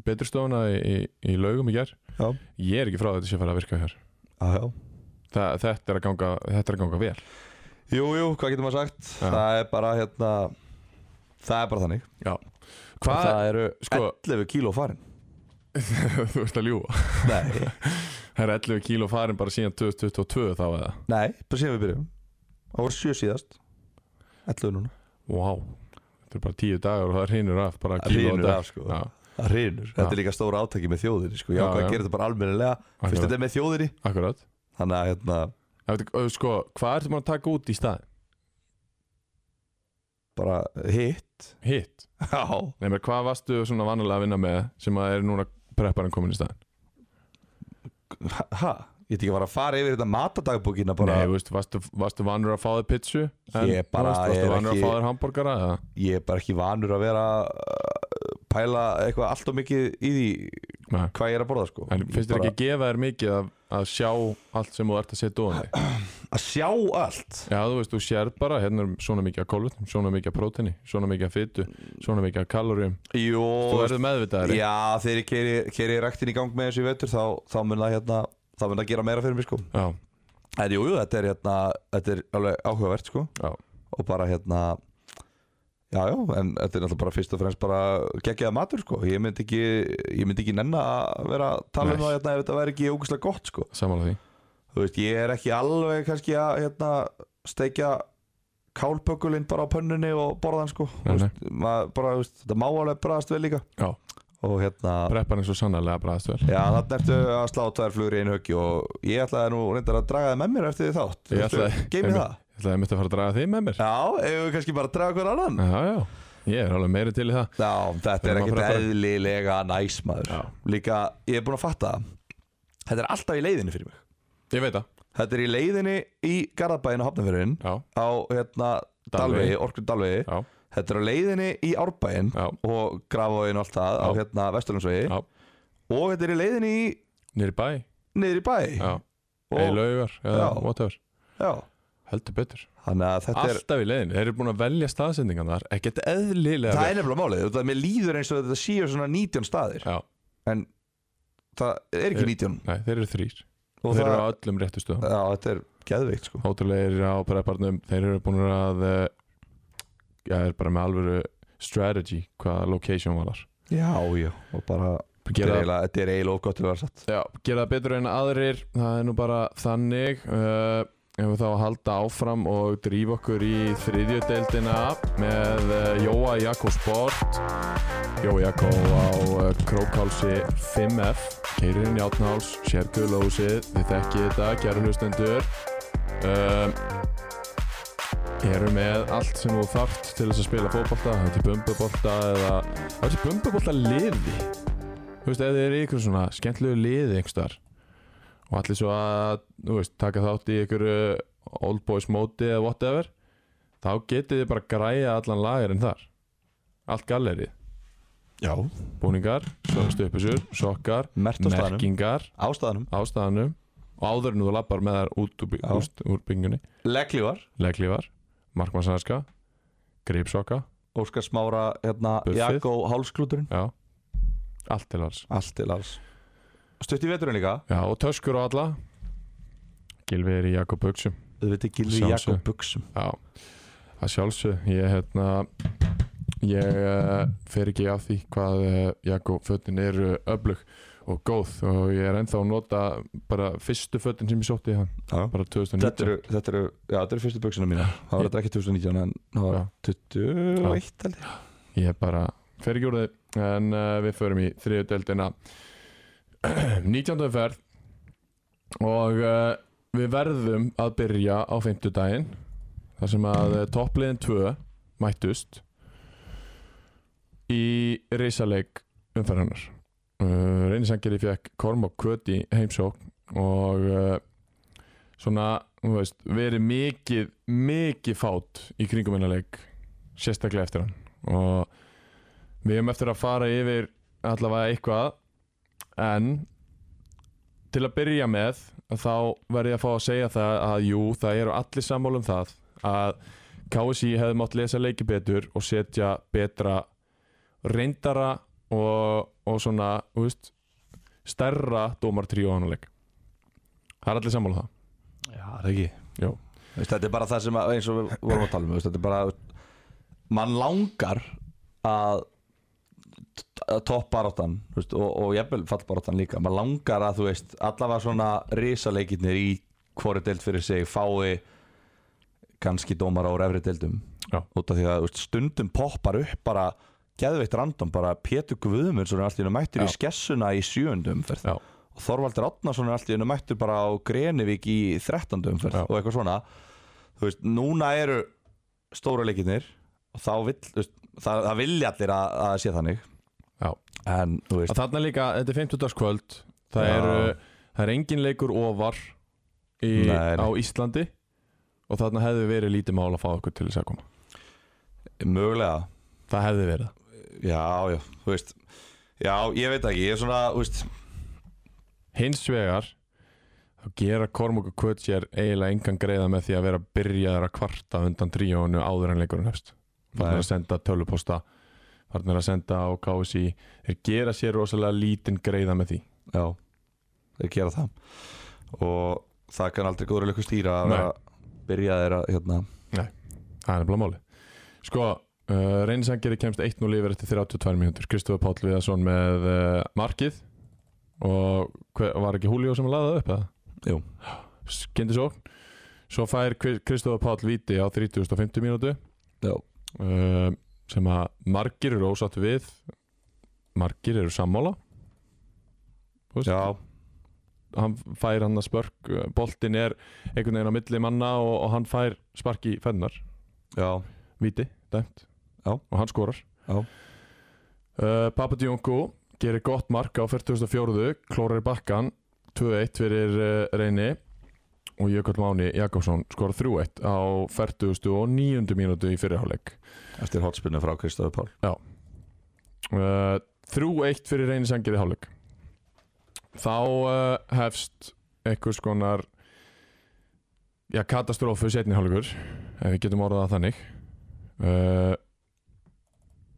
beturstofuna í, í, í laugum í ger
Já,
ég er ekki frá því að þetta sé fara að virka hér
já, já
Þa, þetta, er að ganga, þetta er að ganga vel
Jú, jú, hvað getur maður sagt
Já.
Það er bara hérna Það er bara þannig
Já.
Og
hvað,
Það eru
sko-
11 kíló farin
þú ert að ljúa
Nei,
það er 11 kíló farin bara síðan 2022 þá eða
nei, bara síðan við byrjum Það voru sjö síðast 11 núna
Wow, þetta er bara tíu dagar og það hreinur af bara
Það
kíló á
hrynur
dag.
af, sko.
Já,
Það reynur Þetta er líka stóra átaki með þjóðinni sko. Ég
Já,
ákvað
já.
að gera þetta bara almennilega Fyrst
Akkurat.
þetta er með þjóðinni
akkurat
Þannig að hérna
Ég veit ekki, ö, Sko, hvað ertu maður að taka út í stað?
bara hitt
Hitt
Já
Nei, menn, hvað varstu svona vanalega að vinna með sem að er núna prepparinn komin í stað?
Ha, ha. Ég veit ekki bara að fara yfir þetta matadagbókina bara
Nei, þú veist, varstu, varstu vanur að fá þér pitsu?
Ég bara
þú veist,
er
Varstu vanur
ekki-
að fá þér hambúrgara? eða?
Ég er bara ekki vanur að vera uh, Pæla eitthvað allt og mikið í því
Nei.
Hvað ég er að borða sko
En finnst þér
Bara
ekki að gefa þér mikið að, að sjá allt sem þú ert að setja ofan þig?
Að sjá allt
Já, þú veist, þú sér bara, hérna er svona mikið að kólvetnum, svona mikið að prótini, svona mikið að fytu, svona mikið að kaloríum.
Jó
Þú verður meðvitaðari.
Já, þegar ég keri, keri rektin í gang með þessu í vetur þá, þá mun það hérna, þá mun það gera meira fyrir mig sko
Já,
En jú, jú, þetta er hérna, þetta er alveg áhugavert sko
já.
Og bara hérna, já, já, en þetta er náttúrulega bara fyrst og fremst bara geggjaða matur sko Ég myndi ekki, ég myndi ekki nenn að vera að tala um
Nei.
það hérna ef þetta væri ekki ógustlega gott sko
Samála því.
Þú veist, ég er ekki alveg kannski að hérna steikja kálbökulinn bara á pönnunni og borðan sko
Nei,
Þú veist, maður bara, þú veist, þetta má alveg bræðast vel líka
Já.
Og hérna
Prepparinn svo sannarlega bræðast vel.
Já, þannig ertu að slá tvær flugur í einu höggi og ég ætlaði nú reyndar að draga það með mér eftir því þátt
Ég ætlaði-
Geimi það
Ég ætlaði að mitt að fara að draga þig með mér
Já, ef við kannski bara að draga hver annan
Já, já, ég er alveg meiri til í það
Já, þetta
Erum
er
að
ekkert
fara að-
eðlilega næs maður
Já.
Líka, ég er búin að fatta það. Þetta er alltaf í leiðinni fyrir mig
Ég veit það,
Þetta er í leiðinni í Garðabæðin og Hafnafjörðin
já,
á hérna
Dalvegi.
Dalvegi, Orkun Dalvegi
já,
Þetta er á leiðinni í Árbæðin
Já.
og Grafavegin og allt það á
Já.
hérna Vesturlandsvegi
já
og þetta er í leiðinni í
Nýri bæ,
niður í bæ
já,
og,
eða laugar eða
Já.
whatever,
já.
heldur betur
Þannig að þetta er
Alltaf í leiðin, þeir eru búin að velja staðsendingan þar Ekkert eðlilega
Það
vel.
er nefnilega málið, þetta mér líður eins og þetta séu svona 19 staðir
Já,
En það er ekki
Er-
19
nei, þeir eru þrýr
Og
Þeir
það,
eru á öllum réttu stöðum
já, þetta er geðveikt sko
Hótelegir á prepparnum, þeir eru búin að eh, Já, er bara með alvöru strategy Hvað location var þar
Já, já, og bara Þetta er
Gera,
eiginlega- þetta er eiginlega of gott til að vera satt
Já, gera það betur en aðrir Það er nú bara þannig uh, Ef við þá að halda áfram og drífa okkur í þriðjudeildina með uh, Jóa Jakko Sport Jói Jakko á uh, Krókálsi 5F Keirinn Játnáls, Sérgulósið Þið þekkið þetta, kæru hlustendur um, Eru með allt sem þú þarft til þess að spila fótbolta Það er til bumbubolta eða Það er til bumbubolta liði þú veist, ef þið eru í ykkur svona skemmtlegu liði einhverstaðar og allir svo að, þú veist, taka þátt í ykkur old boys móti eða whatever þá getið þið bara að græja allan lagerinn þar allt gallerið,
Já
búningar stöpusur, sokkar,
Mert á staðnum,
merkingar
á staðnum,
ástæðanum og áður en þú lappar með þær út úr,
Já.
úst, úr byggjunni
legljúar
leglífar, markmannsarska gripsokka,
Óskar Smára, hérna,
Buffið.
Jakko Hálsklúturinn
já allt til alls
Allt til alls Stutt í veturinn líka,
já, og töskur á alla Gilvi er í Jakob Buxum
við veitum ekki við
Sjálfsögðu.
Jakko Buxum
Já, að sjálfsög ég hérna ég uh, fer ekki af því hvað uh, Jakob fötin eru öflug og góð og ég er ennþá að nota bara fyrstu fötin sem ég sótti í hann,
Já.
bara
Þetta
2019
eru, þetta eru, já, þetta eru fyrstu buxuna mína Það var þetta ekki 2019 en það var
Já.
21 held ég
ég bara fer ekki úr þið en uh, við förum í þriðu deildina 19. ferð og uh, við verðum að byrja á 50 daginn þar sem að eh, toppliðin 2 mættust í reysaleik umferðarnar uh, reynisangeri fekk Korm og Kvöti heimsókn og uh, svona, þú veist, verið mikið mikið fát í kringum hennar leik sérstaklega eftir hann og við hefum eftir að fara yfir allavega eitthvað en til að byrja með þá verð ég að fá að segja það að jú, það eru allir sammála um það að KSI hefði mátt lesa leiki betur og setja betra reyndara og, og svona, þú veist stærra dómartríu á annuleik það er allir sammála um það
Já, það er ekki
Jó.
Veist, Þetta er bara það sem að, eins og við vorum að tala um veist, Þetta er bara mann langar að toppbaráttan og, og jafnvel fallbaráttan líka mann langar að þú veist allavega svona risaleikirnir í hvori deild fyrir sig fái kannski dómar á efri deildum
Já.
út af því að þú veist, stundum poppar upp bara geðveitt random bara Pétur Guðmur svona allt í hennu mættur í
Já.
skessuna í sjöundum fyrir
Já.
og Þorvaldur Átnason er allt í hennu mættur bara á Grenivík í 13. umferð
Já.
og eitthvað svona þú veist, núna eru stóra leikinir og þá vill, þú veist, það, það vilja allir að, að sé þannig
Já.
en þú veist,
að þarna líka, þetta er 50. kvöld það
Já.
er, það er engin leikur ofar í,
Nei, nei.
á Íslandi og þarna hefði verið lítið mál að fá okkur til þess að koma
mögulega
það hefði verið
já, já, þú veist já, ég veit ekki, ég er svona, þú veist
hins vegar þá gera Kormok og Kvötsjær eiginlega engan greiða með því að vera byrjaðar að kvarta undan tríónu áður en leikurinn hefst farnir
Nei.
að senda töluposta farnir að senda á KSI þeir gera sér rosalega lítinn greiða með því
já, þeir gera það og það kann aldrei góður leikur stýra að
Nei.
vera byrja þeir að, hérna,
það er nefnilega máli sko, uh, reynisangeri kemst 1-0 yfir eftir 32 mínútur Kristofur Páll Viðarsson með uh, markið og hver, var ekki Julio sem laðið upp eða?
Jú.
Skyndi svo Svo fær Kri- Kristofur Páll viti á 30.50 mínútu
já,
uh, sem að margir eru ósatt við margir eru sammála Þú veist,
já
hann fær hann að spörk uh, boltinn er einhvern veginn á milli manna og, og hann fær spark í fennar
já,
viti, dæmt
Já.
og hann skorar
Já.
uh, Papadiongo gerir gott mark á 44. klórar í bakkan 2-1 fyrir uh, reyni og Jökull Máni Jakobsson skorar 3-1 á 49. mínútu í fyrirháleik
eftir hotspinnu frá Kristofur Pál
uh, 3-1 fyrir reynisangir í hálfleik þá uh, hefst einhvers konar já, katastrófu setni hálfleikur ef við getum orðað það þannig uh,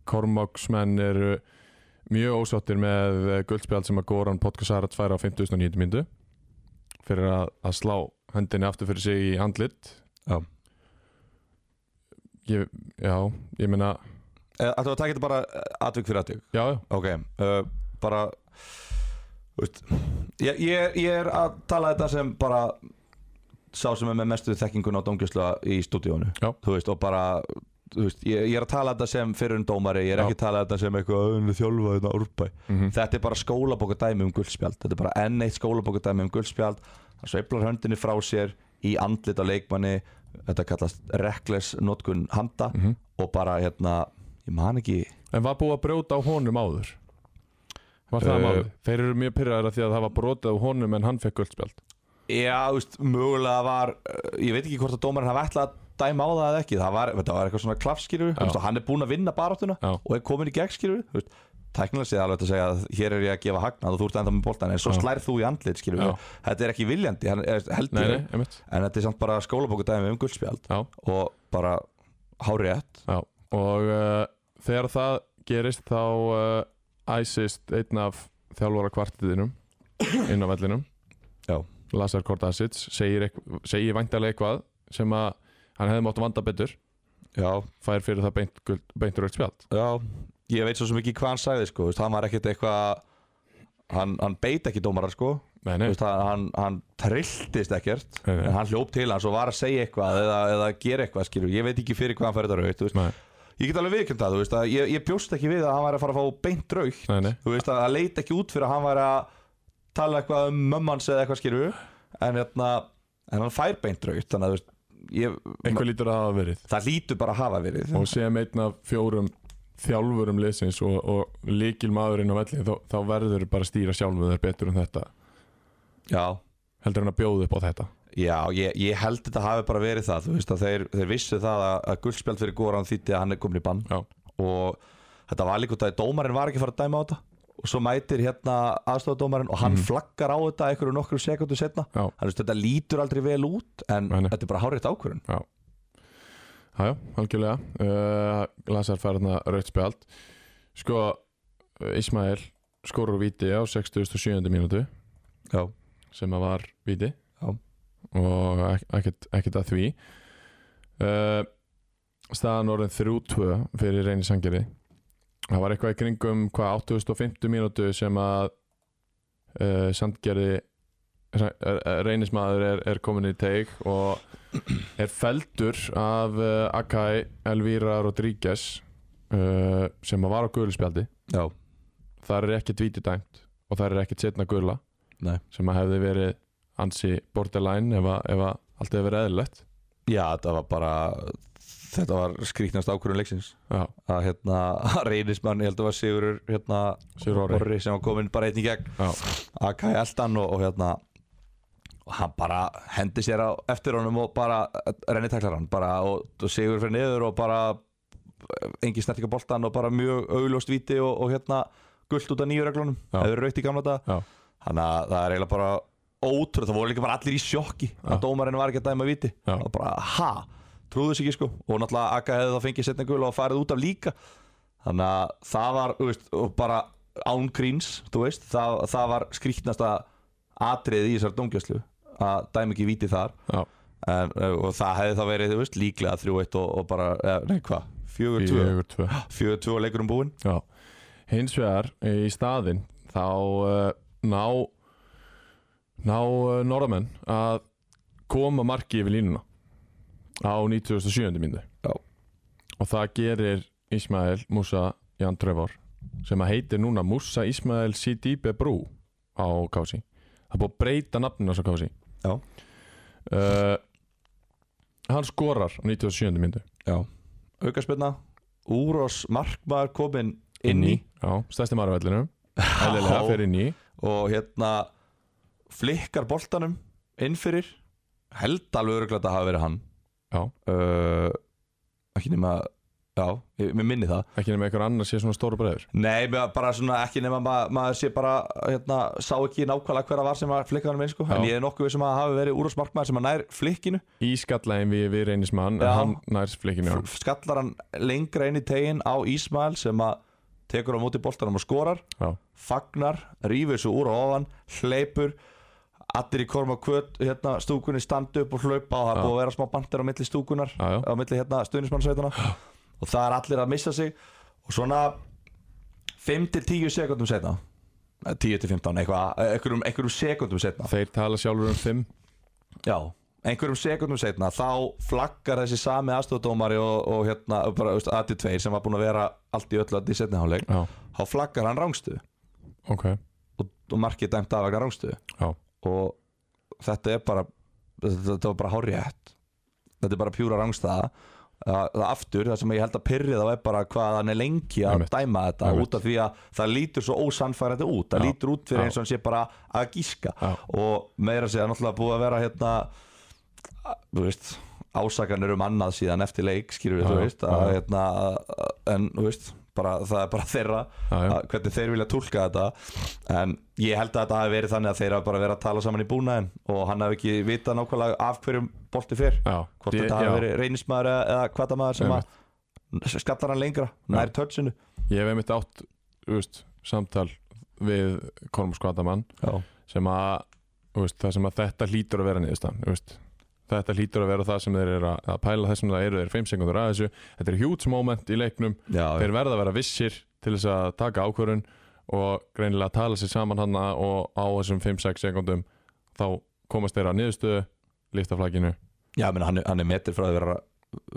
Kormáksmenn eru mjög ósáttir með eh, guldspjald sem að Goran Podkasarats færa á 50.900 myndu fyrir að, að slá hendinni aftur fyrir sig í andlit
Já.
ég, já, ég meina
Ættu Eh, að taka þetta bara eh, atvik fyrir atvik
já, já,
Ok, uh, bara þú veist, ég, ég, ég er að tala þetta sem bara sá sem er með mestu þekkingun á dómgjösla í stúdíónu
Já.
Þú veist, og bara þú veist, ég, ég er að tala þetta sem fyrir um dómari ég er
Já.
ekki að tala þetta sem eitthvað önnur þjálfa þetta úrbæ
Mhm.
hérna þetta er bara skólabóka dæmi um guldspjald þetta er bara enn eitt skólabóka dæmi um guldspjald það sveiflar höndinni frá sér í andlit á leikmanni þetta kallast reckless notkun handa
Mhm.
og bara hérna ég man ekki
En var búið að brjóta á honum áður? Var það
Eh,
málið? Þeir eru mjög pyrraðir af því að það var brotið á honum en hann fekk guldspjald
Já, þú veist, mögulega var uh, ég veit ekki hvort að dómarinn hafa ætlað að dæma á það eða ekki, það var, þetta var eitthvað svona klafskýrfi,
Já.
þú veist, og hann er búinn að vinna baráttuna
Já.
og er komin í gegnskýrfi, þú veist tæknilega séð alveg hægt að segja að hér er ég að gefa hagnað og þú ert ennþá með boltan, en svo
Já.
slærð þú í andlit skýrfi,
Já.
þetta er ekki viljandi hann er
Nei,
heldur,
nei, einmitt
en þetta er samt bara skólabókudæmi um guldspjald
Já,
og bara hárétt
já Og uh, þegar það gerist þá uh, æsist einn af þjálfara kvartiðinum inn á vellinum
Já.
Lazar Kordasic segir, eitth- segir væntalega eitthvað sem að hann hefði mátt vanda betur
Já,
fær fyrir það beint, guld, beint raukt spjald
Já, ég veit svo sem ekki hvað hann sagði sko, þú veist, hann var ekkert eitthvað hann, hann beit ekki dómarar sko
Nei,
Þú
nei,
veist, hann, hann, hann trilltist ekkert
Nei, nei.
en hann hljóp til hans og var að segja eitthvað eða, eða gera eitthvað skilur, ég veit ekki fyrir hvað hann fær þetta raukt þú veist.
nei,
ég get alveg viðkjönda þú veist að ég, ég bjóst ekki við að hann væri að fara að fá beint raukt
nei, nei.
þú veist að það leit ekki út fyrir að hann væri að tala eitthvað um mömmans eða eitthvað skilur en, hérna, en hann fær beint raukt þannig að þú veist, ég,
Eitthvað lítur að hafa verið
það lítur bara að hafa verið
og sem einn af fjórum þjálfurum liðsins og, og líkil maðurinn á velli þá, þá verður bara að stýra sjálfu þér betur en þetta
já,
heldur hann að bjóða upp á þetta
Já, ég, ég held þetta hafi bara verið það þú veist að þeir, þeir vissu það að, að guldspjald fyrir Goran þýtti að hann er komin í bann
Já.
og þetta var líka út af því að dómarinn var ekki að fara að dæma á þetta og svo mætir hérna aðstofadómarinn og
Mhm.
hann flaggar á þetta einhverju nokkru sekundu setna
Já.
hann veist þetta lítur aldrei vel út en
Nei, nei.
þetta er bara hárétt ákvörðun
Já, já, já algjörlega uh, Lasar færðna rautt spjald Sko, uh, Ismael skorur úr víti á 67. mínútu
Já.
sem að var víti
Já.
og ek- ekkert, ekkert að því uh, staðan orðin 3-2 fyrir reyni sangeri það var eitthvað í kringum hvað 8.50 mínútu sem að uh, sandgerði reynismadur er, er komin í teig og er feldur af uh, Akai Elvira Rodríguez uh, sem að var á guðlispjaldi
Já.
þar er ekkert víti dæmt og þar er ekkert setna guðla
Nei.
sem að hefði verið ansi borderline ef, að, ef að allt hefði verið eðlilegt
Já, þetta var bara þetta var skrýknast ákvörðun leiksins
Já,
að hérna reynismann, ég held að það var Sigurur hérna,
Sigur Orri
Orri sem var komin bara einn í gegn
Já,
Akai Eldan og, og hérna og hann bara hendi sér á eftir honum og bara renni taklar hann bara, og, og Sigur fyrir niður og bara engin snertinga boltan og bara mjög augljóst víti og, og hérna gullt út af nýju reglunum,
Já.
hefur raukt í gamla dag
Já.
þannig að það er eiginlega bara ótrúð, það voru líka bara allir í sjokki að dómarinn var ekki að dæma víti
Já.
og bara ha, trúðu sig ekki sko og náttúrulega Akka hefði þá fengið setna gul og farið út af líka þannig að það var þú veist, og bara án gríns þú veist, það, það var skrýtnasta atriðið í þessar dómgjörslu að dæmi ekki víti þar
já,
en, eh, og það hefði þá verið þú veist, líklega 3-1 og, og bara, eh, nei hvað 4-2
fjögur tvö
4-2 og leikurum búinn
Já, hins vegar eh, í staðinn þá uh, ná ná uh, norðamenn að koma marki yfir línuna á 97. myndu
Já.
og það gerir Ismail Musa Jan Trevor sem að heitir núna Musa Ismail Sidibe Brú á Kási það er búið að breyta nafninu á Kási
Já.
uh, hann skorar á 97. myndu
aukarspenna, Úros Markmaður kominn inn í
já, stærsti maður á vellinu eðlilega fyrir inn í
og hérna flikkar boltanum inn fyrir held alveg öruglega að það hafi verið hann
Já.
uh, ekki nema já, ég- mér minni það
ekki nema einhver annar sé svona stóru breyður
nei, mér bara svona ekki nema ma maður sé bara, hérna, sá ekki nákvæmlega hver að var sem að flikka hann minn sko,
Já.
en ég er nokkuð við sem að hafi verið Úros Markmaður sem að nær flikkinu
í skallægin við, við reynismann en
Já.
hann nær flikinu
f- skallar hann lengra inn í tegin á Ísmael sem að tekur á móti boltanum og skorar
Já.
fagnar, rýfur svo úr og ofan hleypur allir í korma kvöt, hérna, stúkunni standa upp og hlaupa og það er búið að vera smá bandir á milli stúkunar
Já, já.
á milli hérna, stuðnismannsveitana og það er allir að missa sig og svona 5-10 sekundum eh, setna 10-15, eitthvað, eh, einhverjum, einhverjum sekundum setna
þeir tala sjálfur um fimm
Já, einhverjum sekundum setna þá flaggar þessi sami aðstofdómari og, og hérna, bara, veist, Adi Tveir sem var búin að vera allt í öllu allt í setni hálfleik
já,
þá flaggar hann rángstuðu
ok,
og, og markið er dæmt af vegna rángstuðu
já,
og þetta er bara þetta, þetta var bara hárétt þetta er bara pjúra rángstaða það, það aftur, það sem ég held að pyrri þá er bara hvað hann er lengi að
Einmitt.
dæma þetta
Einmitt.
út af því að það lítur svo ósannfærandi út það
Já.
lítur út fyrir
Já.
eins og hann sé bara að gíska
Já.
og meira að segja náttúrulega búið að vera hérna þú veist ásakanir um annað síðan eftir leik skýrur við
Já,
þú
já,
veist að,
já.
hérna, en þú veist bara, það er bara þeirra
Já, já.
að, hvernig þeir vilja tólka þetta en ég held að þetta hafi verið þannig að þeir hafi bara verið að tala saman í búnaðin og hann hafi ekki vitað nákvæmlega af hverjum bolti fyrr
já
hvort
Ég-
þetta hafi
já,
verið reynismæður eða, eða kvartamaður sem að skallar hann lengra nær tötsinu
ég hef einmitt átt þú veist, samtal við Kormur Skvatamann
já.
sem að, þú veist, það sem að þetta hlýtur að vera niðurstaðan þú veist. þetta hlýtur að vera það sem þeir eru að, að pæla þessum það eru þeir fimm sekundur að þessu þetta er huge moment í leiknum
Já, já.
þeir verða að vera vissir til þess að taka ákvörun og greinilega tala sér saman hanna og á þessum 5-6 sekundum þá komast þeir að niðurstöðu lifta flagginu
já menn, hann, er- hann er metri frá að vera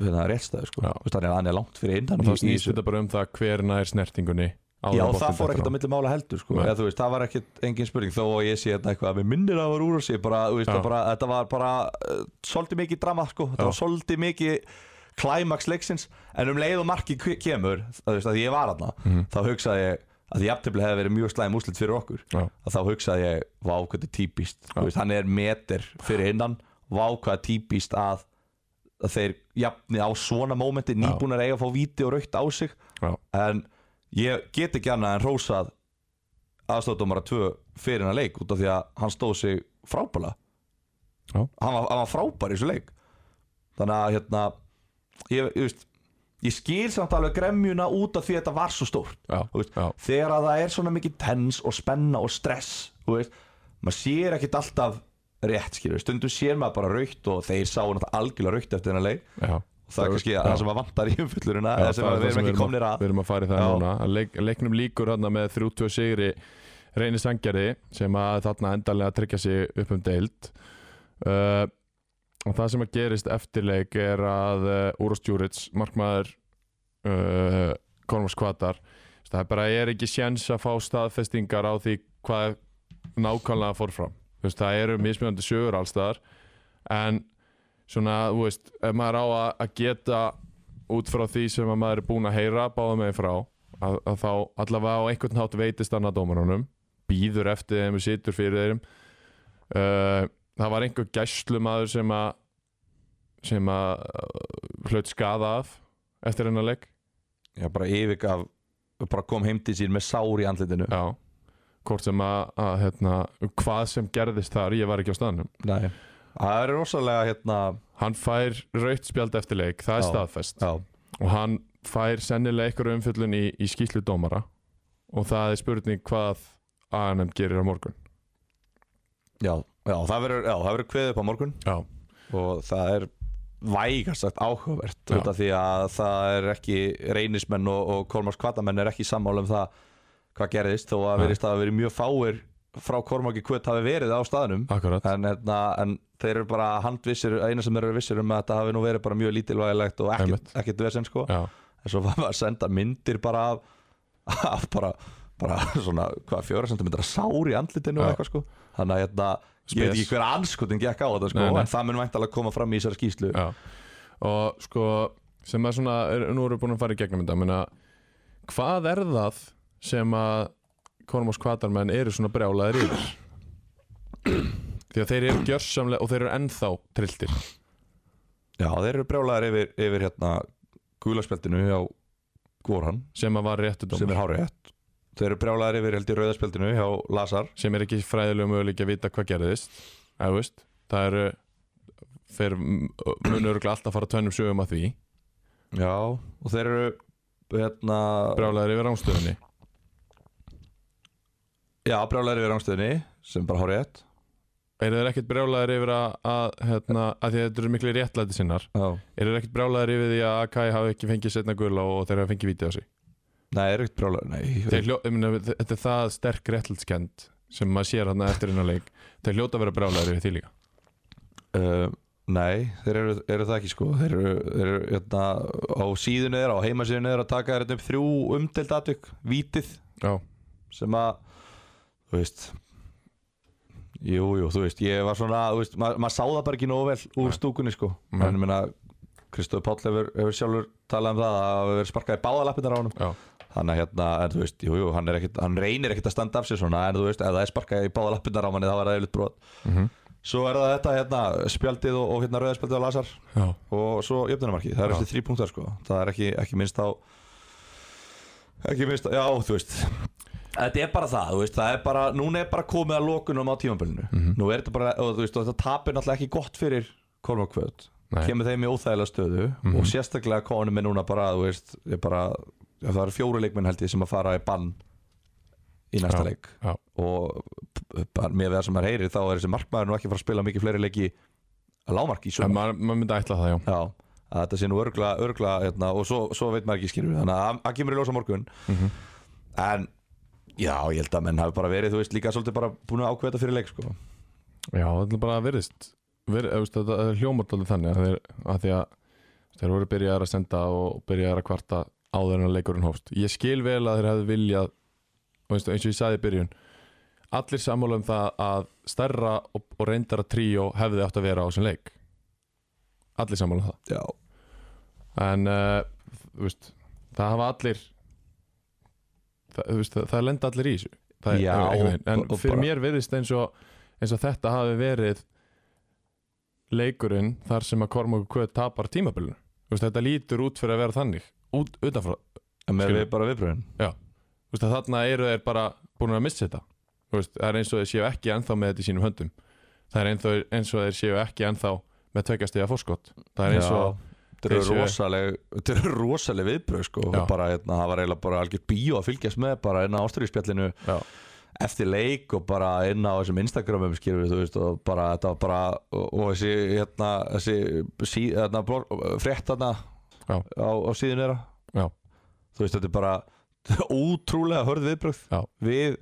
hérna, réttstæður sko.
Já.
Þú veist, hann, er, hann er langt fyrir innan
og
í-
það
í
snýst
þessu.
þetta bara um það hver nær snertingunni áður
Já,
en boltinn
það fór
dettur
ekkert
á.
á milli mála heldur sko.
Nei.
Eða, þú veist, Það var ekkert engin spurning þó að ég sé þetta eitthvað að mér minnir að það var úr og sé bara, þú veist,
Já.
það bara, þetta var bara uh, svolítið mikið drama, sko. þetta var svolítið mikið klæmaks leiksins en um leið og markið ke- kemur þú veist, að ég var aðna,
Mhm.
þá hugsaði ég að því jafntefli hefði verið mjög slæm úslit fyrir okkur
Já.
að þá hugsaði ég, vá hvað þetta er típist Þú veist, hann er meter fyrir innan vá hvað er típist að, að þeir jafni á svona mómenti nýbúnar eiga að fá víti og raukt á sig
Já.
en ég get ekki annað en rósað aðstofdómara tvö fyrir hennar leik út af því að hann stóð sig frábæla
Já.
hann var, hann var frábær í þessu leik þannig að hérna ég, ég, veist, ég skil samt alveg gremjuna út af því að þetta var svo stórt
Já,
Þú veist,
já.
þegar að það er svona mikið tens og spenna og stress þú veist, maður sér ekkit alltaf rétt skilur, stundum sér maður bara raukt og þeir sáu náttúrulega algjörlega raukt eftir hennar leik
já.
það er kannski það sem að vantar í umfyllurina
Já,
eða sem
það er
að við
það
erum ekki
að-
komnir að
Við erum að fara í það
Já.
núna Að Leik, Leiknum líkur hann með 32 sigri Reyni Sangjarði sem að þarna endalega tryggja sig upp um deild uh, og það sem að gerist eftirleik er að uh, Úros Djúrits, markmaður uh, Kormars Kvatar það er bara er ekki séns að fá staðfestingar á því hvað nákvæmlega fór fram Þú veist, það eru mismunandi sögur allstaðar en svona, þú veist, ef maður á að, að geta út frá því sem að maður er búinn að heyra báða meginn frá að, að þá allavega á einhvern hátt veitist annað dómarunum býður eftir þeim og situr fyrir þeim uh, það var einhver gæslumaður sem að sem að uh, hlaut skaða af eftir hennar leik
já, bara yfirgaf bara kom heim til sín með sár í andlitinu
já hvort sem að, að hérna, hvað sem gerðist þar ég var ekki á staðnum
Nei. það er rosalega hérna
hann fær raut spjald eftir leik það er
Já.
staðfest
já,
og hann fær sennilega einhverju umfyllun í, í skýslu dómara og það er spurning hvað ANM gerir á morgun
já, já það verður já, það verður kveðið upp á morgun
Já,
og það er vægast sagt áhugavert
Já.
út af því að það er ekki reynismenn og, og Kormars Kvatamenn er ekki sammála um það hvað gerðist þó að
Nei.
verðist að verið mjög fáir frá Kormáki Kvöt hafi verið á staðnum
akkurat
en, hérna, en þeir eru bara handvissir eina sem þeir eru vissir um að þetta hafi nú verið bara mjög lítilvægilegt og ekkert,
Einmitt.
ekkert vesend sko
Já,
en svo var maður að senda myndir bara af, af bara, bara svona hvað fjóra sentimentra sár í andlitinu og
Já.
eitthvað sko þannig að hérna, ég veit
Spes.
ekki hver anskotin gekk á þetta sko
Nei, nei.
en það mun væntalega koma fram í þessari skýslu
já Og sko, sem er svona er, Nú erum við búin að fara í gegnum þetta menna, Hvað er það sem að Kormos kvatarmenn eru svona brjálaðir yfir Því að þeir eru gjörsamlega og þeir eru ennþá trilltir
Já, þeir eru brjálæðar yfir, yfir hérna gulaspjöldinu hjá Goran
sem að var réttu
sem
dómar
er hárið hett Þeir eru brjálæðar yfir held í rauðaspjöldinu hjá Lazar
sem er ekki fræðilega möguleik að vita hvað gerðist eða þú veist, það eru þeir munu örgulega alltaf fara tvennum sögum að því
Já, og þeir eru hérna,
brjálæðir yfir ránstöðunni
já, brjálæðar yfir rángstöðinni sem er bara hárið hett
eru þeir ekkert brjálæðir yfir að, að, hérna, að því að þetta eru miklu réttlæti sinnar
Já
eru þeir ekkert brjálæðir yfir því að Akai hafi ekki fengið setna gula og þeir hafi fengið vítið á sig
Nei, þeir eru ekkert brjálæðar,
Þeir
nei
hljó, ég meina, þetta er það sterk réttlætskend sem maður sér hann eftir innan leik þeir hljóta að vera brjálæðir yfir því líka
uh, Nei, þeir eru, eru það ekki sko Þeir eru, þeir eru hérna, á síðunni þeirra, á heimasíðunni þeirra taka þeir hérna upp þrjú umdelt atvik, vítið
Já,
sem að þú veist jú, jú, þú veist, ég var svona þú veist, ma maður sá það bara ekki nógu vel úr stúkunni sko,
Nei.
en ég meina Kristof Páll hefur, hefur sjálfur talað um það að hafa verið sparkað í báða lappirnar á honum
já,
þannig að hérna, en þú veist, jú, jú, hann, er ekkit, hann reynir ekkit að standa af sér svona, en þú veist, ef það er sparkað í báða lappirnar á manni, þá er það yfirleitt brot svo er það þetta, hérna, spjaldið og, og hérna rauðarspjaldið á Lazar
já,
og svo jöfnumarki, það er þessi þrý punktar sko það er ekki, ekki minnst á ekki minnst á, já þú veist þetta er bara það, þú veist, það er bara núna er bara komið að lokunum á tímabölinu
Mhm.
nú er þetta bara, og þú veist, og þetta tapir náttúrulega ekki gott fyrir Kormakvöld
Nei. Mhm.
kemur þeim í óþægilega stöðu og sérstaklega konum er núna bara, þú veist er bara, ja, það eru fjóru leikminn held ég sem að fara í bann í næsta
Já.
leik
já,
og p- bara með það sem maður heyrir þá er þessi markmaður nú ekki að fara að spila mikið fleiri leiki að lámarki í sumar
en maður, maður myndi ætla það, já
Já, að þetta sé nú örgla, örgla hérna, og svo, svo veit maður ekki skilur við þannig að það kemur í ljós á morgun en já, ég held að menn hafi bara verið þú veist líka svolítið bara búin að ákveða þetta fyrir leik sko.
Já, það er bara að virðist Ver, eða, veist, Þetta er hljómartalið þannig að þeir, að því að þeir voru byrjaðar að senda og byrjaðar að kvarta áður en að leikurinn hófst Ég skil vel að þeir hefðu viljað og veist, eins og ég sagði í byrjun allir sammála um það að stærra og, og reyndara tríó hefði átt að vera á þessum leik Allir sammála um það
Já,
En uh, þú veist, það hafa allir það, þú veist, það, það lenda allir í þessu það, er-
Já,
einhvern veginn. En
og- og
fyrir
bara-
mér virðist eins og, eins og þetta hafi verið leikurinn þar sem að Kormáku Kvöð tapar tímabilinu Þú veist, Þetta lítur út fyrir að vera þannig út, utanfrá,
en með
Skilur.
við bara viðbröðin
já Þú Þú veist að þarna eru þeir bara búin að missa þetta Þú veist, það er eins og þeir séu ekki ennþá með þetta í sínum höndum það er ennþá, eins og þeir séu ekki ennþá með tveggjastega fórskott það er eins og
Þetta eru
eins og-
rosaleg, þetta eru rosaleg viðbröð sko.
Já.
Og bara, hérna, það var eiginlega bara algjör bíó að fylgjast með bara inn á ástæðuspjallinu
Já.
eftir leik og bara inn á þessum Instagramum skilur við, þú veist, og bara þetta var bara, og, og þessi, hérna, þessi sí, hérna, blog, frétt þarna
Já.
á, á síðun þeirra
Já.
þú veist, þetta er bara ótrúlega hörð viðbröð
Já.
við,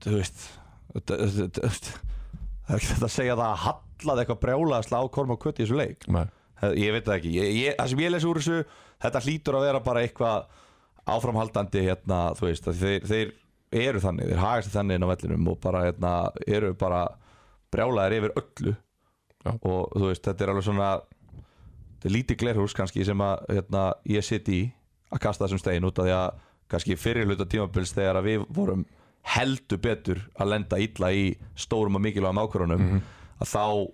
þú veist þetta, þetta, þetta, það er ekki þetta að segja það að hallaði eitthvað brjála að slá korma og kvöt í þessu leik
Nei.
Það- Ég veit það ekki, ég, ég, það sem ég lesi úr þessu Þetta hlýtur að vera bara eitthvað Áframhaldandi hérna Þú veist, að þeir, þeir eru þannig Þeir hagast þannig inn á vellinum og bara hérna Eru bara brjálaðir yfir öllu
Já.
Og þú veist, þetta er alveg svona Þetta er lítið glerhús kannski Sem að hérna, ég sitt í Að kasta þessum stein út af því að Kannski fyrir hluta tímabils þegar að við vorum Heldur betur að lenda illa í Stórum og mikilvægum ákvörunum
Mhm.
Að þá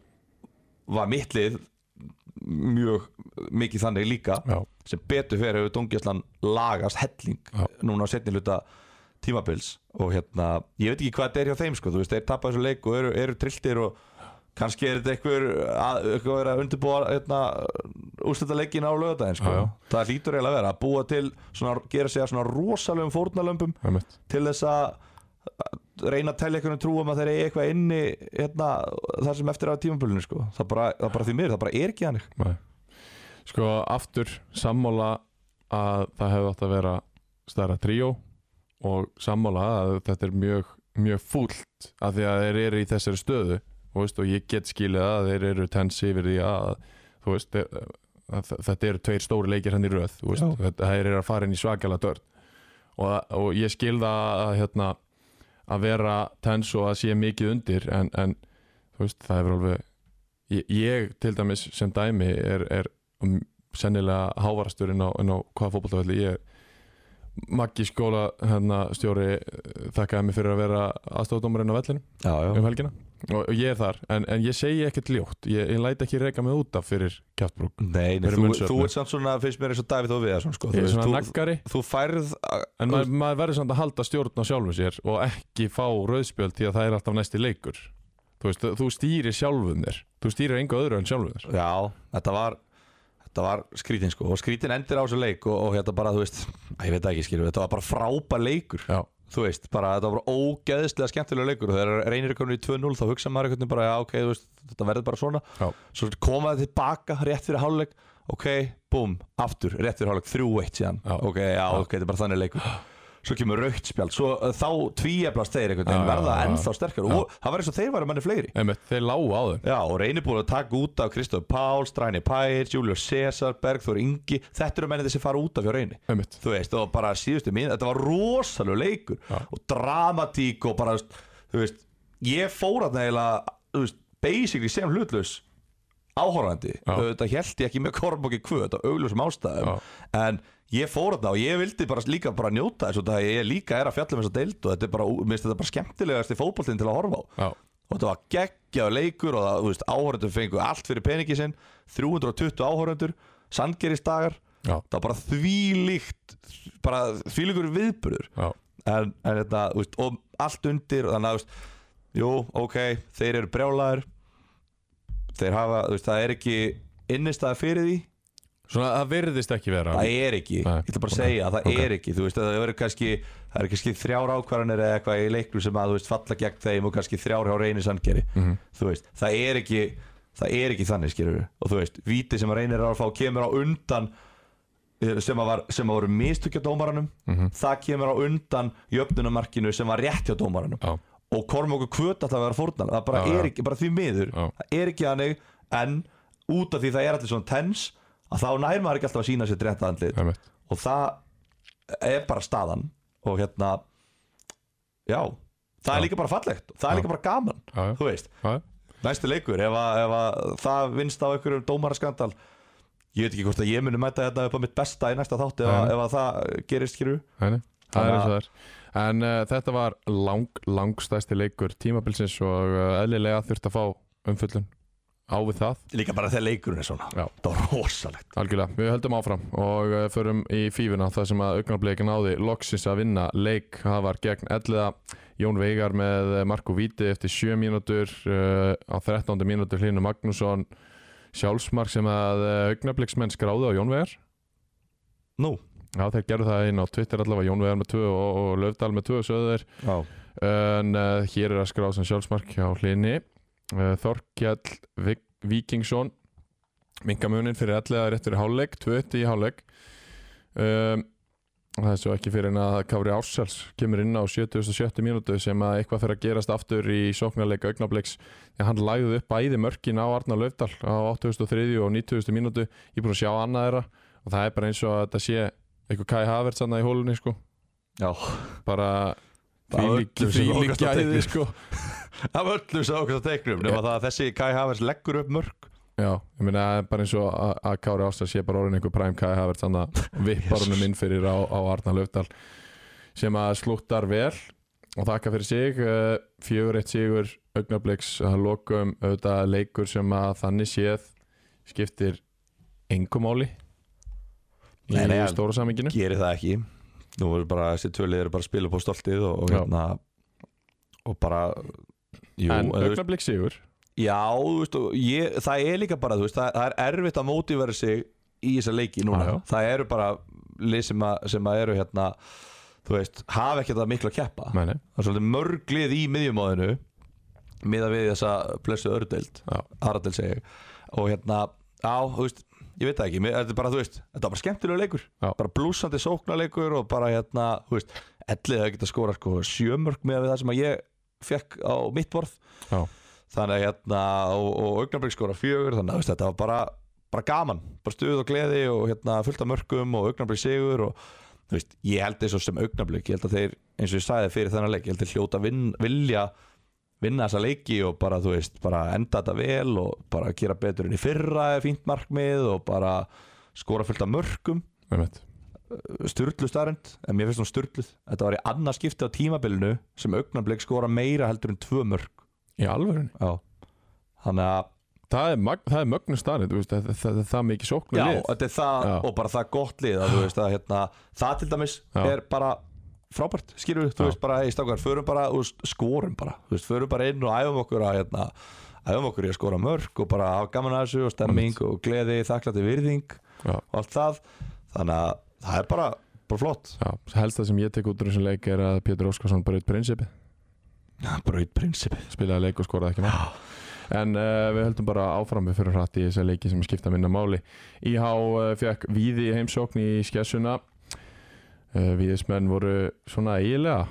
var mitt lið mjög mikið þannig líka
Já.
sem betur fyrir hefur dungjastlan lagast helling
Já.
núna á setni hluta tímabils og hérna, ég veit ekki hvað þetta er hjá þeim sko, þú veist, þeir tapa þessu leik og eru, eru trilltir og kannski er þetta einhver að, einhver að undirbúa hérna, úrstætta leikin á lögadaginn sko.
Já, já.
það hlýtur eiginlega að vera að búa til svona, gera sig að svona rosalegum fórnalömbum
einmitt.
til þess að reyna að telja einhvern trúum að þeir eigi eitthvað inni hérna, þar sem eftir á tímabölinu sko. það, bara, það bara því mér, það bara er ekki hannig
Nei. Sko aftur sammála að það hefði átt að vera stærra tríó og sammála að þetta er mjög, mjög fúlt af því að þeir eru í þessari stöðu þú veist, og ég get skilið að þeir eru tens yfir því að þú veist, þeir, að þ- þetta eru tveir stóri leikir hann í röð þú veist,
Já.
þetta þeir eru að fara inn í svakalega dörr og, og ég skil það að hérna, að vera tens og að sé mikið undir en, en þú veist, það hefur alveg ég, ég til dæmis sem dæmi er, er um, sennilega hávarastur inn á, inn á hvaða fótbolltafelli ég er Maggi skóla hérna, stjóri eh, þakkaði mig fyrir að vera aðstofdómarinn á vellinum
já, já.
um helgina og, og ég er þar, en, en ég segi ekkert ljótt ég, ég læt ekki reyka mig út af fyrir kjáttbrúk
Nei, nei
Verið
þú,
munnsöfnuð.
þú ert samt svona, finnst mér eins og Davíð og Viðarsson sko.
ég
Mm. þú,
er
veist,
svona
þú,
naggari
þú færð að-
en maður, maður verður samt að halda stjórn á sjálfum sér og ekki fá rauðspjöld því að það er alltaf næsti leikur þú, veist, þú stýrir sjálfum þér þú stýrir engu öðru en sjálfum þér
Já, þetta var Þetta var skrítin sko Og skrítin endir á þessu leik Og, og hérna bara, þú veist æ, Ég veit það ekki, skilur Þetta var bara frábær leikur
Já.
Þú veist, bara Þetta var bara ógeðslega skemmtilega leikur Og þegar reynir er komin í 2-0 Þá hugsa maður einhvern veginn bara Já, ok, þú veist Þetta verður bara svona
Já.
Svo koma þetta tilbaka Rétt fyrir hálfleik Ok, búm Aftur, rétt fyrir hálfleik 3-1 síðan
Já.
Ok, já, ok, þetta er bara þannig leikur Svo kemur raukt spjald Svo uh, þá tvíeblast þeir einhvern veginn
Já, já,
Verða
já, já.
ennþá sterkar Og það var eins og þeir væru manni fleiri
Einmitt, þeir lágu á þeim
Já, og reynir búin að taka út af Kristof Páls, Stræni Pærs, Július Cesar, Bergþór Ingi Þetta eru mennið þessi fara út af hjá reyni
Einmitt.
Þú veist, og bara síðustu mín, þetta var rosalegu leikur
Já.
Og dramatík og bara, þú veist Ég fór að eiginlega, þú veist, basically sem hlutlaus Áhorfandi
Já.
Þetta held ég ekki með kormokki kvöð Þetta augljósum ástæðum
Já.
En ég fór þarna og ég vildi bara líka bara njóta þessu Það ég líka er að fjalla með þessa deild Og þetta er bara, mér finnst þetta bara skemmtilegasti fótboltinn til að horfa á
Já,
og þetta var geggjaður leikur og það, þú veist, áhörundur fengu allt fyrir peningi sinn 320 áhörundur, sandgeristagar
já,
það var bara þvílíkt bara þvílíkur viðburður
já
en, en þetta, þú veist, og allt undir og þannig að, þú veist, jú, ok þeir eru brjálæður þeir hafa, þú veist, það er ekki innistæða fyrir því,
Svona það virðist ekki vera
það er ekki
Nei,
ég ætla bara að
ok,
segja, það
ok.
er ekki, þú veist, það eru kannski það eru kannski þrjár ákvarðanir eða eitthvað í leiklu sem að, þú veist, falla gegn þeim og kannski þrjár hjá reyni sandgeri
Mhm.
þú veist, það er ekki það er ekki þannig skilur við og þú veist, víti sem að reynir að fá kemur á undan eh, sem að, var, sem að voru mistökja dómaranum
Mhm.
það kemur á undan jöfnunumarkinu sem var rétt hjá dómaranum
Já,
og Kormáku kvöt alltaf að vera fórnan það bara
Já, já.
er ekki, bara því miður
Já.
það er ekki hannig en út af því það er allir svona tens að þá nær maður ekki alltaf að sína sér rétt andlit
einmitt
og það er bara staðan og hérna já, það er
Já.
líka bara fallegt það er
Já.
líka bara gaman,
Já, já,
þú veist
já,
næsti leikur ef, að, ef að það vinst á einhverjum dómaraskandal ég veit ekki hvort að ég muni mæta þetta upp á mitt besta í næsta þátt ef, að,
Nei.
ef að það gerist skilur
hæni Það er
Þannig
eins og
að-
það er En uh, þetta var eh, lang, langstæsti leikur tímabilsins og uh, eðlilega þurft að fá umfullun á við það
Líka bara þegar leikurinn er svona
Já.
Það var rosalegt
Algjörlega, við höldum áfram og eh, förum í fífuna þar sem að augnablik náði loksins að vinna leik það var gegn elliða Jón Veigar með eh, Marko Víti eftir 7 mínútur uh, á 13. mínútur hlýnum Magnússon sjálfsmark sem að eh, augnabliksmenn skráði á Jón Veigar
Nú
Já, þeir gerðu það inn á Twitter allavega Jón Veigar með 2 og, og Löfdal með 2 söður
Já.
en uh, hér er að skrá sem sjálfsmark hjá hlinni uh, Þorkjall Vik Víkingsson minkamunin fyrir allega rétt fyrir hálfleik 20 í hálfleik um, það er svo ekki fyrir en að Kári Ársels kemur inn á 77. mínútu sem að eitthvað fyrir að gerast aftur í sóknarleika augnabliks þegar hann lagði upp bæði mörkin á Arnar Löfdal á 83. og 90. mínútu ég er búin að sjá annað þeirra og það er bara eins og að þetta sé eitthvað Kai Havertz annað í hólunni sko
Já
bara
Það var öllu sem
því
lokast á teiknum.
líkjæði sko
Af öllu sem okkur það teiknum Nefna það að þessi Kai Havers leggur upp mörg
Já, ég meina það er bara eins og að- að Kári Ástæð sé bara orðin einhver præm Kai Havertz þannig að vippar honum inn fyrir á, á Arna Löfdal sem að slúttar vel og þakka fyrir sig eh, 4-1 sigur augnabliks að lokum auðvitað leikur sem að þannig séð skiptir engumáli í
Nei, nei, en-
stóra saminginu
Gerir það ekki Nú eru bara þessi tvölið eru bara að spila på stoltið og, og
Já.
hérna Og bara Jú,
en
þú veist-
augnabliks sigur
Já, þú veist, og ég, það er líka bara, þú veist, það, það er erfitt að mótivera sig í þessa leiki núna.
Já, já.
Það eru bara lið sem að, sem að eru hérna, þú veist, hafa ekki það miklu að keppa.
Nei, nei,
Það er svolítið mörglið í miðjumóðinu, miða við þessa blessu ördeild,
já,
Aradel segi ég. Og hérna, á, þú veist, ég veit það ekki, mér- þetta er bara, þú veist, þetta er bara skemmtilegu leikur.
Já.
Bara blúsandi sóknarleikur og bara hérna, þú veist, ellið að geta skóra sko sjömörk miða við það sem að ég fekk á mitt borð
já,
þannig að hérna og, og augnablik skora fjögur þannig að veist, þetta var bara, bara gaman, bara stuð og gleði og hérna fullt af mörgum og augnablik sigur og þú veist, ég held eins og sem augnablik ég held að þeir, eins og ég sagði fyrir þennan leik ég held að hljóta vin, vilja vinna þessa leiki og bara þú veist bara enda þetta vel og bara gera betur enn í fyrra er fínt markmið og bara skora fullt af mörgum
með mitt
styrlu starrend, en mér finnst hún styrluð þetta var í annað skipti á tímabilinu sem augnablik skora meira heldur en tvö mörg
Í alvörunni,
já, þannig að
það er, mag- það er mögnu starrið, þú veist, það, það, það, það er mikið sóknu
Já,
lið
þetta er það
Já.
og bara það gott lið að, þú veist, að, hérna, það til dæmis
Já.
er bara frábært, skilur við, þú
Já.
veist bara hey, stakar, förum bara, þú veist, skorum bara þú veist, förum bara inn og æfum okkur að hérna, æfum okkur í að skora mörg og bara hafa gaman að þessu og stemming og gleði þakklæti virðing
Já.
og allt það þannig að það er bara, bara flott
Já, helst það sem ég tek út úr þessum leik er að Pétur Óskarsson braut prinsipi
Braut prinsipið
spilaði leik og skoraði ekki marg en uh, við höldum bara áfram við fyrir hratt í þessa leiki sem skipta minna máli IH uh, fekk víði í heimsókn í skessuna uh, víðismenn voru svona eiginlega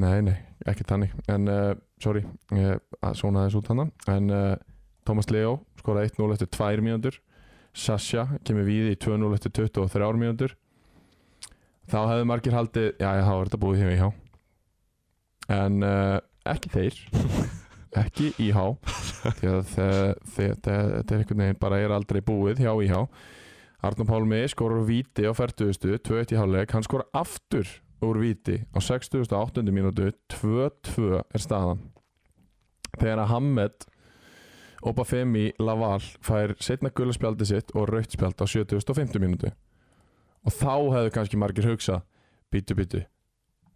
nei, nei, ekki tannig en, uh, sorry, uh, svona aðeins út hann en uh, Thomas Leo skoraði 1-0 eftir 2 mínútur Sasha kemur víði í 2-0 eftir 23 mínútur þá hefðu margir haldið já, já, þá er þetta búið hjá IH en uh, ekki þeir ekki IH því að þe- þe- þe- þetta er einhvern veginn bara er aldrei búið hjá IH Arnum Pálmi skorur víti á 40. 2-1 í hálfleik, hann skorur aftur úr víti á 68. mínútu 2-2 er staðan þegar að Hamed Obafemi Laval fær setna gulaspjaldi sitt og rautspjald á 75. mínútu og þá hefðu kannski margir hugsað bítu bítu,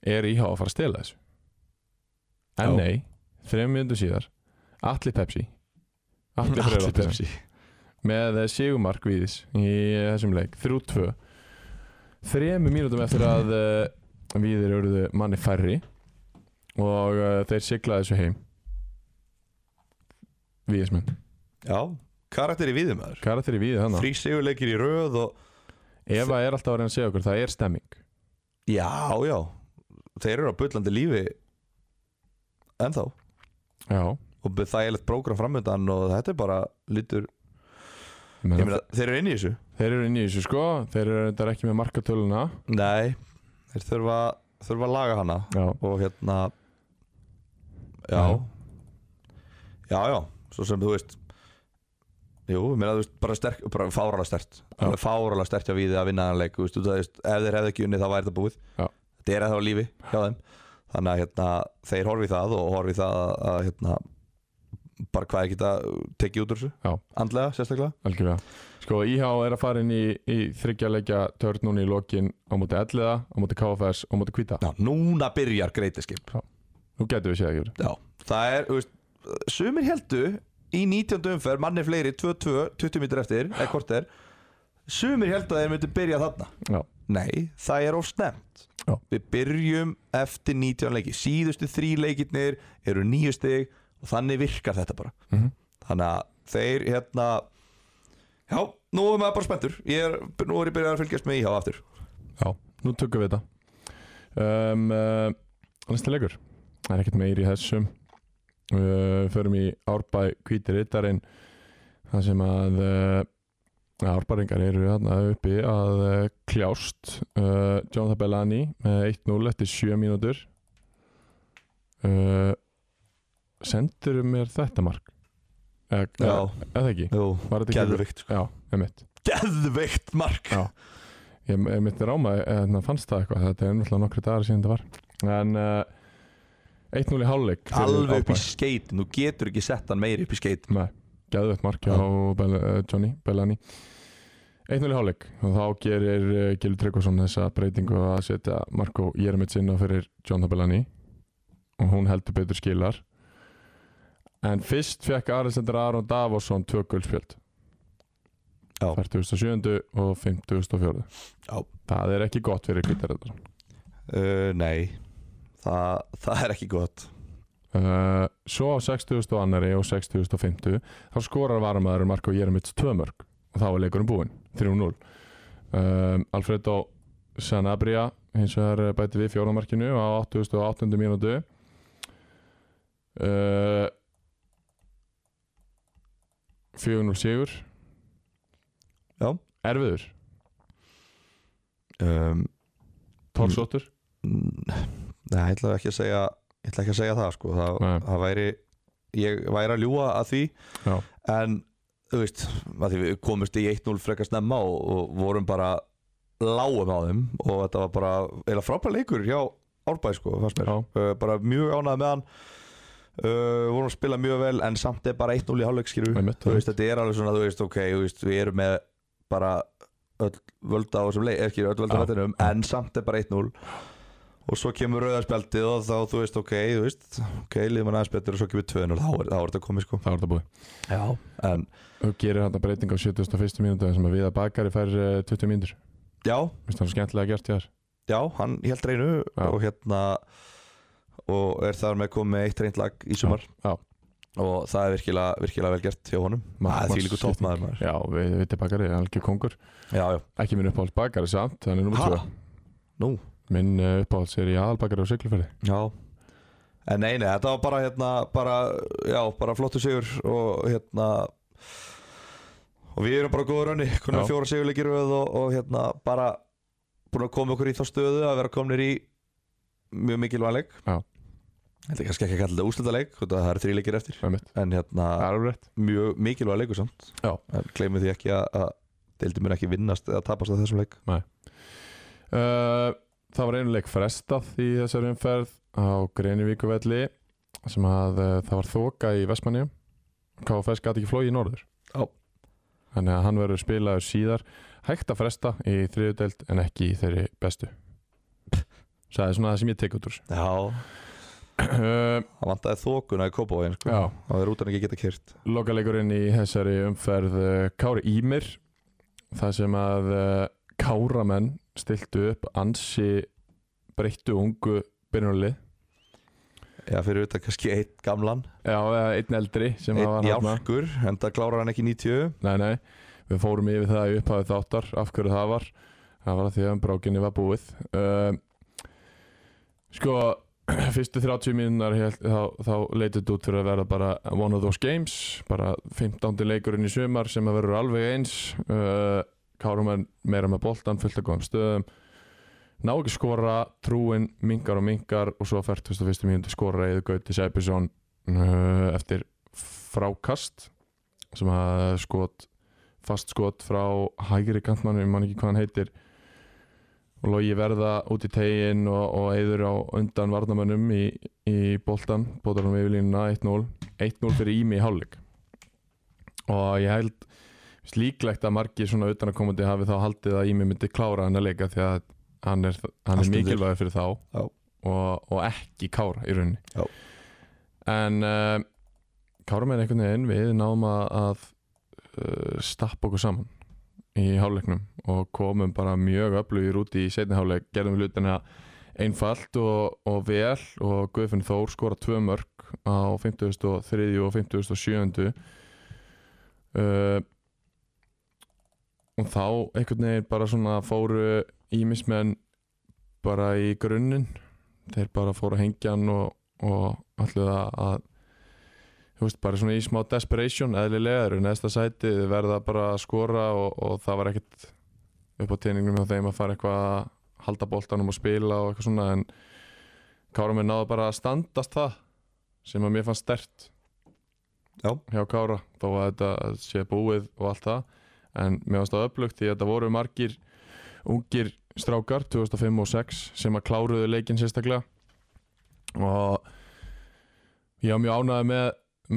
er IH að fara að stela þessu? En
Já.
nei, þrejum mínútu síðar Atli Pepsi Atli
Allir
Freyra
Pepsi
með eh, Sigumark Víðis í eh, þessum leik 3-2 þremu mínútum eftir að eh, Víðir eruðu manni færri og uh, þeir siglaði þessu heim Víðismenn
Já, karakter í viðumæður
karakter í Víði þannig
Þrý sigurleikir í röð og
Eva er alltaf að reyna að segja okkur, það er stemming
Já, já Þeir eru á bullandi lífi ennþá
já,
og be- þægilegt prógram framöndan og þetta er bara lítur, ég
meina,
meina, þeir eru inn í þessu
þeir eru inn í þessu sko þeir eru reyndar ekki með markatöluna
Nei, þeir þurfa, þurfa að laga hana
já,
og hérna Já
Já.
Já, já, svo sem þú veist Jú, ég meina, þú veist, bara, sterk, bara fáralega stert Alveg fáralega stert hjá við að vinna hann leik þú veist, þú veist, ef þeir hefðu ekki unnið þá væri þetta búið
Já.
Þetta er að það á lífi hjá þeim Þannig að hérna, þeir horfi í það og horfi í það að hérna, bara hvað er geta tekið út úr þessu
Já.
andlega sérstaklega
algjörlega Sko, IH er að fara inn í, í þryggjarleikja törn núna í lokin á móti elliða, á móti KFS, á móti Kvíta
Já, núna byrjar greitiskip
Nú getum við séð ekki
Já, það er, þú veist, sumir heldu í 19. umferð, manni fleiri 2-2, 20 mítur eftir, eða hvort er sumir heldu að þeir myndi byrja þarna
Já,
Nei, það er of snemt
Já.
Við byrjum eftir 19 leiki síðustu þrí leikirnir eru nýju stig og þannig virkar þetta bara
Mhm.
Þannig að þeir hérna Já, nú er maður bara spenntur Ég er, Nú er ég byrjað að fylgjast með íhá aftur
já, nú tökum við þetta um, uh, Næsta leikur Það er ekkert meiri í þessum uh, Förum í Árbæ Kvíti Rittarinn Það sem að uh, Árbæringar eru þarna uppi að uh, kljást uh, Jonathan Bellani með 1-0 eftir 7 mínútur uh, Sendur mér þetta mark? Eh,
Já.
eh, Eða ekki?
Jú,
Var þetta ekki-
geðveikt sko.
Já, emitt
Geðveikt mark
Já. Ég, ég mitt ráma að hérna, fannst það eitthvað Þetta er náttúrulega nokkri dagar síðan þetta var En uh, 1-0 í hálfleik
Alveg upp í skeit, nú getur ekki sett hann meiri upp í skeit
Nei, gæðvett markja á Bel, uh, Johnny Bellani 1-0 í hálfleik og þá gerir uh, Gilur Tryggvason þessa breytingu að setja Marko Jeremic inn á fyrir Jonathan Bellani og hún heldur betur skilar en fyrst fekk Arisendur Aron Davosson tvö guldspjöld
Já.
47. og 54.
Já.
Það er ekki gott fyrir Gildur
uh, Nei, Þa, það er ekki gott
Uh, svo á 60. annari og 60. þá skorar varumæður Marko Jeremits tvömörk og þá er leikurinn búinn 3-0 um, Alfredo Sanabria hins vegar bæti við fjóramarkinu á 88. mínútu uh, 4-0 sigur
Já.
Erfiður,
um,
Torsóttur
Nei, ég ætla ekki að segja Ég ætla ekki að segja það sko Það,
Nei.
það væri Ég væri að ljúga að því
Já.
En þú veist að Því við komumst í 1-0 frekar snemma og, og vorum bara lágum á þeim Og þetta var bara Eða frábæð leikur hjá Árbæ sko fannst mér.
Já.
uh, Bara mjög ánægð með hann Uh, vorum að spila mjög vel en samt er bara 1-0 í hálfleikskirfu
Einmitt,
þú veist þetta er alveg svona þú veist ok þú veist, við erum með bara öll völda á þessum leik ekki öll völda á
Já.
vettinum en samt er bara 1-0 og svo kemur rauðarspjaldið og þá þú veist ok þú veist ok liðum hann aðeins betur og svo kemur 2-0 þá er, þá er þetta komið sko
það var þetta búið
já en
og gerir hann breyting á 71. mínútu sem að Viða Bakari fær uh, 20 mínútur
já
Vist hann skemmtilega gert í þar
já hann held reynu
Já.
og hérna og er þar með komið með eitt reynd lag í sumar
Já.
og það er virkilega virkilega vel gert hjá honum það er því líku toppmaður maður
Já, við, við tilbakari, algjör kongur
já já
Ekki minn uppáhalds bakari samt, hann er nummer
Ha?
2
nú
Minn uh, uppáhalds er í aðalbakari á Siglufjörði
Já En nei, nei, þetta var bara hérna bara, Já, bara flottu sigur og hérna og við erum bara á góðu raunni konum
Já.
fjóra sigurleikir í röð og, og hérna bara búin að koma okkur í þá stöðu að vera komnir í mjög mikilvæg leik
Já.
Þetta er kannski ekki að kalla þetta úslita leik það eru þrý leikir eftir
Það er mitt,
en hérna
það er alveg rétt
mjög mikilvæg leikur samt
Já.
en gleymið því ekki að, að deildi mun ekki vinnast eða tapast að þessum leik
uh, Það var einu leik frestað í þessari umferð á Greinivíkuvelli sem að uh, það var þoka í Vestmannium KFS gæti ekki flóið í norður
Já.
Þannig að hann verður spilaður síðar hægt að fresta í þriðudeld en ekki í þeirri bestu Það er svona það sem ég tek út úr þessu.
Já,
Uh,
það vantaði þókuna í Kópavóin sko.
Já,
og það er út að ekki geta kyrt
Lokaleikurinn í þessari umferð eh, Kári Ímir Það sem að eh, Káramenn stiltu upp ansi breyttu ungu byrjunarlið
Já, fyrir utan kannski eitt gamlan
Já, eða einn eldri sem að
Eitt
var hafna
jálkur, en það klárar hann ekki 90
Nei, nei, við fórum yfir það í upphafið þáttar af hverju það var Það var að því að brákinni var búið um, Sko, fyrstu 30 mínunar þá, þá leitið út fyrir að vera bara one of those games bara 15. leikurinn í sumar sem að verður alveg eins uh, Kárum er meira með boltan fullt að góðum stöðum Ná ekki skora, trúin minkar og minkar og svo fært 21. mínúti skora eða Gauti Sæbjörnsson uh, eftir frákast sem að skot fast skot frá hægri kantmann, ég man ekki hvað hann heitir og logi verða út í tegin og, og eður á undan varnamönnum í, í boltan, bóttanum yfirlínuna 1-0 1-0 fyrir Ími í hálfleik og ég held finnst líklegt að margir svona utanakomandi hafi þá haldið að Ími myndi klára hann að leika því að hann er, hann er
Allt undir.
mikilvægur fyrir þá
Já.
og, og ekki kára í rauninni
Já.
en uh, kára með einhvern veginn við náum að, að uh, stappa okkur saman í hálfleiknum og komum bara mjög öflugir út í setni hálfleik gerðum hlutina einfalt og, og vel og Guðfinn Þór skora tvö mörg á 53. og 57. Uh, og þá einhvern veginn bara svona fóru ímismenn bara í grunninn þeir bara fóru að hengja hann og, og allir að þú veist, bara svona í smá desperation eðlilega eru í neðsta sæti þau verða bara að skora og, og það var ekkert upp á teiningum hjá þeim að fara eitthvað að halda boltanum og spila og eitthvað svona en Kára minn náðu bara að standast það sem að mér fannst stert
Já.
hjá Kára þó að þetta sé búið og allt það en mér fannst það upplugt því að þetta voru margir ungir strákar 2005 og 2006 sem að kláruðu leikinn sérstaklega og ég var mjög ánægði með,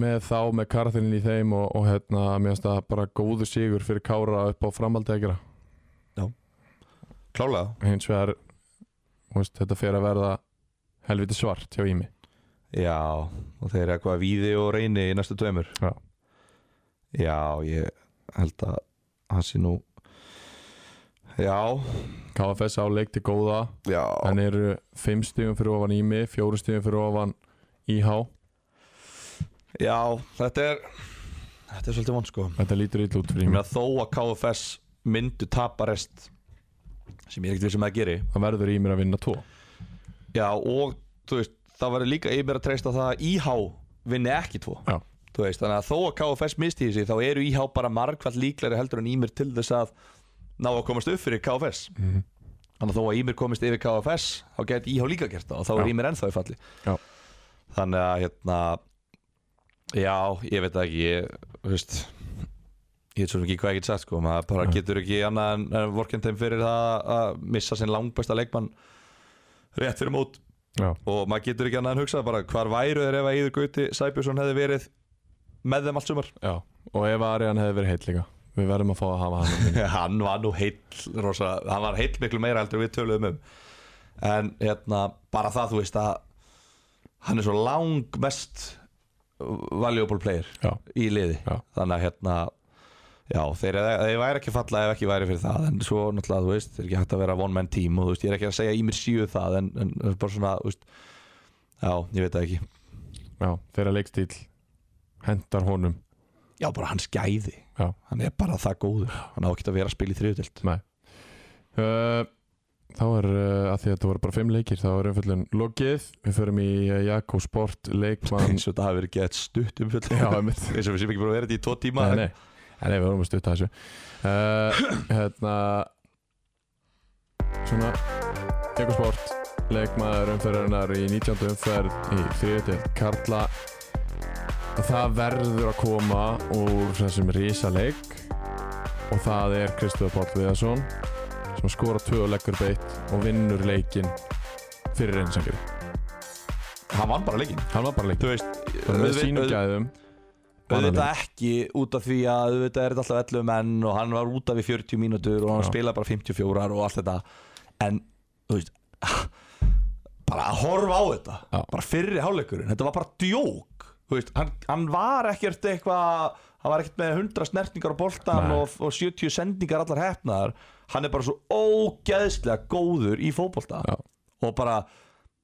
með þá með karatinn í þeim og, og hérna, mér finnst það bara góðu sigur fyrir Kára upp á framhaldi að gera
Klálega
hins vegar þú veist, þetta fer að verða helviti svart hjá Ími
Já, og þeir eru eitthvað að víði og reyni í næstu tveimur
Já.
Já, ég held að hann sé nú Já,
KFS á leik til góða
já
en eru 5 stíðum fyrir ofan Ími 4 stíðum fyrir ofan IH
Já, þetta er Þetta er svolítið vond sko
þetta lítur ítl út fyrir
Ég
Ími
meina þó að KFS myndu tapa rest sem ég er ekkert við sem það geri
það verður Ími að vinna 2
Já, og þú veist, það verður líka ég mér að treysta það að IH vinni ekki tvo
Já.
Þú veist, þannig að þó að KFS misti þessi þá eru IH bara margfall líklari heldur en Ímir til þess að ná að komast upp fyrir KFS
Mhm.
Þannig að þó að Ímir komist yfir KFS þá geti IH líka gert það og þá
Já.
er Ímir ennþá í falli
Já.
Þannig að hérna Já, ég veit það ekki ég, þú veist, ég veit svo sem ekki hvað ég get sagt sko, maður bara getur ekki annað en, en vorkinn þeim fyrir það að missa sinn langbæsta leikmann rétt fyrir mót
Já.
og maður getur ekki annað en hugsað bara hvar væru þeir ef að Íður Gauti Sæbjörnsson hefði verið með þeim allt sumar
Já. og ef Ariðan hefði verið heill líka við verðum að fá að hafa hann
hann var nú heill rosa, hann var heill miklu meira heldur en við töluðum um en hérna bara það þú veist að hann er svo langmest valuable player
Já.
í liði
Já.
þannig að hérna já, þeir, þeir væri ekki falla ef ekki væri fyrir það en svo náttúrulega þú veist, þeir er ekki hægt að vera one man team og þú veist, ég er ekki að segja í mér síu það en, en bara svona, þú veist já, ég veit það ekki
Já, þeirra leikstíl hendar honum
Já, bara hans gæði
Já.
Hann er bara það góður Hann á ekki að vera að spila í þriðutild
Uh, Þá er uh, að því að þetta voru bara fimm leikir þá er umfjöldun lokið við förum í uh, Jakko Sport leikmann
Eins og þetta hafi verið gett stutt um fjöld
Já, einmitt
Eins og við séum ekki búin að vera þetta í tvo tíma
Nei, nei, Nei, nei, við vorum að stutta þessu uh, Hérna Svona Jakko Sport leikmaður umferðarinnar í 19. umferð í 3. deild Karla og það verður að koma úr þessum risaleik og það er Kristofur Páll Viðarsson sem skora tvö og leggur beitt og vinnur leikinn fyrir reynsangir
Hann vann bara leikinn
hann var bara leikinn
Þú veist
bara með
auðvitað-
sínum
auð-
gæðum vann hann
Auðvitað ekki út af því að Auðvitað er þetta alltaf 11 menn Og hann var út af í 40 mínútur Og hann
Já.
spilaði bara 54 og allt þetta En, þú veist Bara að horfa á þetta
Já.
Bara fyrri hálfleikurinn Þetta var bara djók Þú veist, hann, hann var ekkert eitthvað Hann var ekkert með 100 snertningar á boltan
Nei.
og, og 70 sendingar allar hefnaðar Hann er bara svo ógeðslega góður í fótbolta
Já.
Og bara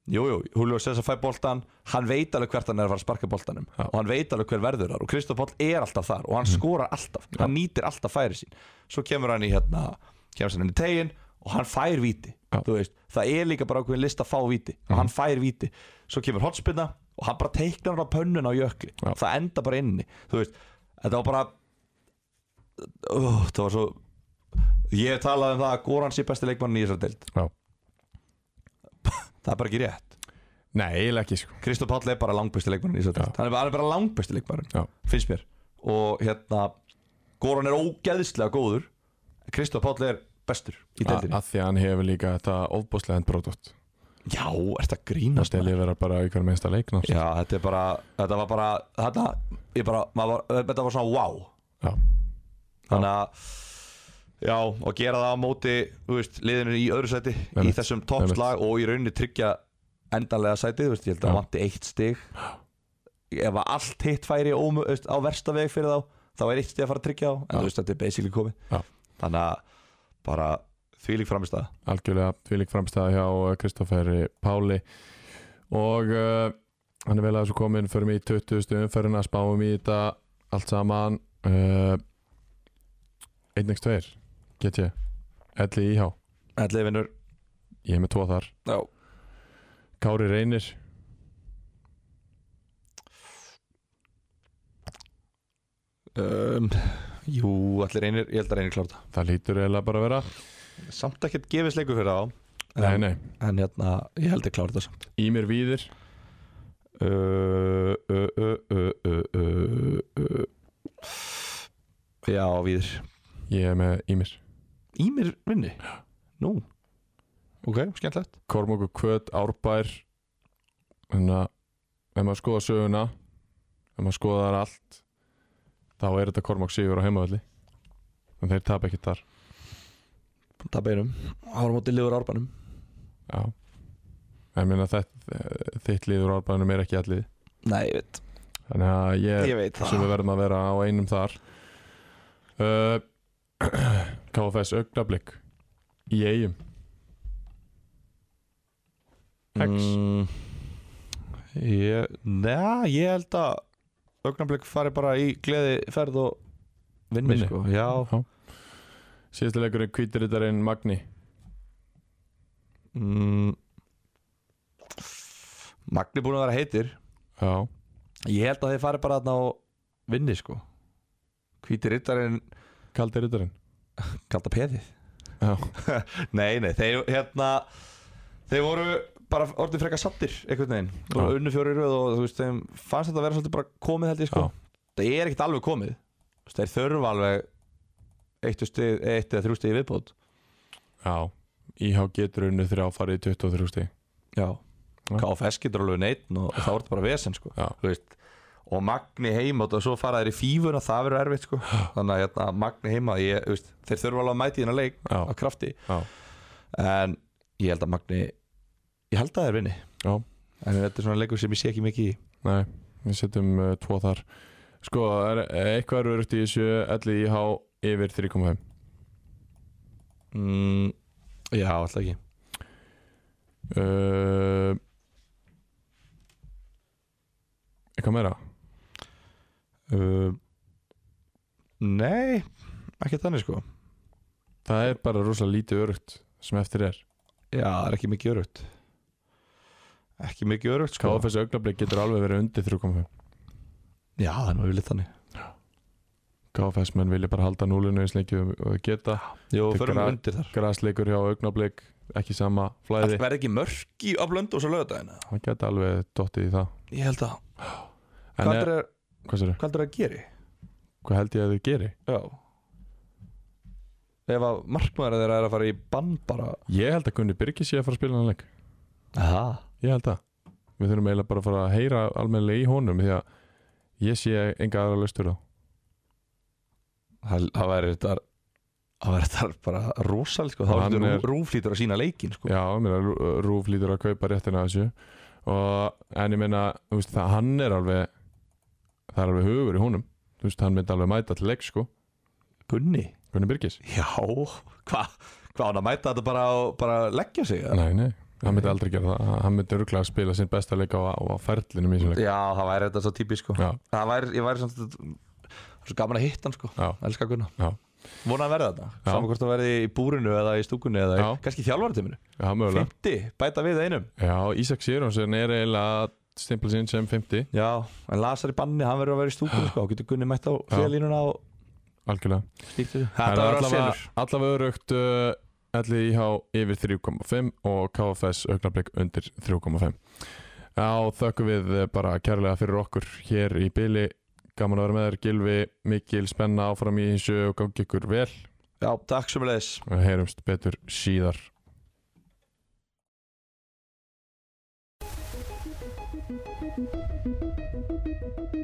Jújú, jú, Julio César fæ boltan Hann veit alveg hvert hann er að fara að sparka boltanum
Já. Mhm.
Og hann veit alveg hver verður þar Og Kristof Páll er alltaf þar og hann skorar alltaf Hann nýtir alltaf færi sín Svo kemur hann í hérna Kemur hann inn í tegin og hann fær víti
Já. Mhm.
Þú veist, Það er líka bara ákveðin list að fá víti Og hann fær víti Svo kemur hotspinna og hann bara teiknar hann á pönnun á jökli
Já.
Það enda bara inni Þú veist, Þetta var bara Ó, Það var svo Ég hef talað um það að Goran sé besti leikmann í þessar deild
Já.
Það er bara ekki rétt
Nei, eiginlega ekki sko
Kristof Páll er bara langbæsti leikmærin í þessu deild. Hann er bara, hann er bara langbæsti leikmærin,
Já.
finnst mér Og hérna, Goran er ógeðslega góður Kristof Páll er bestur í
A-
deildinni
að því að hann hefur líka þetta ofbúslega endbrótótt
Já, er þetta
það
grínast maður?
stelji vera bara í hverjum einsta leik náttúrulega.
Já, þetta er bara, þetta var bara þetta, ég bara, maður, var- þetta var svona wow
Já.
þannig að Já, og gera það á móti, þú veist, liðinu í öðru sæti í
Einmitt,
þessum toppslag og í rauninni tryggja endanlega sætið, þú veist, ég held að
Já.
það vanti eitt stig ef að allt hitt færi ómu, þú veist, á versta veg fyrir þá þá er eitt stig að fara að tryggja á, en
Já.
þú veist, þetta er basically komið
Já.
þannig að bara þvílík framist að
algjörlega tvílík framstæða hjá Kristofferi Páli og uh, hann er vel að þessu komin förum í 20. umferðina, spáum í þetta allt saman uh, 1x2 get ég, Elli Íhá
Ætliði vinnur,
ég er með tvo þar,
já,
Kári Reynir
um, jú, allir einir, ég held að reynir klára þetta
það lítur eiginlega bara að vera
samt ekkert gefið sleiku fyrir þá
nei,
en,
nei,
en hérna, ég held ég klára þetta samt
Ímir Víðir
uh, uh, uh, uh, uh, uh, uh. já, viður
ég er með Ímir
Ímir vinni nú, ok, skemmtilegt
Kormokur Kvöt, Árbær þannig að ef maður skoða söguna ef maður skoðar allt þá er þetta Kormok Sigur á heimavalli en þeir tapa ekki þar
það beinum, ára móti liður árbanum
já ég meina þetta þitt liður árbæðinum er ekki allið
nei, ég veit,
þannig að ég,
ég veit
sem við verðum að vera á einum þar uh, KFS augnablík í eigum X.
mm, ég, neða, ég held að augnablik fari bara í gleði ferð og vinni,
Vinni.
sko, já
síðustu leikurinn kvítirittarinn Magni
mm, Magni búin að vera heitir
já,
Ég held að þeir fari bara þarna og vinni sko Hvíti rittarinn
kaldi rittarinn
kalda peðið
já,
Nei, nei, þeir hérna Þeir voru bara orðin frekar sattir einhvern veginn, Þeir
Já.
voru unnu fjóri röð og þú veist, þeim fannst þetta að vera svolítið bara komið held ég sko
Já.
Það er ekkert alveg komið Þú veist, Þeir þurfa alveg eitt, og stig, eitt eða þrjú stið viðbót
já IH getur unnu þrjá farið í 23 stíg
Já KFS getur alveg neitt og það voru bara vesen sko
Já.
Þú veist, og Magni heima og svo fara þeir í fífur og það verður erfitt sko þannig að hérna, Magni heima ég, þú veist, þeir þurfa alveg að mæti þennan leik
Já.
á krafti
Já.
en ég held að Magni ég held að þeir vinni
Já.
en þetta er svona leikur sem ég sé ekki mikið í
Nei, við setjum uh, tvo þar Sko, er, er eitthvað eru örugt í þessu 11 IH yfir 3,5
mm, já, alltaf ekki
uh, Eitthvað meira?
uh, nei, ekki þannig sko
Það er bara rosalega lítið örugt sem eftir er
já, það er ekki mikið örugt ekki mikið örugt sko
KFS augnablik getur alveg verið undir 3,5
já, það er nú yfirleitt þannig
KFS menn vilja bara halda núlinu eins lengi og og geta
Jú,
Þetta er
förum
gra-
undir þar
Grasleikur hjá augnablik ekki sama flæði
verði ekki mörk í á blöndu og svo lögadagina
Það geta alveg dottið í það
Ég held að
En
Hvað
er,
heldur er,
hvað, sérðu?
hvað heldur að geri?
hvað held ég að þið geri?
Já Ef að markmaður þeirra er að fara í bann bara
Ég held að Gunni Birgis sé að fara að spila hann leik
Aha.
Ég held það Við þurfum eiginlega bara að fara að heyra almennilega í honum Því að ég sé enga aðra löstur á
Það það væri þetta Það væri þetta bara rosal sko. Það
Hann
væri
er-
þetta rúflítur að sína leikin sko.
Já, ég meina, Rú- Rúf lítur að kaupa réttina af þessu og, En ég meina, þú veist, það, hann er alveg Það er alveg hugur í honum Þú veist, hann myndi alveg mæta til leik, sko
Gunni
Gunni Birgis
Já, hvað hva hann að mæta þetta bara og bara leggja sig eða?
Nei, nei, hann myndi aldrei gera það Hann myndi örglega að spila sinn besta leik á, á, á ferlinum í þessum leik
Já, það væri þetta svo típisk sko.
Já,
Það væri, ég væri samt Svo gaman að hitta hann sko
já,
Elskar Gunnar
já,
Vona að verða þetta
Já.
Saman hvort það verði í búrinu eða í stúkunni eða
Já.
í, kannski þjálfartiminu
já, mögulega
50, bæta við einum
Já, Ísak Sérjónsson er eiginlega að stimpla sinn sem 50
Já, en Lasar í banni, hann verður að vera í stúkunni sko. Þá getur Gunni mætt á hliðalínuna og
Algjörlega
stýrt þessu
Það
Þetta
er
verður að
allavega,
selur
allavega örugt uh, Ætli IH yfir 3,5 og KFS augnablik undir 3,5 Já, þökkum við uh, bara kærlega fyrir okkur hér í byli Gaman að vera með þér, Gilvi, mikil spenna áfram í þessu og gangi ykkur vel
Já, takk sem leðis
og heyrumst betur síðar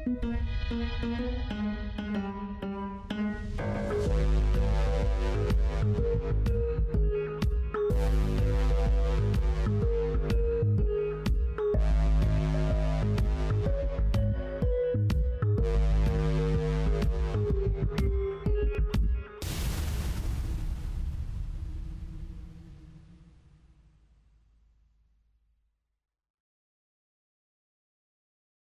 Thank you.